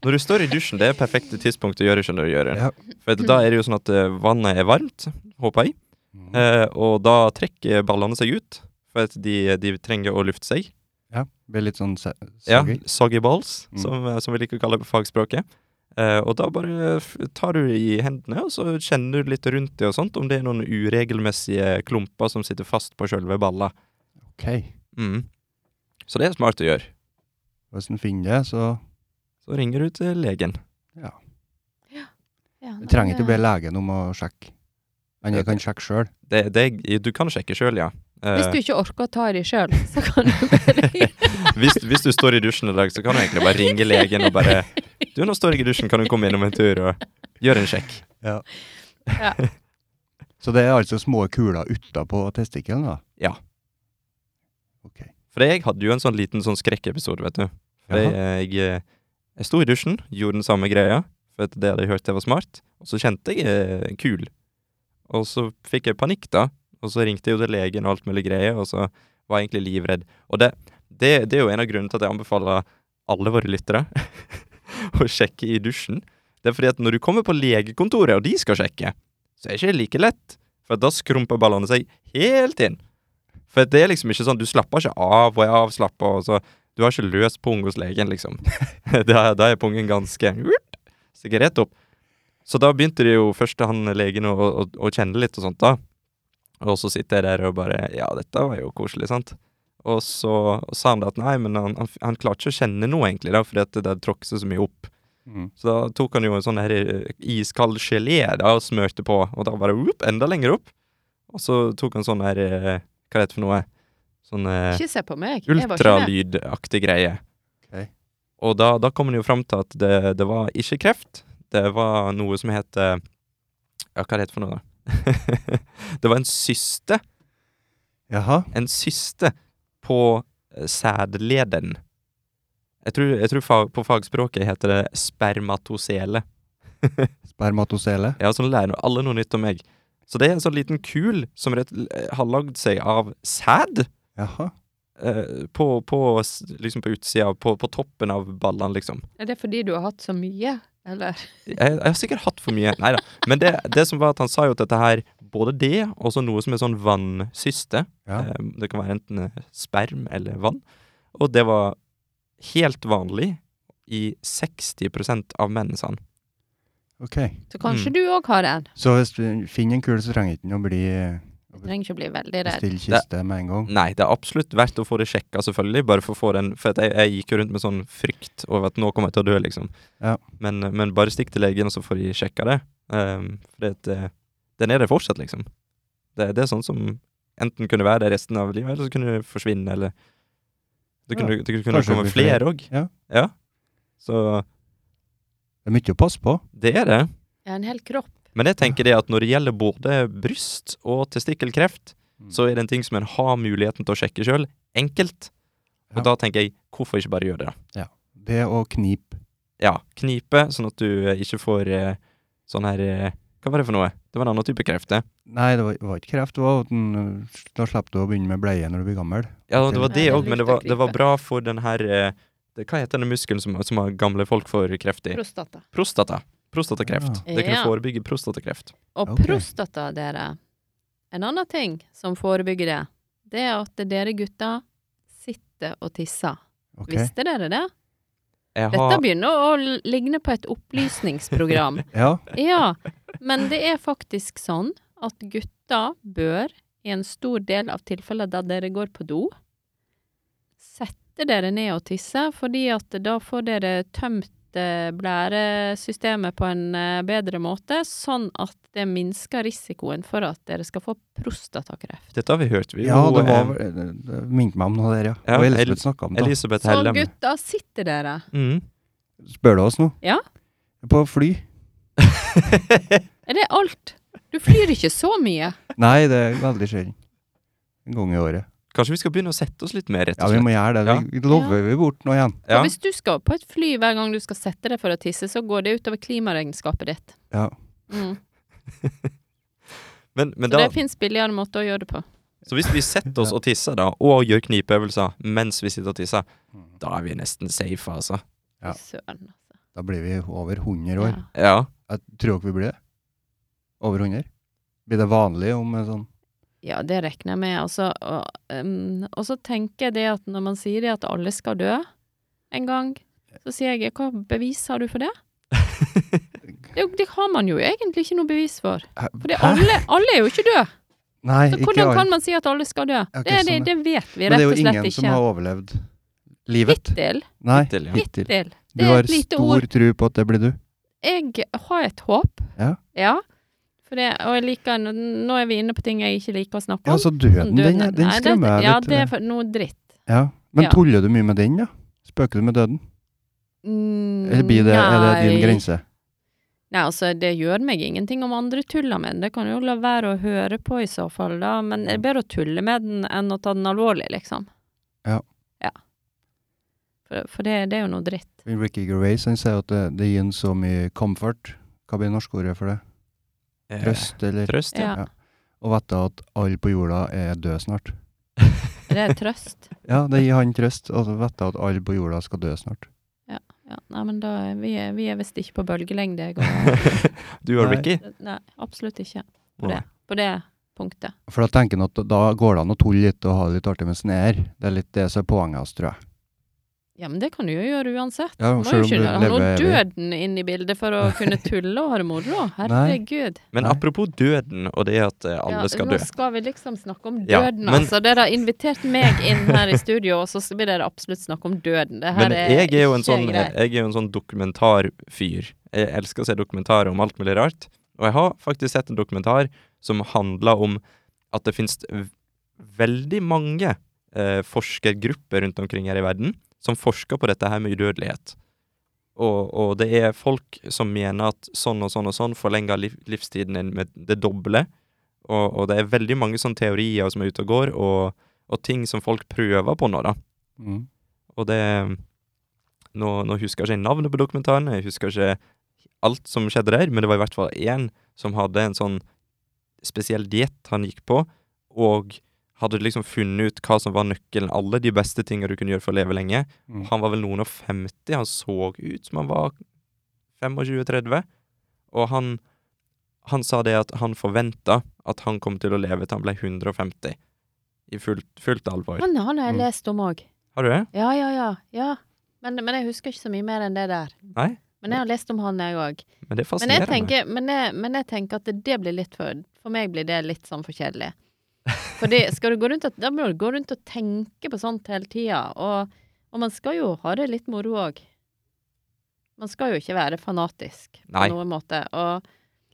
Speaker 2: Når du står i dusjen, det er perfekte tidspunkt å gjøre, skjønner du, Jørund.
Speaker 1: Ja.
Speaker 2: For da er det jo sånn at eh, vannet er varmt, håper jeg.
Speaker 1: Mm.
Speaker 2: Eh, og da trekker ballene seg ut, for at de, de trenger å lufte seg.
Speaker 1: Ja. Blir litt sånn se-
Speaker 2: Ja,
Speaker 1: soggy.
Speaker 2: Soggy balls,
Speaker 1: Mm.
Speaker 2: som, eh, som vi liker å kalle det på fagspråket. Eh, og da bare f- tar du i hendene, og så kjenner du litt rundt det og sånt, om det er noen uregelmessige klumper som sitter fast på sjølve balla.
Speaker 1: Ok.
Speaker 2: Mm. Så det er smart å gjøre.
Speaker 1: Hvis en finner det, så
Speaker 2: Så ringer du til legen.
Speaker 3: Ja, nei,
Speaker 1: Jeg trenger ikke
Speaker 3: det-
Speaker 1: be legen om å sjekke. Men jeg kan sjekke sjøl.
Speaker 2: Det, det, du kan sjekke sjøl, ja. Eh,
Speaker 3: Hvis du ikke orker å ta det sjøl, så kan du bare
Speaker 2: hvis, hvis du står i dusjen i dag, så kan du egentlig bare ringe legen og bare Du, nå står jeg i dusjen, kan du komme innom en tur og gjøre en sjekk?
Speaker 1: Så det er altså små kuler utapå testikkelen, da?
Speaker 2: Ja.
Speaker 1: Ok.
Speaker 2: For jeg hadde jo en sånn liten sånn skrekkepisode, vet du. For jeg,
Speaker 1: Jaha.
Speaker 2: jeg, eh, jeg sto i dusjen, gjorde den samme greia, for at det hadde jeg hørt det var smart. Og så kjente jeg eh, kul. Og så fikk jeg panikk, da. Og så ringte jeg jo til legen og alt mulig greier, og så var jeg egentlig livredd. Og det, det, det er jo en av grunnene til at jeg anbefaler alle våre lyttere å sjekke i dusjen. Det er fordi at når du kommer på legekontoret, og de skal sjekke, så er det ikke like lett. For da skrumper ballene seg helt inn. For det er liksom ikke sånn, du slapper ikke av og er avslappa, og så Du har ikke løs pung hos legen, liksom. da, da er pungen ganske Stikker rett opp. Så da begynte det jo først han legen å, å, å kjenne litt og sånt, da. Og så sitter jeg der og bare Ja, dette var jo koselig, sant? Og så sa han da at nei, men han, han, han klarte ikke å kjenne noe, egentlig, da, fordi at det der tråkk seg så mye opp.
Speaker 1: Mm.
Speaker 2: Så da tok han jo en sånn her eh, iskald gelé da, og smørte på, og da bare whoop, enda lenger opp. Og så tok han sånn her eh, Hva heter det for noe? Sånn eh,
Speaker 3: Ikke se på meg. Jeg var ikke med.
Speaker 2: ultralydaktig greie.
Speaker 1: Ok.
Speaker 2: Og da, da kom han jo fram til at det, det var ikke kreft, det var noe som het eh, Ja, hva er det for noe, da? det var en syste.
Speaker 1: Jaha.
Speaker 2: En syste på eh, sædleden. Jeg tror, jeg tror fag, på fagspråket heter det spermatosele.
Speaker 1: Spermatosele.
Speaker 2: Ja, sånn lærer nå alle noe nytt om meg. Så det er en sånn liten kul som rett, eh, har lagd seg av sæd
Speaker 1: Jaha.
Speaker 2: eh, på, på, s- liksom på utsida, på, på toppen av ballene, liksom.
Speaker 3: Er det fordi du har hatt så mye, eller?
Speaker 2: Jeg, jeg har sikkert hatt for mye, nei da. Men det, det som var at han sa jo at dette her, både det og så noe som er sånn vannsyste,
Speaker 1: Ja.
Speaker 2: Eh, Det kan være enten eh, sperm eller vann. Og det var helt vanlig i 60 av menn, sa han.
Speaker 1: Ok.
Speaker 3: Så kanskje
Speaker 2: Mm.
Speaker 3: du òg har en.
Speaker 1: Så hvis du finner en kule, så trenger ikke den å bli
Speaker 3: Du trenger ikke å bli veldig redd.
Speaker 1: stille kiste med en gang.
Speaker 2: Nei, det er absolutt verdt å få det sjekka, selvfølgelig. Bare for å få den For at jeg, jeg gikk jo rundt med sånn frykt over at nå kommer jeg til å dø, liksom.
Speaker 1: Ja.
Speaker 2: Men, men bare stikk til legen, og så får de sjekka det. Um, for det, at, eh, den er der fortsatt, liksom. Det, det er sånn som enten kunne være der resten av livet, eller så kunne det forsvinne, eller Det kunne, det kunne
Speaker 1: Kanskje det
Speaker 2: komme
Speaker 1: blir flere.
Speaker 2: flere òg.
Speaker 1: Ja.
Speaker 2: ja. Så
Speaker 1: Det er mye å passe på.
Speaker 2: det er det.
Speaker 3: Det er en hel kropp.
Speaker 2: Men jeg tenker det at når det gjelder både bryst og testikkelkreft,
Speaker 1: Mm.
Speaker 2: så er det en ting som en har muligheten til å sjekke sjøl, enkelt. Og
Speaker 1: Ja.
Speaker 2: da tenker jeg, hvorfor ikke bare gjøre det? da?
Speaker 1: Det å knipe.
Speaker 2: Ja, knipe, sånn at du eh, ikke får eh, sånn her eh, Hva var det for noe? Det var en annen type kreft, det.
Speaker 1: Nei, det var, det var ikke kreft. Det var at den, øh, da slapp du å begynne med bleie når du blir gammel.
Speaker 2: Ja, det var
Speaker 1: Nei,
Speaker 2: det
Speaker 3: jeg
Speaker 2: òg, men det
Speaker 3: likte
Speaker 2: var, det var
Speaker 3: knipe.
Speaker 2: bra for den her eh, det, Hva heter den muskelen som, som har gamle folk får kreft i?
Speaker 3: Prostata.
Speaker 2: Prostata. Prostatakreft.
Speaker 3: Ja.
Speaker 2: Det kunne
Speaker 3: Ja.
Speaker 2: forebygge prostatakreft.
Speaker 3: Og
Speaker 1: Ok.
Speaker 3: prostata, dere. En annen ting som forebygger det, det er at dere gutter sitter og tisser.
Speaker 1: Ok.
Speaker 3: Visste dere det?
Speaker 2: Jeg
Speaker 3: Dette
Speaker 2: har,
Speaker 3: begynner å l- ligne på et opplysningsprogram.
Speaker 1: Ja.
Speaker 3: ja, men det er faktisk sånn at gutter bør, i en stor del av tilfeller der dere går på do, sette dere ned og tisse, fordi at da får dere tømt eh, blæresystemet på en eh, bedre måte, sånn at det minsker risikoen for at dere skal få prostatakreft.
Speaker 2: dette har vi hørt. Vi,
Speaker 1: ja,
Speaker 2: jo,
Speaker 1: det
Speaker 2: eh,
Speaker 1: var vel- det- Det minte meg om noe der, ja.
Speaker 2: Ja,
Speaker 1: og
Speaker 2: El-
Speaker 1: Elisabeth snakka om det.
Speaker 2: Elisabeth
Speaker 3: Så
Speaker 2: Hellem.
Speaker 3: gutter, sitter dere?
Speaker 2: Mm.
Speaker 1: Spør du oss nå?
Speaker 3: Ja.
Speaker 1: På fly?
Speaker 3: Er det alt? Du flyr ikke så mye.
Speaker 1: Nei, det er veldig sjelden. En gang i året.
Speaker 2: Kanskje vi skal begynne å sette oss litt mer, rett
Speaker 1: Ja,
Speaker 2: og
Speaker 1: vi
Speaker 2: slett.
Speaker 1: må gjøre det. Vi lover vi bort nå igjen.
Speaker 2: Ja,
Speaker 3: Og hvis du skal på et fly hver gang du skal sette deg for å tisse, så går det utover klimaregnskapet ditt.
Speaker 1: Ja.
Speaker 3: Mm.
Speaker 2: men, men
Speaker 3: Så
Speaker 2: da,
Speaker 3: det fins billigere måter å gjøre det på.
Speaker 2: så hvis vi setter oss og tisser, da, og gjør knipeøvelser mens vi sitter og tisser,
Speaker 1: Mm.
Speaker 2: da er vi nesten safe, altså.
Speaker 1: Ja.
Speaker 3: Fy Søren, altså.
Speaker 1: Da blir vi over 100 år.
Speaker 3: Ja.
Speaker 2: Ja.
Speaker 1: Jeg tror ikke vi blir det. Over 100. Blir det vanlig om en sånn
Speaker 3: ja, det regner jeg med. Altså, og, um, og så tenker jeg det at når man sier det at alle skal dø en gang, så sier jeg hva bevis har du for det? Det, det har man jo egentlig ikke noe bevis for. For det- alle, alle er jo ikke døde!
Speaker 1: Nei,
Speaker 3: Så
Speaker 1: ikke
Speaker 3: hvordan
Speaker 1: alle.
Speaker 3: kan man si at alle skal dø?
Speaker 1: Ok,
Speaker 3: Det, er det,
Speaker 1: sånn, ja.
Speaker 3: det vet
Speaker 1: Men
Speaker 3: vi
Speaker 1: det er
Speaker 3: rett og
Speaker 1: jo
Speaker 3: slett
Speaker 1: ingen som
Speaker 3: ikke.
Speaker 1: har overlevd livet.
Speaker 3: Hittil.
Speaker 1: Nei,
Speaker 2: Hittil, ja.
Speaker 1: hittil.
Speaker 3: Hittil.
Speaker 1: Du
Speaker 3: Det er
Speaker 1: har
Speaker 3: et lite
Speaker 1: stor
Speaker 3: ord.
Speaker 1: tro på at det blir du.
Speaker 3: jeg har et håp.
Speaker 1: Ja.
Speaker 3: For det, og jeg liker, nå- nå er vi inne på ting jeg ikke liker å snakke
Speaker 1: Ja,
Speaker 3: om.
Speaker 1: så Altså, døden, den,
Speaker 3: Døden-
Speaker 1: den
Speaker 3: nei, det-
Speaker 1: skremmer jeg
Speaker 3: Ja,
Speaker 1: litt. eh,
Speaker 3: det er for, noe dritt.
Speaker 1: ja. Men
Speaker 3: ja.
Speaker 1: tuller du mye med den, da? Spøker du med døden?
Speaker 3: Mm,
Speaker 1: Eller blir det, er det din
Speaker 3: nei.
Speaker 1: grense?
Speaker 3: Nei, altså, det gjør meg ingenting om andre tuller med den. Det kan jo la være å høre på i så fall, da. Men det er bedre å tulle med den enn å ta den alvorlig, liksom.
Speaker 1: Ja.
Speaker 3: Ja. For, for det, det er jo noe dritt.
Speaker 1: Ricky Gervais han sier at det, det gir en så mye comfort. Hva blir norskordet for det?
Speaker 2: Eh,
Speaker 1: Trøst, eller?
Speaker 2: Trøst, ja.
Speaker 3: Ja.
Speaker 1: Å vite at alle på jorda er døde snart.
Speaker 3: Det er trøst.
Speaker 1: Ja, det gir han trøst. Å vite at alle på jorda skal dø snart.
Speaker 3: ja, nei, men da er vi, er- vi er visst ikke på bølgelengde, jeg og
Speaker 2: du og
Speaker 1: Nei.
Speaker 2: Ricky?
Speaker 3: Nei, absolutt ikke. På
Speaker 2: Nei.
Speaker 3: det, på det punktet.
Speaker 1: For da tenker han at da går det an å tulle litt og ha det litt artig mens en er her. Det er litt det som er poenget hans, tror jeg.
Speaker 3: Ja, men det kan du jo gjøre uansett.
Speaker 1: Ja,
Speaker 3: Du må
Speaker 1: selv
Speaker 3: jo
Speaker 1: om
Speaker 3: ikke
Speaker 1: du
Speaker 3: ha
Speaker 1: lever
Speaker 3: noe
Speaker 1: evig.
Speaker 3: døden inn i bildet for å kunne tulle og ha det moro.
Speaker 1: Nei.
Speaker 3: Herregud.
Speaker 2: Men
Speaker 1: Nei.
Speaker 2: apropos døden og det at eh, alle
Speaker 3: Ja,
Speaker 2: skal
Speaker 3: nå
Speaker 2: dø.
Speaker 3: skal vi liksom snakke om
Speaker 2: Ja,
Speaker 3: døden,
Speaker 2: men-
Speaker 3: altså. Dere har invitert meg inn her i studio, og så blir dere absolutt snakke om døden. Det her
Speaker 2: Men jeg er jo en
Speaker 3: ikke
Speaker 2: sånn,
Speaker 3: greit.
Speaker 2: jeg er jo en sånn dokumentarfyr. Jeg elsker å se dokumentarer om alt mulig rart. Og jeg har faktisk sett en dokumentar som handler om at det finnes v- veldig mange eh, forskergrupper rundt omkring her i verden som forsker på dette her med udødelighet. Og, og det er folk som mener at sånn og sånn og sånn forlenger liv, livstiden din med det doble. Og, og det er veldig mange sånne teorier som er ute og går, og, og ting som folk prøver på nå, da.
Speaker 1: Mm.
Speaker 2: Og det nå, nå husker jeg ikke navnet på dokumentaren, jeg husker ikke alt som skjedde der, men det var i hvert fall én som hadde en sånn spesiell diett han gikk på, og hadde liksom funnet ut hva som var nøkkelen, alle de beste tingene du kunne gjøre for å leve lenge.
Speaker 1: Mm.
Speaker 2: Han var vel noen og 50, han så ut som han var 25-30, og han, han sa det at han forventa at han kom til å leve til han ble 150, i fullt, fullt alvor.
Speaker 3: Han, han har jeg
Speaker 1: Mm.
Speaker 3: lest om òg.
Speaker 2: Har du det?
Speaker 3: Ja, ja, ja. ja. Men, men jeg husker ikke så mye mer enn det der.
Speaker 2: Nei?
Speaker 3: Men jeg har lest om han, jeg òg.
Speaker 2: Men det er
Speaker 3: Men, jeg
Speaker 2: fascinerende.
Speaker 3: tenker- men, jeg- men jeg tenker at det, det blir litt for For meg blir det litt sånn for kjedelig. Fordi skal du gå rundt og, Da må du gå rundt og tenke på sånt hele tida. Og, og man skal jo ha det litt moro òg. Man skal jo ikke være fanatisk på
Speaker 2: Nei.
Speaker 3: noen måte. Og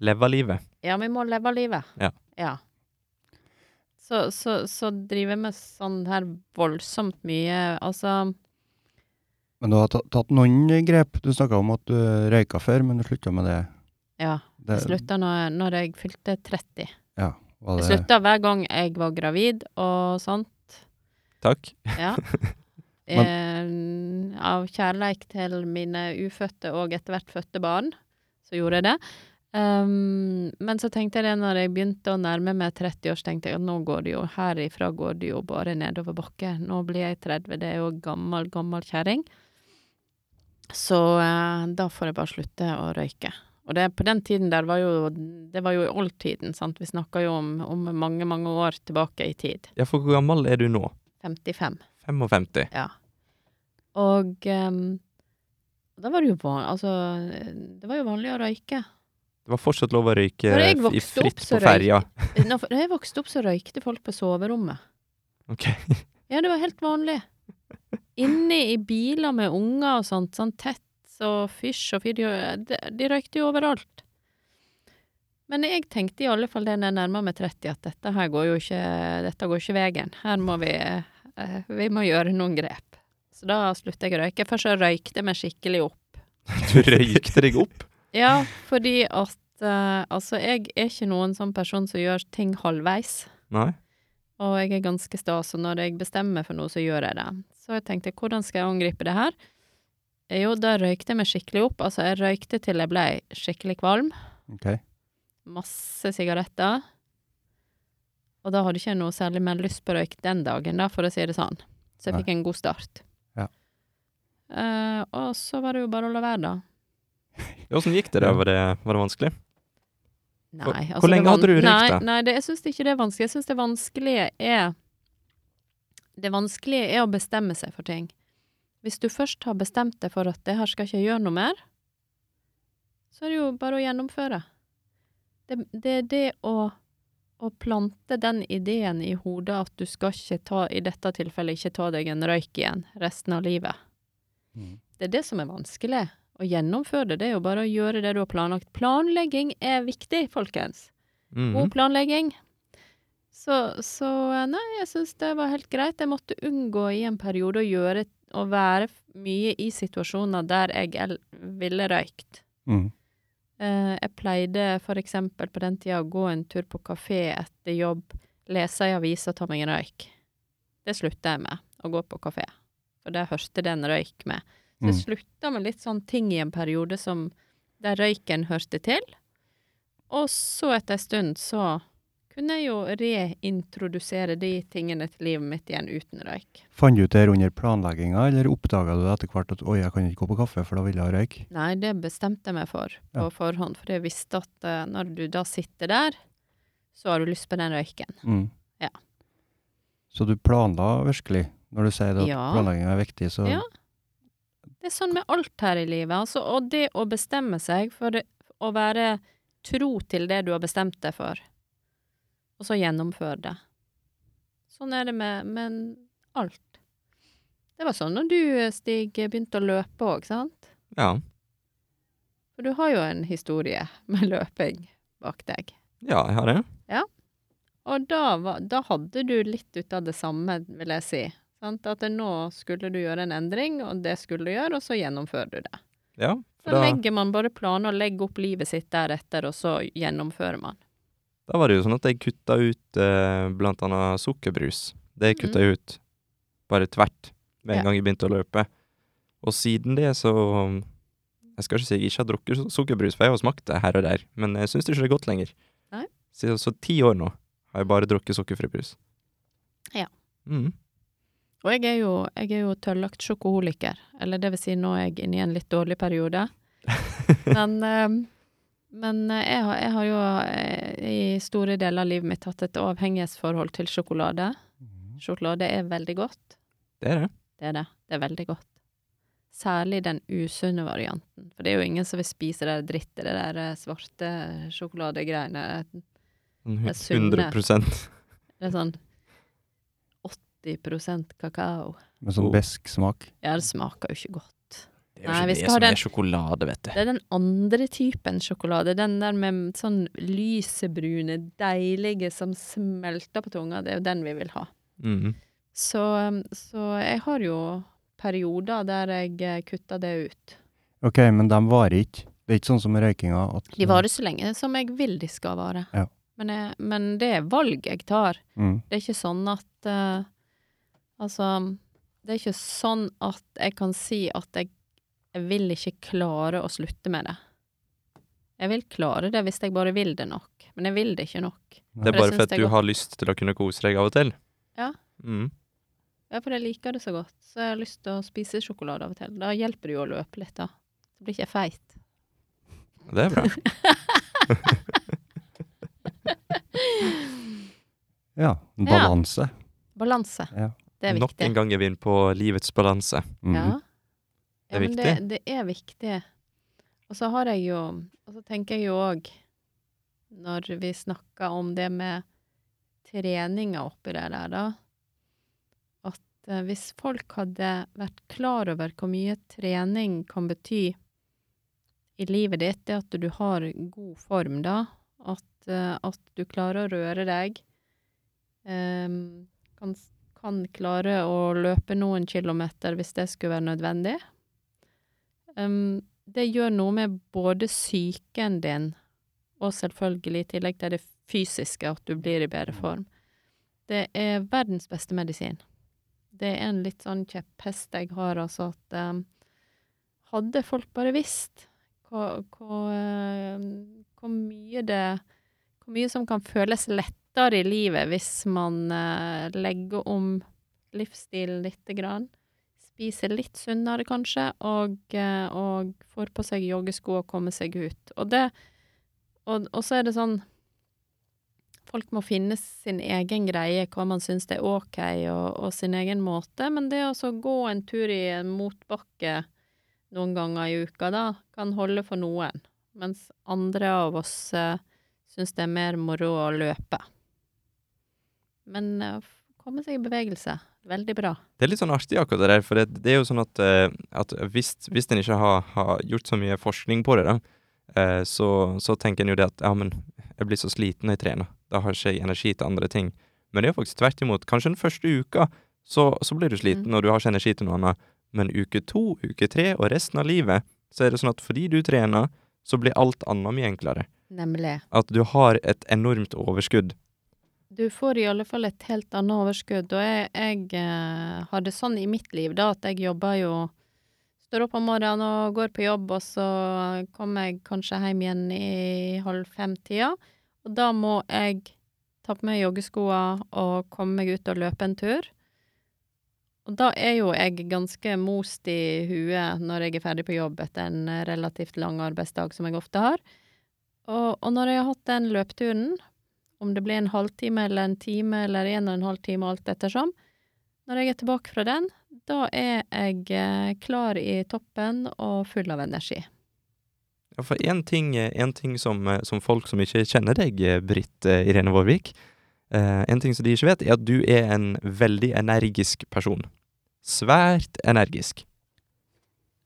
Speaker 2: Leve livet.
Speaker 3: Ja, vi må leve av livet.
Speaker 2: Ja.
Speaker 3: Så, så, så driver vi med sånn her voldsomt mye, altså
Speaker 1: Men du har tatt, tatt noen grep. Du snakka om at du røyka før, men du slutta med det.
Speaker 3: Ja,
Speaker 1: det
Speaker 2: Eh.
Speaker 3: jeg slutta når, når jeg fylte 30.
Speaker 1: var
Speaker 3: Jeg
Speaker 1: det-
Speaker 3: slutta hver gang jeg var gravid og sånt.
Speaker 2: Takk.
Speaker 3: Ja. eh, av kjærleik til mine ufødte og etter hvert fødte barn, så gjorde jeg det. Um, men så tenkte jeg det når jeg begynte å nærme meg 30 år, så tenkte jeg at nå går det jo herifra går det jo bare nedover bakke. Nå blir jeg 30, det er jo gammel, gammel kjerring. Så eh, da får jeg bare slutte å røyke. Og det, på den tiden der var jo Det var jo i oldtiden, sant. Vi snakka jo om, om mange, mange år tilbake i tid.
Speaker 2: Ja, for hvor gammel er du nå?
Speaker 3: 55.
Speaker 2: 55.
Speaker 3: Og ehm, da var det jo van, altså, eh, det var jo vanlig å røyke.
Speaker 2: Det var fortsatt lov å røyke
Speaker 3: Når jeg
Speaker 2: f- i
Speaker 3: vokste opp,
Speaker 2: fritt
Speaker 3: så
Speaker 2: på ferja.
Speaker 3: Når f- når jeg vokste opp, så røykte folk på soverommet.
Speaker 2: Ok.
Speaker 3: Ja, det var helt vanlig. Inne i biler med unger og sånt, sånn tett og fysj og fidjo, de, de røykte jo overalt. Men jeg tenkte i alle fall det når jeg nærma meg 30, at dette her går jo ikke, dette går ikke veien. Her må vi, eh, vi må gjøre noen grep. Så da slutta jeg å røyke. Først så røykte jeg meg skikkelig opp.
Speaker 2: Du røykte deg opp?
Speaker 3: Ja, fordi at eh, Altså, jeg er ikke noen sånn person som gjør ting halvveis.
Speaker 2: Nei.
Speaker 3: Og jeg er ganske sta, så når jeg bestemmer meg for noe, så gjør jeg det. Så jeg tenkte, hvordan skal jeg angripe det her? Eh, Jo, da røykte jeg meg skikkelig opp. Altså, jeg røykte til jeg ble skikkelig kvalm.
Speaker 1: Ok.
Speaker 3: Masse sigaretter. Og da hadde ikke jeg noe særlig mer lyst på røyk den dagen, da, for å si det sånn. Så jeg
Speaker 1: Nei.
Speaker 3: fikk en god start.
Speaker 1: Ja.
Speaker 3: Eh, og så var det jo bare å la være, da.
Speaker 2: Åssen gikk det? da? Var det, var det vanskelig?
Speaker 3: Nei,
Speaker 2: Hvor-
Speaker 3: altså
Speaker 2: hvor lenge
Speaker 3: det van-
Speaker 2: hadde du røykt,
Speaker 3: nei,
Speaker 2: da?
Speaker 3: Nei, det, jeg syns ikke det er vanskelig. Jeg syns det vanskelige er Det vanskelige er å bestemme seg for ting. Hvis du først har bestemt deg for at det her skal ikke jeg gjøre noe mer, så er det jo bare å gjennomføre. Det, det er det å, å plante den ideen i hodet at du skal ikke ta, i dette tilfellet, ikke ta deg en røyk igjen resten av livet.
Speaker 1: Mm.
Speaker 3: Det er det som er vanskelig. Og gjennomfør det. Det er jo bare å gjøre det du har planlagt. Planlegging er viktig, folkens. God
Speaker 2: Mhm.
Speaker 3: planlegging. Så, så eh, nei, jeg syns det var helt greit. Jeg måtte unngå i en periode å gjøre Å være mye i situasjoner der jeg el ville røykt.
Speaker 1: Mm.
Speaker 3: Eh, jeg pleide for eksempel på den tida å gå en tur på kafé etter jobb, lese ei avis og ta meg en røyk. Det slutta jeg med, å gå på kafé. For det hørte det en røyk med. Så jeg
Speaker 1: Mm.
Speaker 3: slutta med litt sånn ting i en periode som der røyken hørte til. Og så etter ei stund så kunne jeg jo reintrodusere de tingene til livet mitt igjen uten røyk.
Speaker 1: Fant du ut det her under planlegginga, eller oppdaga du det etter hvert at oi, jeg kan ikke gå på kaffe, for da vil jeg ha røyk?
Speaker 3: Nei, det bestemte jeg meg for på
Speaker 1: Ja.
Speaker 3: forhånd, for jeg visste at eh, når du da sitter der, så har du lyst på den røyken.
Speaker 1: Mm.
Speaker 3: Ja.
Speaker 1: Så du planla virkelig? Når du sier det at
Speaker 3: Ja.
Speaker 1: planlegginga er viktig, så
Speaker 3: Ja. Det er sånn med alt her i livet, altså, og det å bestemme seg for det- å være tro til det du har bestemt deg for, og så gjennomføre det. Sånn er det med, med alt. Det var sånn når du, Stig, begynte å løpe òg, sant?
Speaker 2: Ja.
Speaker 3: For du har jo en historie med løping bak deg.
Speaker 2: ja, jeg har det.
Speaker 3: Og da, var, da hadde du litt ut av det samme, vil jeg si. Sant? At nå skulle du gjøre en endring, og det skulle du gjøre, og så gjennomfører du det.
Speaker 2: Ja.
Speaker 3: Så
Speaker 2: For da,
Speaker 3: legger man bare planer og legger opp livet sitt deretter, og så gjennomfører man.
Speaker 2: da var det jo sånn at jeg kutta ut eh, blant annet sukkerbrus. Det kutta jeg ut bare tvert med en
Speaker 3: Mm. Ja.
Speaker 2: gang jeg begynte å løpe. Og siden det så um, Jeg skal ikke si jeg ikke har drukket su- sukkerbrus, for jeg har smakt det her og der, men jeg syns ikke det er godt lenger.
Speaker 3: Nei.
Speaker 2: Så, så ti år nå har jeg bare drukket sukkerfri brus.
Speaker 3: Ja.
Speaker 2: Mhm.
Speaker 3: Og jeg er jo, jeg er jo tøllagt sjokoholiker, eller det vil si nå er jeg inne i en litt dårlig periode. Men, eh, men eh, jeg, har, jeg har jo eh, i store deler av livet mitt hatt et avhengighetsforhold til sjokolade. Sjokolade er veldig godt,
Speaker 2: Det er det.
Speaker 3: det er det. Det er veldig godt. Særlig den usunne varianten, for det er jo ingen som vil spise det der drittet, det der eh, svarte sjokoladegreiene. eh, er sunne.
Speaker 2: 100
Speaker 3: Det er sånn 80 kakao.
Speaker 1: med sånn
Speaker 2: Oh.
Speaker 1: besk smak.
Speaker 3: Ja, det smaker jo ikke godt.
Speaker 2: Det
Speaker 3: er jo Nei, ikke vi det skal ha som er den-
Speaker 2: sjokolade, vet du.
Speaker 3: Det er den andre typen sjokolade. Den der med sånn lysebrune, deilige som smelter på tunga. Det er jo den vi vil ha.
Speaker 2: Mm.
Speaker 3: Så, um, så jeg har jo perioder der jeg eh, kutter det ut.
Speaker 1: Ok, men de varer ikke. Det er ikke sånn som med røykinga at
Speaker 3: De varer så lenge som jeg vil de skal vare.
Speaker 1: Ja.
Speaker 3: Men, jeg, men det er valg jeg tar.
Speaker 1: mm.
Speaker 3: Det er ikke sånn at eh, Altså, det er ikke sånn at jeg kan si at jeg, jeg vil ikke klare å slutte med det. Jeg vil klare det hvis jeg bare vil det nok, men jeg vil det ikke nok.
Speaker 2: Det er
Speaker 3: For jeg
Speaker 2: bare
Speaker 3: synes
Speaker 2: for at
Speaker 3: det er
Speaker 2: du
Speaker 3: godt.
Speaker 2: har lyst til å kunne kose deg av og til.
Speaker 3: Ja.
Speaker 2: Mhm.
Speaker 3: Ja, for jeg liker det så godt, så jeg har lyst til å spise sjokolade av og til. Da hjelper det jo å løpe litt, da. Så blir ikke jeg feit.
Speaker 2: Det er bra.
Speaker 1: Ja, en balanse.
Speaker 3: Balanse.
Speaker 1: Ja.
Speaker 3: Det er
Speaker 2: Nok
Speaker 3: viktig.
Speaker 2: en gang er vi inne på livets balanse.
Speaker 1: Mm.
Speaker 3: Ja.
Speaker 2: Det er
Speaker 3: men
Speaker 2: viktig.
Speaker 3: Det, det er viktig. Og så har jeg jo Og så tenker jeg jo òg, når vi snakker om det med treninga oppi det der, da At eh, hvis folk hadde vært klar over hvor mye trening kan bety i livet ditt, det at du har god form, da. At, eh, at du klarer å røre deg. em, kan, kan klare å løpe noen kilometer hvis det skulle være nødvendig. Em, det gjør noe med både psyken din, og selvfølgelig i tillegg til det fysiske, at du blir i bedre form. Det er verdens beste medisin. Det er en litt sånn kjepphest jeg har, altså at em, Hadde folk bare visst hvor, hvor, em, hvor mye det Hvor mye som kan føles lettere i livet hvis man eh, legger om livsstilen lite grann spiser litt sunnere kanskje, og, eh, og får på seg joggesko og kommer seg ut. Og, det, og, og så er det sånn Folk må finne sin egen greie, hva man syns det er OK, og, og sin egen måte. Men det å så gå en tur i en motbakke noen ganger i uka, da, kan holde for noen. Mens andre av oss eh, syns det er mer moro å løpe. Men eh, f- komme seg i bevegelse. Veldig bra.
Speaker 2: Det er litt sånn artig akkurat det der, for det, det er jo sånn at, eh, at hvis, hvis en ikke har, har gjort så mye forskning på det, da, eh, så, så tenker en jo det at ja, men jeg blir så sliten når jeg trener. Da har ikke jeg energi til andre ting. Men det er jo faktisk tvert imot. Kanskje den første uka så, så blir du sliten,
Speaker 3: Mm.
Speaker 2: og du har ikke energi til noe annet. Men uke to, uke tre og resten av livet, så er det sånn at fordi du trener, så blir alt annet mye enklere.
Speaker 3: Nemlig.
Speaker 2: At du har et enormt overskudd.
Speaker 3: Du får i alle fall et helt annet overskudd. Og jeg, jeg eh, har det sånn i mitt liv, da, at jeg jobber jo Står opp om morgenen og går på jobb, og så kommer jeg kanskje hjem igjen i halv fem-tida. Og da må jeg ta på meg joggeskoa og komme meg ut og løpe en tur. Og da er jo jeg ganske most i huet når jeg er ferdig på jobb etter en relativt lang arbeidsdag, som jeg ofte har. Og, og når jeg har hatt den løpeturen, om det blir en halvtime eller en time eller en og en halv time, alt ettersom. Når jeg er tilbake fra den, da er jeg eh, klar i toppen og full av energi.
Speaker 2: Ja, for én ting, en ting som, eh, som folk som ikke kjenner deg, eh, Britt eh, Irene Vårvik eh, En ting som de ikke vet, er at du er en veldig energisk person. Svært energisk.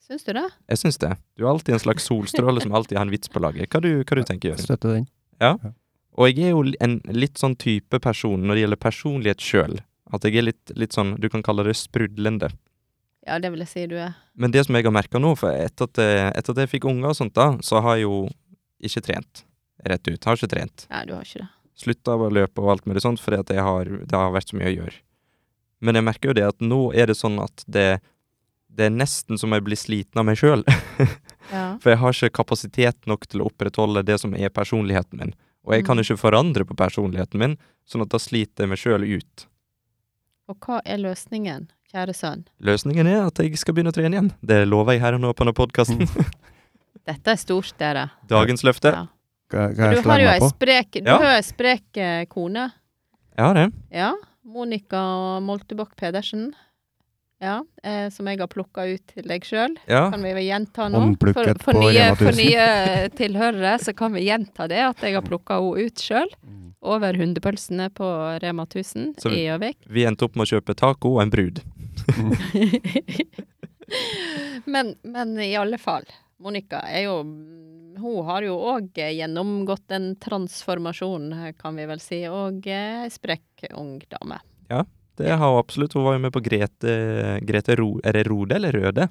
Speaker 3: Syns du det?
Speaker 2: Jeg syns det. Du er alltid en slags solstråle som alltid har en vits på laget. Hva, du, hva du tenker Jørgen?
Speaker 1: Støtter den.
Speaker 2: Og jeg er jo li- en litt sånn type person når det gjelder personlighet sjøl. At jeg er litt, litt sånn, du kan kalle det sprudlende.
Speaker 3: Ja, det vil jeg si du er.
Speaker 2: Men det som jeg har merka nå, for etter at, eh, etter at jeg fikk unger og sånt, da, så har jeg jo ikke trent. Rett ut. Har ikke trent.
Speaker 3: Nei, du har ikke det.
Speaker 2: slutta å løpe og alt mulig sånt, fordi at jeg har, det har vært så mye å gjøre. Men jeg merker jo det at nå er det sånn at det, det er nesten som jeg blir sliten av meg sjøl.
Speaker 3: Ja.
Speaker 2: For jeg har ikke kapasitet nok til å opprettholde det som er personligheten min. Og jeg kan
Speaker 3: Mm.
Speaker 2: ikke forandre på personligheten min, sånn at da sliter jeg meg sjøl ut.
Speaker 3: Og hva er løsningen, kjære sønn?
Speaker 2: Løsningen er at jeg skal begynne å trene igjen. Det lover jeg her og nå på denne podkasten.
Speaker 3: Dette er stort, dere.
Speaker 2: Dagens løfte.
Speaker 3: Ja.
Speaker 1: Hva, hva
Speaker 3: Du
Speaker 1: jeg
Speaker 3: har
Speaker 1: slenger
Speaker 3: jo
Speaker 1: meg
Speaker 3: ei
Speaker 1: på?
Speaker 3: sprek, du
Speaker 2: Ja.
Speaker 3: har jo ei sprek eh, kone.
Speaker 2: Jeg har det.
Speaker 3: Ja. Monica Moltebakk Pedersen. Ja, eh, som jeg har plukka ut til deg sjøl.
Speaker 2: Ja.
Speaker 3: kan vi vel gjenta nå. For,
Speaker 1: Håndplukket
Speaker 3: for,
Speaker 1: på
Speaker 3: nye,
Speaker 1: Rema 1000.
Speaker 3: for nye eh, tilhørere så kan vi gjenta det, at jeg har plukka henne ut sjøl. Over hundepølsene på Rema 1000
Speaker 2: Så vi-
Speaker 3: i Gjøvik.
Speaker 2: Vi endte opp med å kjøpe taco og en brud.
Speaker 3: men, men i alle fall. Monica er jo Hun har jo òg gjennomgått en transformasjon, eh, kan vi vel si, og ei sprekk ung dame.
Speaker 2: Det har hun absolutt. Hun var jo med på Grete, Grete Ro... Er det Rode eller Røde?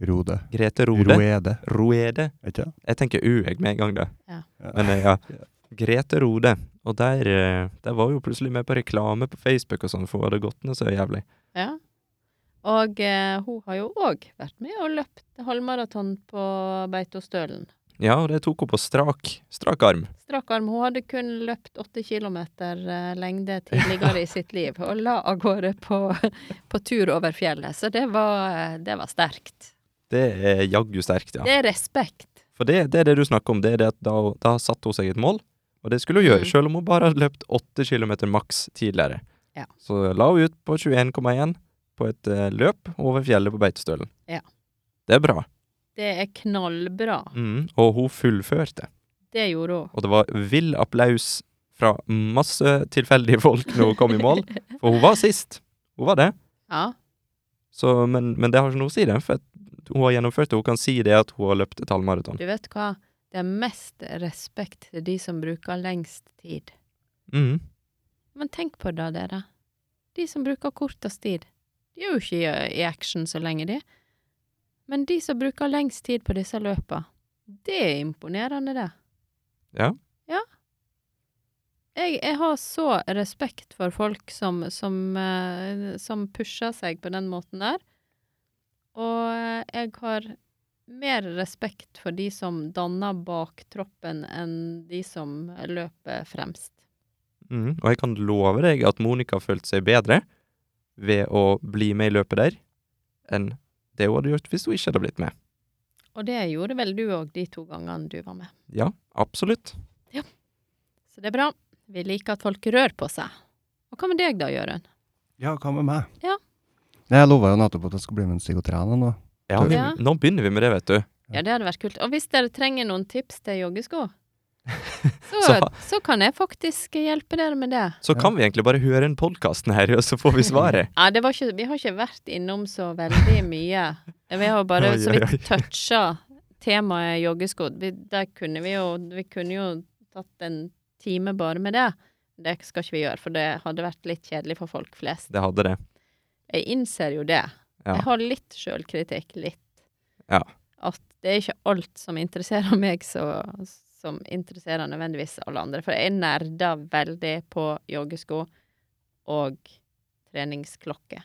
Speaker 1: Rode.
Speaker 2: Grete Rode.
Speaker 1: Roede,
Speaker 2: Roede.
Speaker 1: vet ikke?
Speaker 2: Jeg tenker U jeg med en gang, da.
Speaker 3: Ja.
Speaker 2: Men eh, ja. Grete Rode. Og der, eh, der var hun jo plutselig med på reklame på Facebook og sånn, for hun hadde gått ned så jævlig.
Speaker 3: Ja. Og eh, hun har jo òg vært med og løpt halvmaraton på Beitostølen.
Speaker 2: Ja, og det tok hun på strak, strak arm.
Speaker 3: Strak arm. Hun hadde kun løpt åtte kilometer eh, lengde tidligere i sitt liv, og la av gårde på, på tur over fjellet. Så det var, eh, det var sterkt.
Speaker 2: Det er jaggu sterkt, ja.
Speaker 3: Det er respekt.
Speaker 2: For det, det er det du snakker om. Det er det at da, hun- da satte hun seg et mål, og det skulle hun gjøre,
Speaker 3: Mm.
Speaker 2: selv om hun bare hadde løpt åtte kilometer maks tidligere.
Speaker 3: Ja.
Speaker 2: Så la hun ut på 21,1 på et eh, løp over fjellet på Beitostølen.
Speaker 3: Ja.
Speaker 2: Det er bra.
Speaker 3: Det er knallbra.
Speaker 2: Mm. Og hun fullførte.
Speaker 3: Det gjorde hun.
Speaker 2: Og det var vill applaus fra masse tilfeldige folk når hun kom i mål. For hun var sist. Hun var det.
Speaker 3: Ja.
Speaker 2: Så, men, men det har ikke noe å si, det. For at hun har gjennomført det. Hun kan si det at hun har løpt et halvmaraton.
Speaker 3: Du vet hva? Det er mest respekt til de som bruker lengst tid.
Speaker 2: Mm.
Speaker 3: Men tenk på det, dere. De som bruker kortest tid, de er jo ikke i, i action så lenge, de. Men de som bruker lengst tid på disse løpa, det er imponerende, det.
Speaker 2: Ja.
Speaker 3: Ja. Jeg, jeg har så respekt for folk som, som, eh, som pusher seg på den måten der. Og eh, jeg har mer respekt for de som danner baktroppen enn de som løper fremst.
Speaker 2: Mm. Og jeg kan love deg at Monica følte seg bedre ved å bli med i løpet der, enn det hun hadde gjort hvis hun ikke hadde blitt med.
Speaker 3: Og det gjorde vel du òg de to gangene du var med.
Speaker 2: Ja, absolutt.
Speaker 3: Så det er bra. Vi liker at folk rør på seg. Og hva med deg da, Jørund?
Speaker 1: Ja, hva med meg?
Speaker 3: Ja.
Speaker 1: Nei, Jeg lova jo nettopp at jeg skal bli med en psykotrene nå.
Speaker 2: Ja, vi,
Speaker 3: Ja.
Speaker 2: Nå begynner vi med det, vet du.
Speaker 3: Ja, det hadde vært kult. Og hvis dere trenger noen tips til joggesko, Så,
Speaker 2: Så-
Speaker 3: så kan jeg faktisk hjelpe dere med det.
Speaker 2: Så kan vi egentlig bare høre inn podkasten her, og så får vi svaret.
Speaker 3: Ja, det var ikke, vi har ikke vært innom så veldig mye. Vi har bare
Speaker 2: Oi,
Speaker 3: så
Speaker 2: oi, oi.
Speaker 3: vidt toucha temaet joggesko. Vi, der kunne vi, jo, vi kunne jo tatt en time bare med det. Det skal ikke vi gjøre, for det hadde vært litt kjedelig for folk flest.
Speaker 2: Det hadde det.
Speaker 3: Jeg innser jo det.
Speaker 2: Ja.
Speaker 3: Jeg har litt sjølkritikk, litt.
Speaker 2: Ja.
Speaker 3: At det er ikke alt som interesserer meg, så, som interesserer nødvendigvis alle andre. For jeg nerder veldig på joggesko og treningsklokke.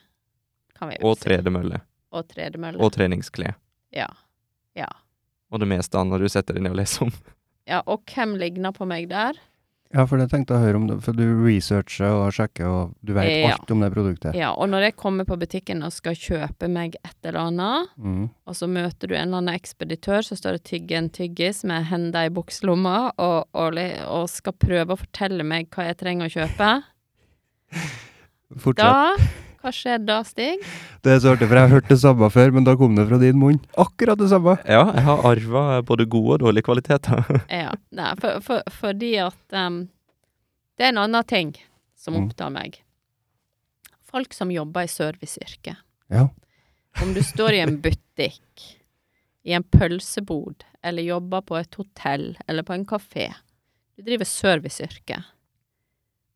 Speaker 3: Kan vi vel
Speaker 2: Og
Speaker 3: si.
Speaker 2: tredemølle.
Speaker 3: Og tredemølle.
Speaker 2: Og treningsklær.
Speaker 3: Ja. Ja.
Speaker 2: Og det meste annet du setter deg ned og leser om.
Speaker 3: ja. Og hvem ligner på meg der?
Speaker 1: Ja, for det tenkte jeg å høre om det, for du researcher og sjekker, og du vet
Speaker 3: Ja.
Speaker 1: alt om det produktet.
Speaker 3: Ja, og når jeg kommer på butikken og skal kjøpe meg et eller annet,
Speaker 1: Mm.
Speaker 3: og så møter du en eller annen ekspeditør som står og tygger en tyggis med henda i bukselomma og, og, li- og skal prøve å fortelle meg hva jeg trenger å kjøpe. Da
Speaker 1: Fortsett.
Speaker 3: Hva skjer da, Stig?
Speaker 1: Det er så artig, for jeg har hørt det samme før, men da kom det fra din munn. Akkurat det samme.
Speaker 2: Ja, jeg har arva både gode og dårlige kvaliteter.
Speaker 3: Ja, nei, for, for, fordi at em, Det er en annen ting som
Speaker 1: Mm.
Speaker 3: opptar meg. Folk som jobber i serviceyrket.
Speaker 1: Ja.
Speaker 3: Om du står i en butikk, i en pølsebod, eller jobber på et hotell, eller på en kafé. Du driver serviceyrke.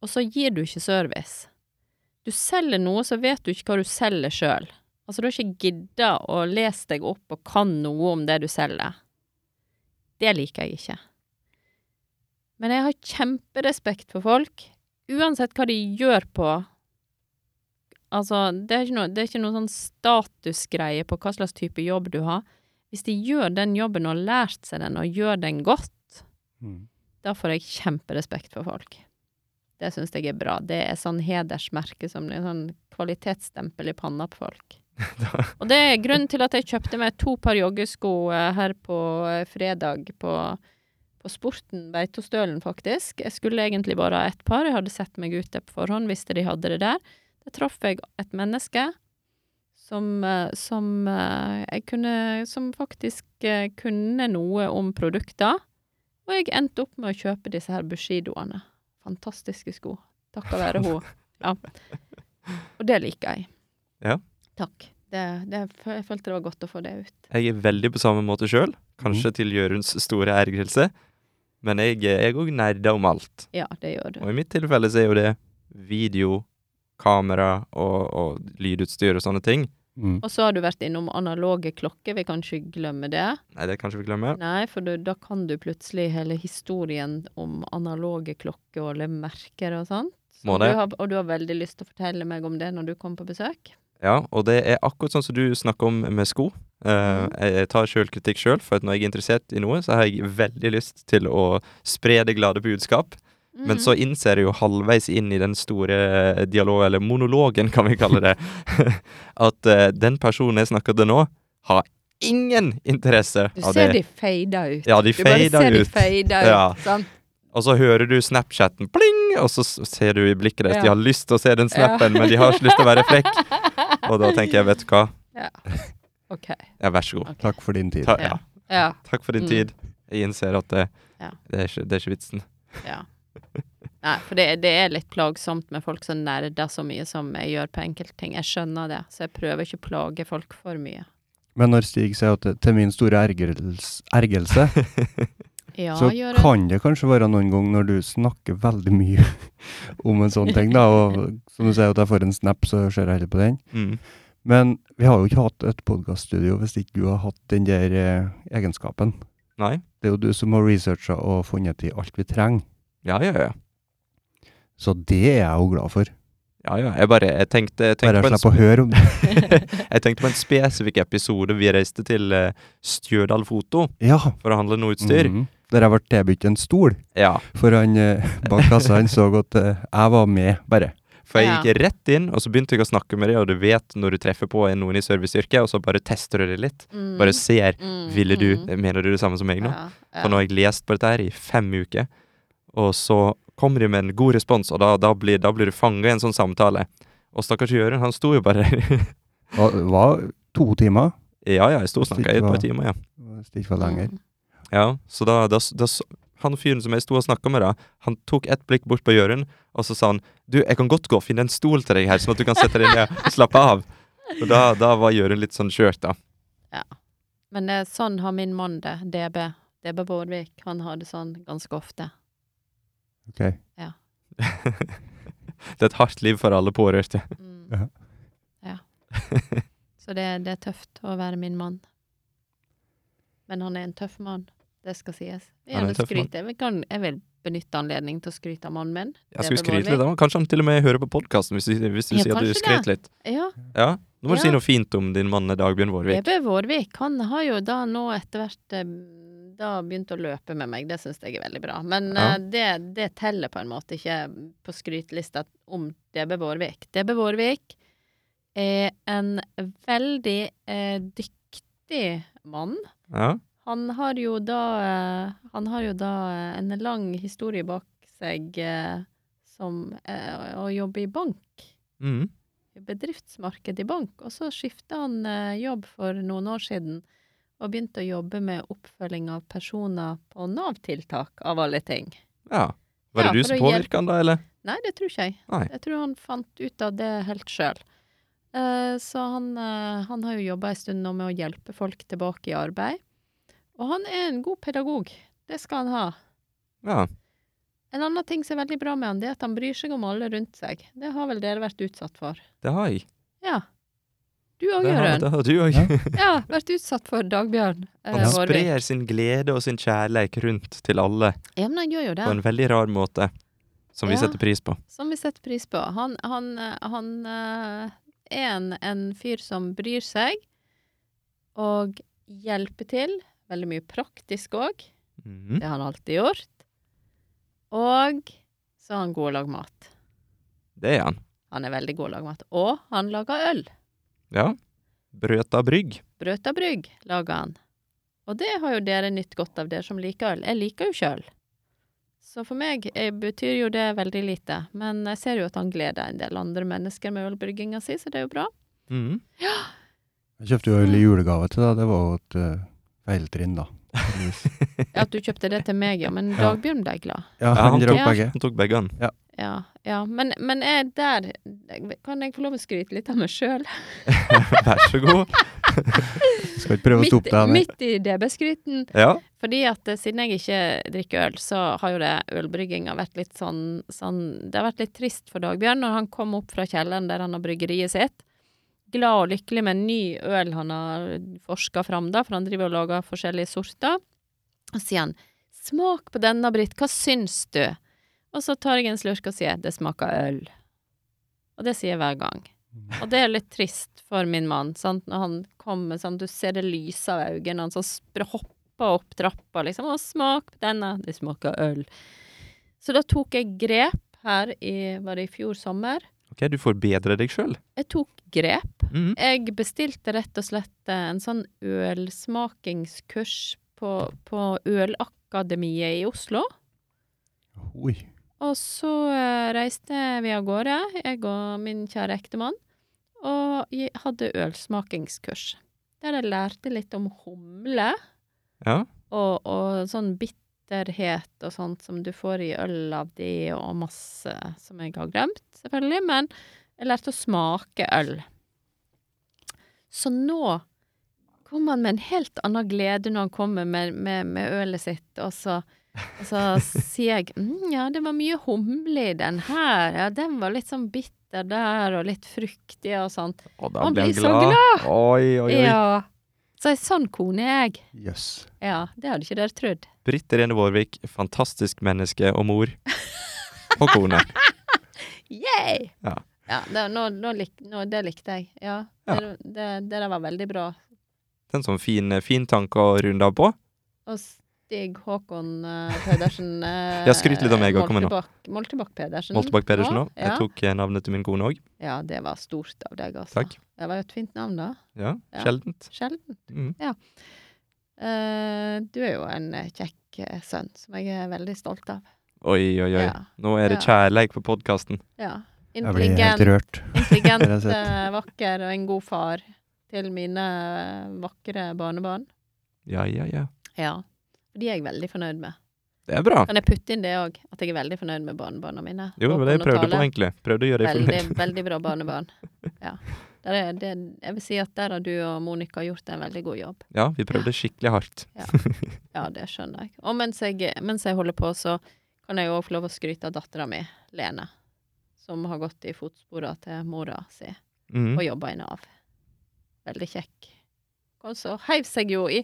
Speaker 3: Og så gir du ikke service. Du selger noe, så vet du ikke hva du selger sjøl. Altså, du har ikke gidda å lese deg opp og kan noe om det du selger. Det liker jeg ikke. Men jeg har kjemperespekt for folk, uansett hva de gjør på. Altså, det er ikke noe, det er ikke noe sånn statusgreie på hva slags type jobb du har. Hvis de gjør den jobben og har lært seg den og gjør den godt,
Speaker 1: Mm.
Speaker 3: da får jeg kjemperespekt for folk. Det syns jeg er bra. Det er sånn hedersmerke som det er sånn kvalitetsstempel i panna på folk. Og det er grunnen til at jeg kjøpte meg to par joggesko eh, her på eh, fredag på, på Sporten Beitostølen, faktisk. Jeg skulle egentlig bare ha ett par. Jeg hadde sett meg ut det på forhånd, visste de hadde det der. Der traff jeg et menneske som, eh, som eh, jeg kunne Som faktisk eh, kunne noe om produkter. Og jeg endte opp med å kjøpe disse her Bushidoene. Fantastiske sko. Takket være hun. Ja. Og det liker jeg.
Speaker 2: Ja.
Speaker 3: Takk. Det, det, jeg følte det var godt å få det ut.
Speaker 2: Jeg er veldig på samme måte sjøl, kanskje til Jøruns store ergrelse. Men jeg er òg nerda om alt.
Speaker 3: Ja, det gjør du.
Speaker 2: Og i mitt tilfelle så er jo det video, kamera og, og lydutstyr og sånne ting.
Speaker 1: Mm.
Speaker 3: Og så har du vært innom analoge klokker, vi kan ikke glemme det.
Speaker 2: Nei, det kanskje vi glemmer.
Speaker 3: Nei, for du, da kan du plutselig hele historien om analoge klokker og alle merker og sånt.
Speaker 2: Må
Speaker 3: Og
Speaker 2: det.
Speaker 3: Du har, og du har veldig lyst til å fortelle meg om det når du kommer på besøk.
Speaker 2: Ja, og det er akkurat sånn som du snakker om med sko. Eh,
Speaker 3: Mhm.
Speaker 2: jeg tar sjølkritikk sjøl, for at når jeg er interessert i noe, så har jeg veldig lyst til å spre det glade budskap.
Speaker 3: Mhm.
Speaker 2: Men så innser jeg jo halvveis inn i den store dialogen, eller monologen kan vi kalle det, at eh, den personen jeg snakker til nå, har ingen interesse
Speaker 3: Du
Speaker 2: av
Speaker 3: ser
Speaker 2: det.
Speaker 3: de feida ut.
Speaker 2: Ja, de
Speaker 3: Du bare
Speaker 2: fader
Speaker 3: ser de
Speaker 2: ut.
Speaker 3: feida ut.
Speaker 2: Ja.
Speaker 3: Sånn.
Speaker 2: Og så hører du Snapchatten pling, og så s- ser du i blikket deres
Speaker 3: Ja.
Speaker 2: De har lyst til å se den snappen, men de har ikke lyst til å være frekk. Og da tenker jeg, vet du hva,
Speaker 3: OK.
Speaker 2: ja, vær så god.
Speaker 3: ok.
Speaker 1: Takk for din tid.
Speaker 2: Ta,
Speaker 3: Ja.
Speaker 2: ja.
Speaker 3: Ja.
Speaker 2: Takk for din
Speaker 3: Mm.
Speaker 2: tid. Jeg innser at det,
Speaker 3: Ja.
Speaker 2: det, er ikke, det er ikke vitsen.
Speaker 3: Ja. Nei, for det, det er litt plagsomt med folk som nerder så mye som jeg gjør på enkeltting. Jeg skjønner det, så jeg prøver ikke å plage folk for mye.
Speaker 1: Men når Stig sier at det- til min store ergrelse, ergelse
Speaker 3: Ja,
Speaker 1: så
Speaker 3: gjør jeg.
Speaker 1: kan det kanskje være noen gang når du snakker veldig mye om en sånn ting, da, og som du sier at jeg får en snap, så ser jeg heller på den.
Speaker 2: Mm.
Speaker 1: Men vi har jo ikke hatt et podkaststudio hvis ikke du har hatt den der eh, egenskapen.
Speaker 2: Nei.
Speaker 1: Det er jo du som har researcha og funnet i alt vi trenger,
Speaker 2: Ja, ja, ja.
Speaker 1: så det er jeg jo glad for.
Speaker 2: ja, ja. Jeg bare jeg tenkte, jeg,
Speaker 1: Bare jeg
Speaker 2: tenkte på en,
Speaker 1: slipper å høre om det.
Speaker 2: sp- jeg tenkte på en spesifikk episode vi reiste til eh, Stjørdal Foto
Speaker 1: Ja.
Speaker 2: for å handle noe utstyr.
Speaker 1: Mhm. Der jeg ble tilbudt en stol,
Speaker 2: Ja.
Speaker 1: for han eh, bak kassa han så at eh, jeg var med, bare.
Speaker 2: For jeg
Speaker 3: Ja.
Speaker 2: gikk rett inn, og så begynte jeg å snakke med deg, og du vet når du treffer på en- noen i serviceyrket, og så bare tester du det litt.
Speaker 3: Mm.
Speaker 2: Bare ser.
Speaker 3: Mm,
Speaker 2: Ville du,
Speaker 3: mm.
Speaker 2: mener du det samme som meg nå?
Speaker 3: Ja, ja.
Speaker 2: For nå har jeg lest på dette her i fem uker, og så kommer de med en god respons, og da, da, blir, da blir du fanget i en sånn samtale. Og stakkars Jørund, han sto jo bare
Speaker 1: Og Det var to timer,
Speaker 2: Ja, ja, jeg sto og snakka i et par timer, ja.
Speaker 1: hvis det ikke var lenger.
Speaker 3: Mm.
Speaker 2: ja så da, da, da s- han fyren som jeg sto og snakka med, da, han tok et blikk bort på Jørund, og så sa han Du, jeg kan godt gå og finne en stol til deg her, sånn at du kan sette deg ned og slappe av. Og da, da var Jørund litt sånn skjørt, da.
Speaker 3: Men det, er sånn har min mann det, DB. DB Bårdvik. Han har det sånn ganske ofte.
Speaker 1: Ok.
Speaker 2: Det er et hardt liv for alle pårørte.
Speaker 3: Mm.
Speaker 1: Ja.
Speaker 3: Ja. Så det, det er tøft å være min mann. Men han er en tøff mann. Det skal sies. Jeg,
Speaker 2: Han er en
Speaker 3: vil
Speaker 2: tøff mann.
Speaker 3: skryte. jeg, vil, kan, jeg vil benytte anledningen til å skryte av mannen min.
Speaker 2: Jeg skulle
Speaker 3: Det er
Speaker 2: skryte litt av han. Kanskje han til og med hører på podkasten, hvis, du- hvis du
Speaker 3: Ja,
Speaker 2: sier at du
Speaker 3: kanskje
Speaker 2: skrøt litt.
Speaker 3: Ja,
Speaker 2: Ja, Nå må du si
Speaker 3: Ja.
Speaker 2: noe fint om din mann Dagbjørn Vårvik.
Speaker 3: DB Vårvik, han har jo da nå etter hvert eh, da begynt å løpe med meg. Det syns jeg er veldig bra. Men
Speaker 2: Ja.
Speaker 3: eh, det, det teller på en måte ikke på skrytelista om DB Vårvik. DB Vårvik er en veldig eh, dyktig mann.
Speaker 2: Ja.
Speaker 3: Han har jo da eh, Han har jo da eh, en lang historie bak seg eh, som eh, å jobbe i bank.
Speaker 2: Mm.
Speaker 3: Bedriftsmarked i bank. Og så skifta han eh, jobb for noen år siden og begynte å jobbe med oppfølging av personer på Nav-tiltak, av alle ting.
Speaker 2: ja. Var det
Speaker 3: Ja,
Speaker 2: du
Speaker 3: for
Speaker 2: som
Speaker 3: å hjelpe-
Speaker 2: påvirka han, da, eller?
Speaker 3: Nei, det tror ikke jeg.
Speaker 2: Nei.
Speaker 3: Jeg tror han fant ut av det helt sjøl. så han, eh, han har jo jobba ei stund nå med å hjelpe folk tilbake i arbeid. Og han er en god pedagog. Det skal han ha.
Speaker 2: Ja.
Speaker 3: En annen ting som er veldig bra med han, det er at han bryr seg om alle rundt seg. Det har vel dere vært utsatt for?
Speaker 2: Det har jeg.
Speaker 3: Ja. Du òg,
Speaker 2: Det har,
Speaker 3: Jørund.
Speaker 2: det har du òg.
Speaker 1: Ja.
Speaker 3: Ja, vært utsatt for Dagbjørn. eh,
Speaker 2: Han
Speaker 3: Vårvik.
Speaker 2: sprer sin glede og sin kjærleik rundt til alle
Speaker 3: Ja, men han gjør jo det.
Speaker 2: på en veldig rar måte, som vi
Speaker 3: Ja.
Speaker 2: setter pris på.
Speaker 3: Som vi setter pris på. Han, han, eh, han eh, er en, en fyr som bryr seg, og hjelper til. Veldig mye praktisk òg.
Speaker 2: Mhm.
Speaker 3: Det har han alltid gjort. Og så er han god å lage mat.
Speaker 2: Det er han.
Speaker 3: Han er veldig god å lage mat. Og han lager øl.
Speaker 2: Ja. Brøta brygg.
Speaker 3: Brøta brygg lager han. Og det har jo dere nytt godt av, dere som liker øl. Jeg liker jo ikke øl. Så for meg eh, betyr jo det veldig lite. Men jeg ser jo at han gleder en del andre mennesker med ølbrygginga si, så det er jo bra.
Speaker 2: Mhm.
Speaker 1: Jeg kjøpte jo øl i julegave til deg. Det var jo et eh, feiltrinn, da. Heldigvis.
Speaker 3: Ja, At du kjøpte det til meg, ja. Men
Speaker 1: Ja.
Speaker 3: Dagbjørn ble glad.
Speaker 1: Ja,
Speaker 2: Ja, han
Speaker 1: han drakk
Speaker 3: tok-
Speaker 1: begge.
Speaker 2: Han tok begge, han.
Speaker 3: Ja, ja. Men, men jeg der Kan jeg få lov å skryte litt av meg sjøl?
Speaker 2: Vær så god.
Speaker 1: Skal ikke prøve å stoppe
Speaker 3: Midt,
Speaker 1: deg her.
Speaker 3: midt i DB-skryten.
Speaker 2: Ja.
Speaker 3: Fordi at eh, siden jeg ikke drikker øl, så har jo det ølbrygginga vært litt sånn, sånn Det har vært litt trist for Dagbjørn når han kom opp fra kjelleren der han har bryggeriet sitt. Glad og lykkelig med en ny øl han har forska fram, da, for han driver og lager forskjellige sorter. Og sier han 'Smak på denne, Britt, hva syns du?' Og så tar jeg en slurk og sier 'Det smaker øl'. Og det sier jeg hver gang. Og det er litt trist for min mann, sant, når han kommer sånn, du ser det lyset av øynene, han sånn spr- hopper opp trappa, liksom, og smak på denne, det smaker øl. Så da tok jeg grep her i, var det i fjor sommer?
Speaker 2: Ok, du får bedre deg sjøl.
Speaker 3: Jeg tok grep.
Speaker 2: Mhm.
Speaker 3: Jeg bestilte rett og slett eh, en sånn ølsmakingskurs på, på Ølakademiet i Oslo.
Speaker 1: Oi.
Speaker 3: Og så eh, reiste vi av gårde, jeg og min kjære ektemann, og jeg hadde ølsmakingskurs. Der jeg lærte litt om humle
Speaker 2: Ja.
Speaker 3: og, og sånn bitterhet og sånt som du får i øl av det, og masse som jeg har glemt, selvfølgelig. Men jeg lærte å smake øl. Så nå kom han med en helt annen glede når han kommer med, med, med ølet sitt, og så, og så sier jeg mm, ja, det var mye humle i den her, ja, den var litt sånn bitter der, og litt fruktig og sånt.
Speaker 2: Og da
Speaker 3: Han
Speaker 2: ble han
Speaker 3: blir så
Speaker 2: glad. Oi, oi, oi.
Speaker 3: Ja. Så ei sånn kone er jeg.
Speaker 1: Jøss.
Speaker 3: Ja, det hadde ikke dere trodd.
Speaker 2: Britt Irene Vårvik, fantastisk menneske og mor. Og kone.
Speaker 3: Yay!
Speaker 2: Ja.
Speaker 3: Ja, det, nå, nå lik, nå, det likte jeg. Ja,
Speaker 2: Ja.
Speaker 3: Det, det, det der var veldig bra.
Speaker 2: Det er en sånn fin, fin tanke å runde av på.
Speaker 3: Og Stig Håkon eh, Pedersen uh,
Speaker 2: Ja, skryt litt av meg også, kom igjen nå.
Speaker 3: Moltebakk Pedersen.
Speaker 2: Moltebakk Pedersen òg.
Speaker 3: Ja,
Speaker 2: Jeg tok eh, navnet til min kone òg.
Speaker 3: ja. ja, det var stort av deg, altså.
Speaker 2: Takk.
Speaker 3: Det var jo et fint navn, da.
Speaker 2: Ja,
Speaker 3: Ja.
Speaker 2: sjeldent.
Speaker 3: Sjelden.
Speaker 2: Mm.
Speaker 3: Eh, du er jo en eh, kjekk eh, sønn, som jeg er veldig stolt av.
Speaker 2: Oi, oi, oi.
Speaker 3: Ja.
Speaker 2: Nå er det
Speaker 3: Ja.
Speaker 2: kjærleik på podkasten.
Speaker 3: ja.
Speaker 1: Jeg blir helt
Speaker 3: Intelligent,
Speaker 1: rørt.
Speaker 3: intelligent
Speaker 1: Det har jeg sett.
Speaker 3: eh, vakker og en god far til mine eh, vakre barnebarn.
Speaker 2: Ja, ja, ja.
Speaker 3: Ja. De er jeg veldig fornøyd med.
Speaker 2: Det er bra.
Speaker 3: Kan jeg putte inn det òg? At jeg er veldig fornøyd med barnebarna mine.
Speaker 2: Jo, det var det jeg prøvde på, egentlig. Prøvde å gjøre deg
Speaker 3: Veldig,
Speaker 2: fornøyd.
Speaker 3: veldig bra barnebarn. Ja. Der er, det, jeg vil si at der har du og Monica gjort en veldig god jobb.
Speaker 2: Ja, vi prøvde skikkelig hardt.
Speaker 3: Ja, det skjønner jeg. Og mens jeg, mens jeg holder på, så kan jeg òg få lov å skryte av dattera mi, Lene. Som har gått i fotspora til mora si
Speaker 2: Mm.
Speaker 3: og jobba i Nav. Veldig kjekk. Og så heiv seg jo i,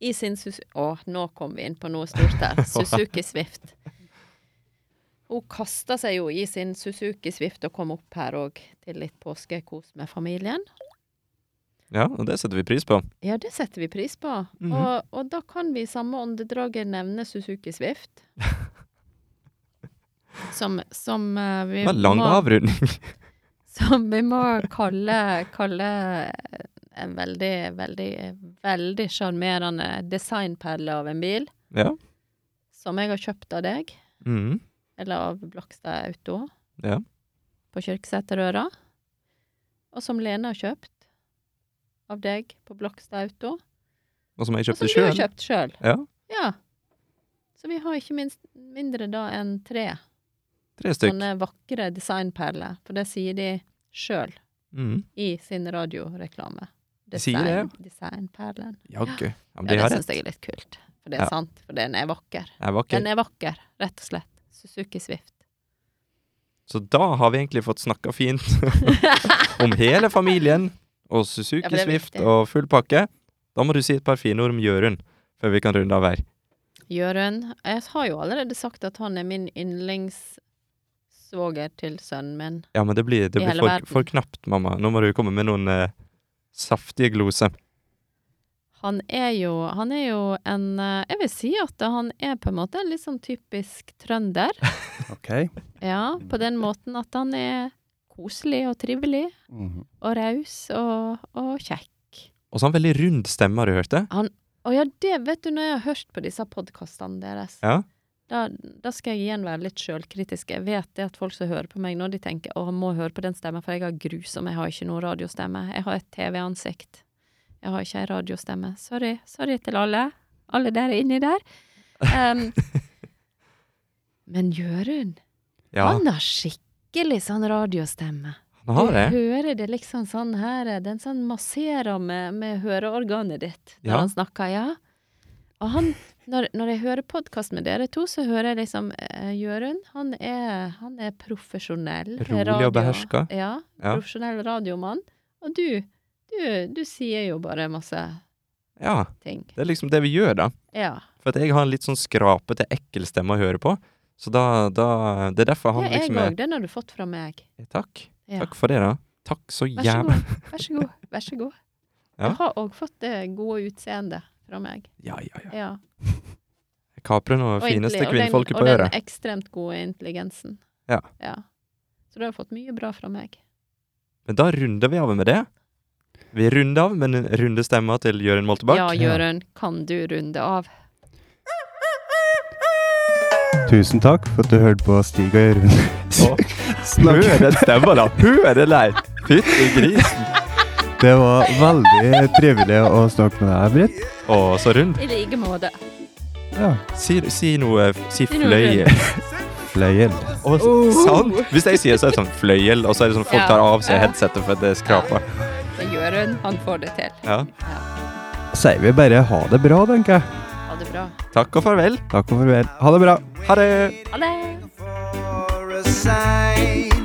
Speaker 3: i sin Suzuki Å, nå kom vi inn på noe stort her. Suzuki Swift. Hun kasta seg jo i sin Suzuki Swift og kom opp her òg til litt påskekos med familien.
Speaker 2: Ja, og det setter vi pris på.
Speaker 3: Ja, det setter vi pris på.
Speaker 2: Mhm.
Speaker 3: og, og da kan vi i samme åndedraget nevne Suzuki Swift. Som, som eh, vi
Speaker 2: Det var en lang
Speaker 3: må-
Speaker 2: avrunding.
Speaker 3: Som vi må kalle, kalle en veldig, veldig, veldig sjarmerende designperle av en bil.
Speaker 2: ja.
Speaker 3: Som jeg har kjøpt av deg,
Speaker 2: Mm.
Speaker 3: eller av Blakstad Auto.
Speaker 2: Ja.
Speaker 3: På Kyrksæterøra. Og som Lene har kjøpt av deg på Blakstad Auto.
Speaker 2: Og som jeg
Speaker 3: Og
Speaker 2: kjøpte
Speaker 3: som du har
Speaker 2: sjøl.
Speaker 3: kjøpt sjøl.
Speaker 2: Ja.
Speaker 3: Ja. Så vi har ikke minst mindre da enn tre
Speaker 2: Tre stykk.
Speaker 3: sånne vakre designperler. For det sier de sjøl.
Speaker 2: Mm.
Speaker 3: i sin radioreklame.
Speaker 2: De sier det,
Speaker 3: Design- Designperlen.
Speaker 2: Jaggu. Ja, men
Speaker 3: Ja,
Speaker 2: de har
Speaker 3: det syns
Speaker 2: rett.
Speaker 3: jeg er litt kult. For det er
Speaker 2: Ja.
Speaker 3: sant. For den er vakker.
Speaker 2: Jeg var ikke
Speaker 3: Den er vakker, rett og slett. Suzuki Swift.
Speaker 2: Så da har vi egentlig fått snakka fint om hele familien og Suzuki
Speaker 3: Ja, for det er
Speaker 2: Swift
Speaker 3: viktig.
Speaker 2: og full pakke. Da må du si et par fine ord om Jørund før vi kan runde av her.
Speaker 3: Jørund Jeg har jo allerede sagt at han er min yndlingssvoger til sønnen min.
Speaker 2: Ja, men det blir, det
Speaker 3: I
Speaker 2: blir
Speaker 3: hele
Speaker 2: for,
Speaker 3: verden.
Speaker 2: for knapt, mamma. Nå må du komme med noen eh, saftige gloser.
Speaker 3: Han er jo, han er jo en eh, Jeg vil si at han er på en måte en litt sånn typisk trønder.
Speaker 1: Ok.
Speaker 3: Ja, på den måten at han er koselig og trivelig
Speaker 1: Mhm.
Speaker 3: og raus og, og kjekk.
Speaker 2: Og så har han veldig rund stemme, har du hørt det?
Speaker 3: Å ja, det vet du, når jeg har hørt på disse podkastene deres,
Speaker 2: Ja.
Speaker 3: da, da skal jeg igjen være litt sjølkritisk. Jeg vet det at folk som hører på meg nå, de tenker å, må høre på den stemmen, for jeg har grusom, jeg har ikke noe radiostemme. Jeg har et TV-ansikt. Jeg har ikke ei radiostemme. Sorry. Sorry til alle. Alle der inni der. Em, men Jørund,
Speaker 2: Ja,
Speaker 3: han har skikkelig sånn radiostemme.
Speaker 2: han har det.
Speaker 3: Du hører det liksom sånn her Den sånn masserer med, med høreorganet ditt når
Speaker 2: Ja.
Speaker 3: han snakker, ja. Og han Når, når jeg hører podkast med dere to, så hører jeg liksom eh, Jørund, han er, han er profesjonell.
Speaker 2: Rolig
Speaker 3: radio-
Speaker 2: og beherska.
Speaker 3: Ja.
Speaker 2: Ja.
Speaker 3: Profesjonell radiomann. Og du, du, du sier jo bare masse
Speaker 2: Ja,
Speaker 3: ting.
Speaker 2: det er liksom det vi gjør, da.
Speaker 3: Ja.
Speaker 2: For at jeg har en litt sånn skrapete, ekkel stemme å høre på. Så da, da Det er derfor han
Speaker 3: ja jeg
Speaker 2: liksom
Speaker 3: òg.
Speaker 2: er
Speaker 3: Den har du fått fra meg.
Speaker 2: Takk.
Speaker 3: Ja.
Speaker 2: Takk for det, da. Takk så
Speaker 3: Vær så
Speaker 2: jævla
Speaker 3: god. Vær så god. Vær så god.
Speaker 2: Ja.
Speaker 3: Du har òg fått det gode utseendet fra meg.
Speaker 2: Ja, ja, ja.
Speaker 3: Ja.
Speaker 2: Kaprer nå
Speaker 3: Og
Speaker 2: fineste
Speaker 3: intelli- og den-
Speaker 2: kvinnfolket på
Speaker 3: Og
Speaker 2: øret.
Speaker 3: den ekstremt gode intelligensen.
Speaker 2: Ja.
Speaker 3: Så du har fått mye bra fra meg.
Speaker 2: Men da runder vi av med det. Vi runder av med den runde stemma til Jørund Moltebakk.
Speaker 3: Ja, Jørund, kan du runde av?
Speaker 1: Tusen takk for at du hørte på Stig og Jørund
Speaker 2: Og Hør den stemma, da! Hør den der! Fytti grisen!
Speaker 1: Det var veldig trivelig å snakke med deg, Britt.
Speaker 2: Å, så rund.
Speaker 3: I like måte.
Speaker 1: Ja.
Speaker 2: Si, si noe Si
Speaker 3: Si noe Oh.
Speaker 2: fløyel.
Speaker 1: Fløyel.
Speaker 2: Å, sant? Hvis jeg sier så er det sånn fløyel, og så er det sånn folk
Speaker 3: Ja.
Speaker 2: tar av seg
Speaker 3: Ja.
Speaker 2: headsetet for at det skraper.
Speaker 3: Men Jørund, han får det til.
Speaker 2: Ja.
Speaker 1: Sier vi bare ha det bra, tenker jeg.
Speaker 3: Ha det bra.
Speaker 2: Takk og farvel.
Speaker 1: Takk og farvel. Ha det bra.
Speaker 2: Ha det!
Speaker 3: Ha det!
Speaker 4: for a sign.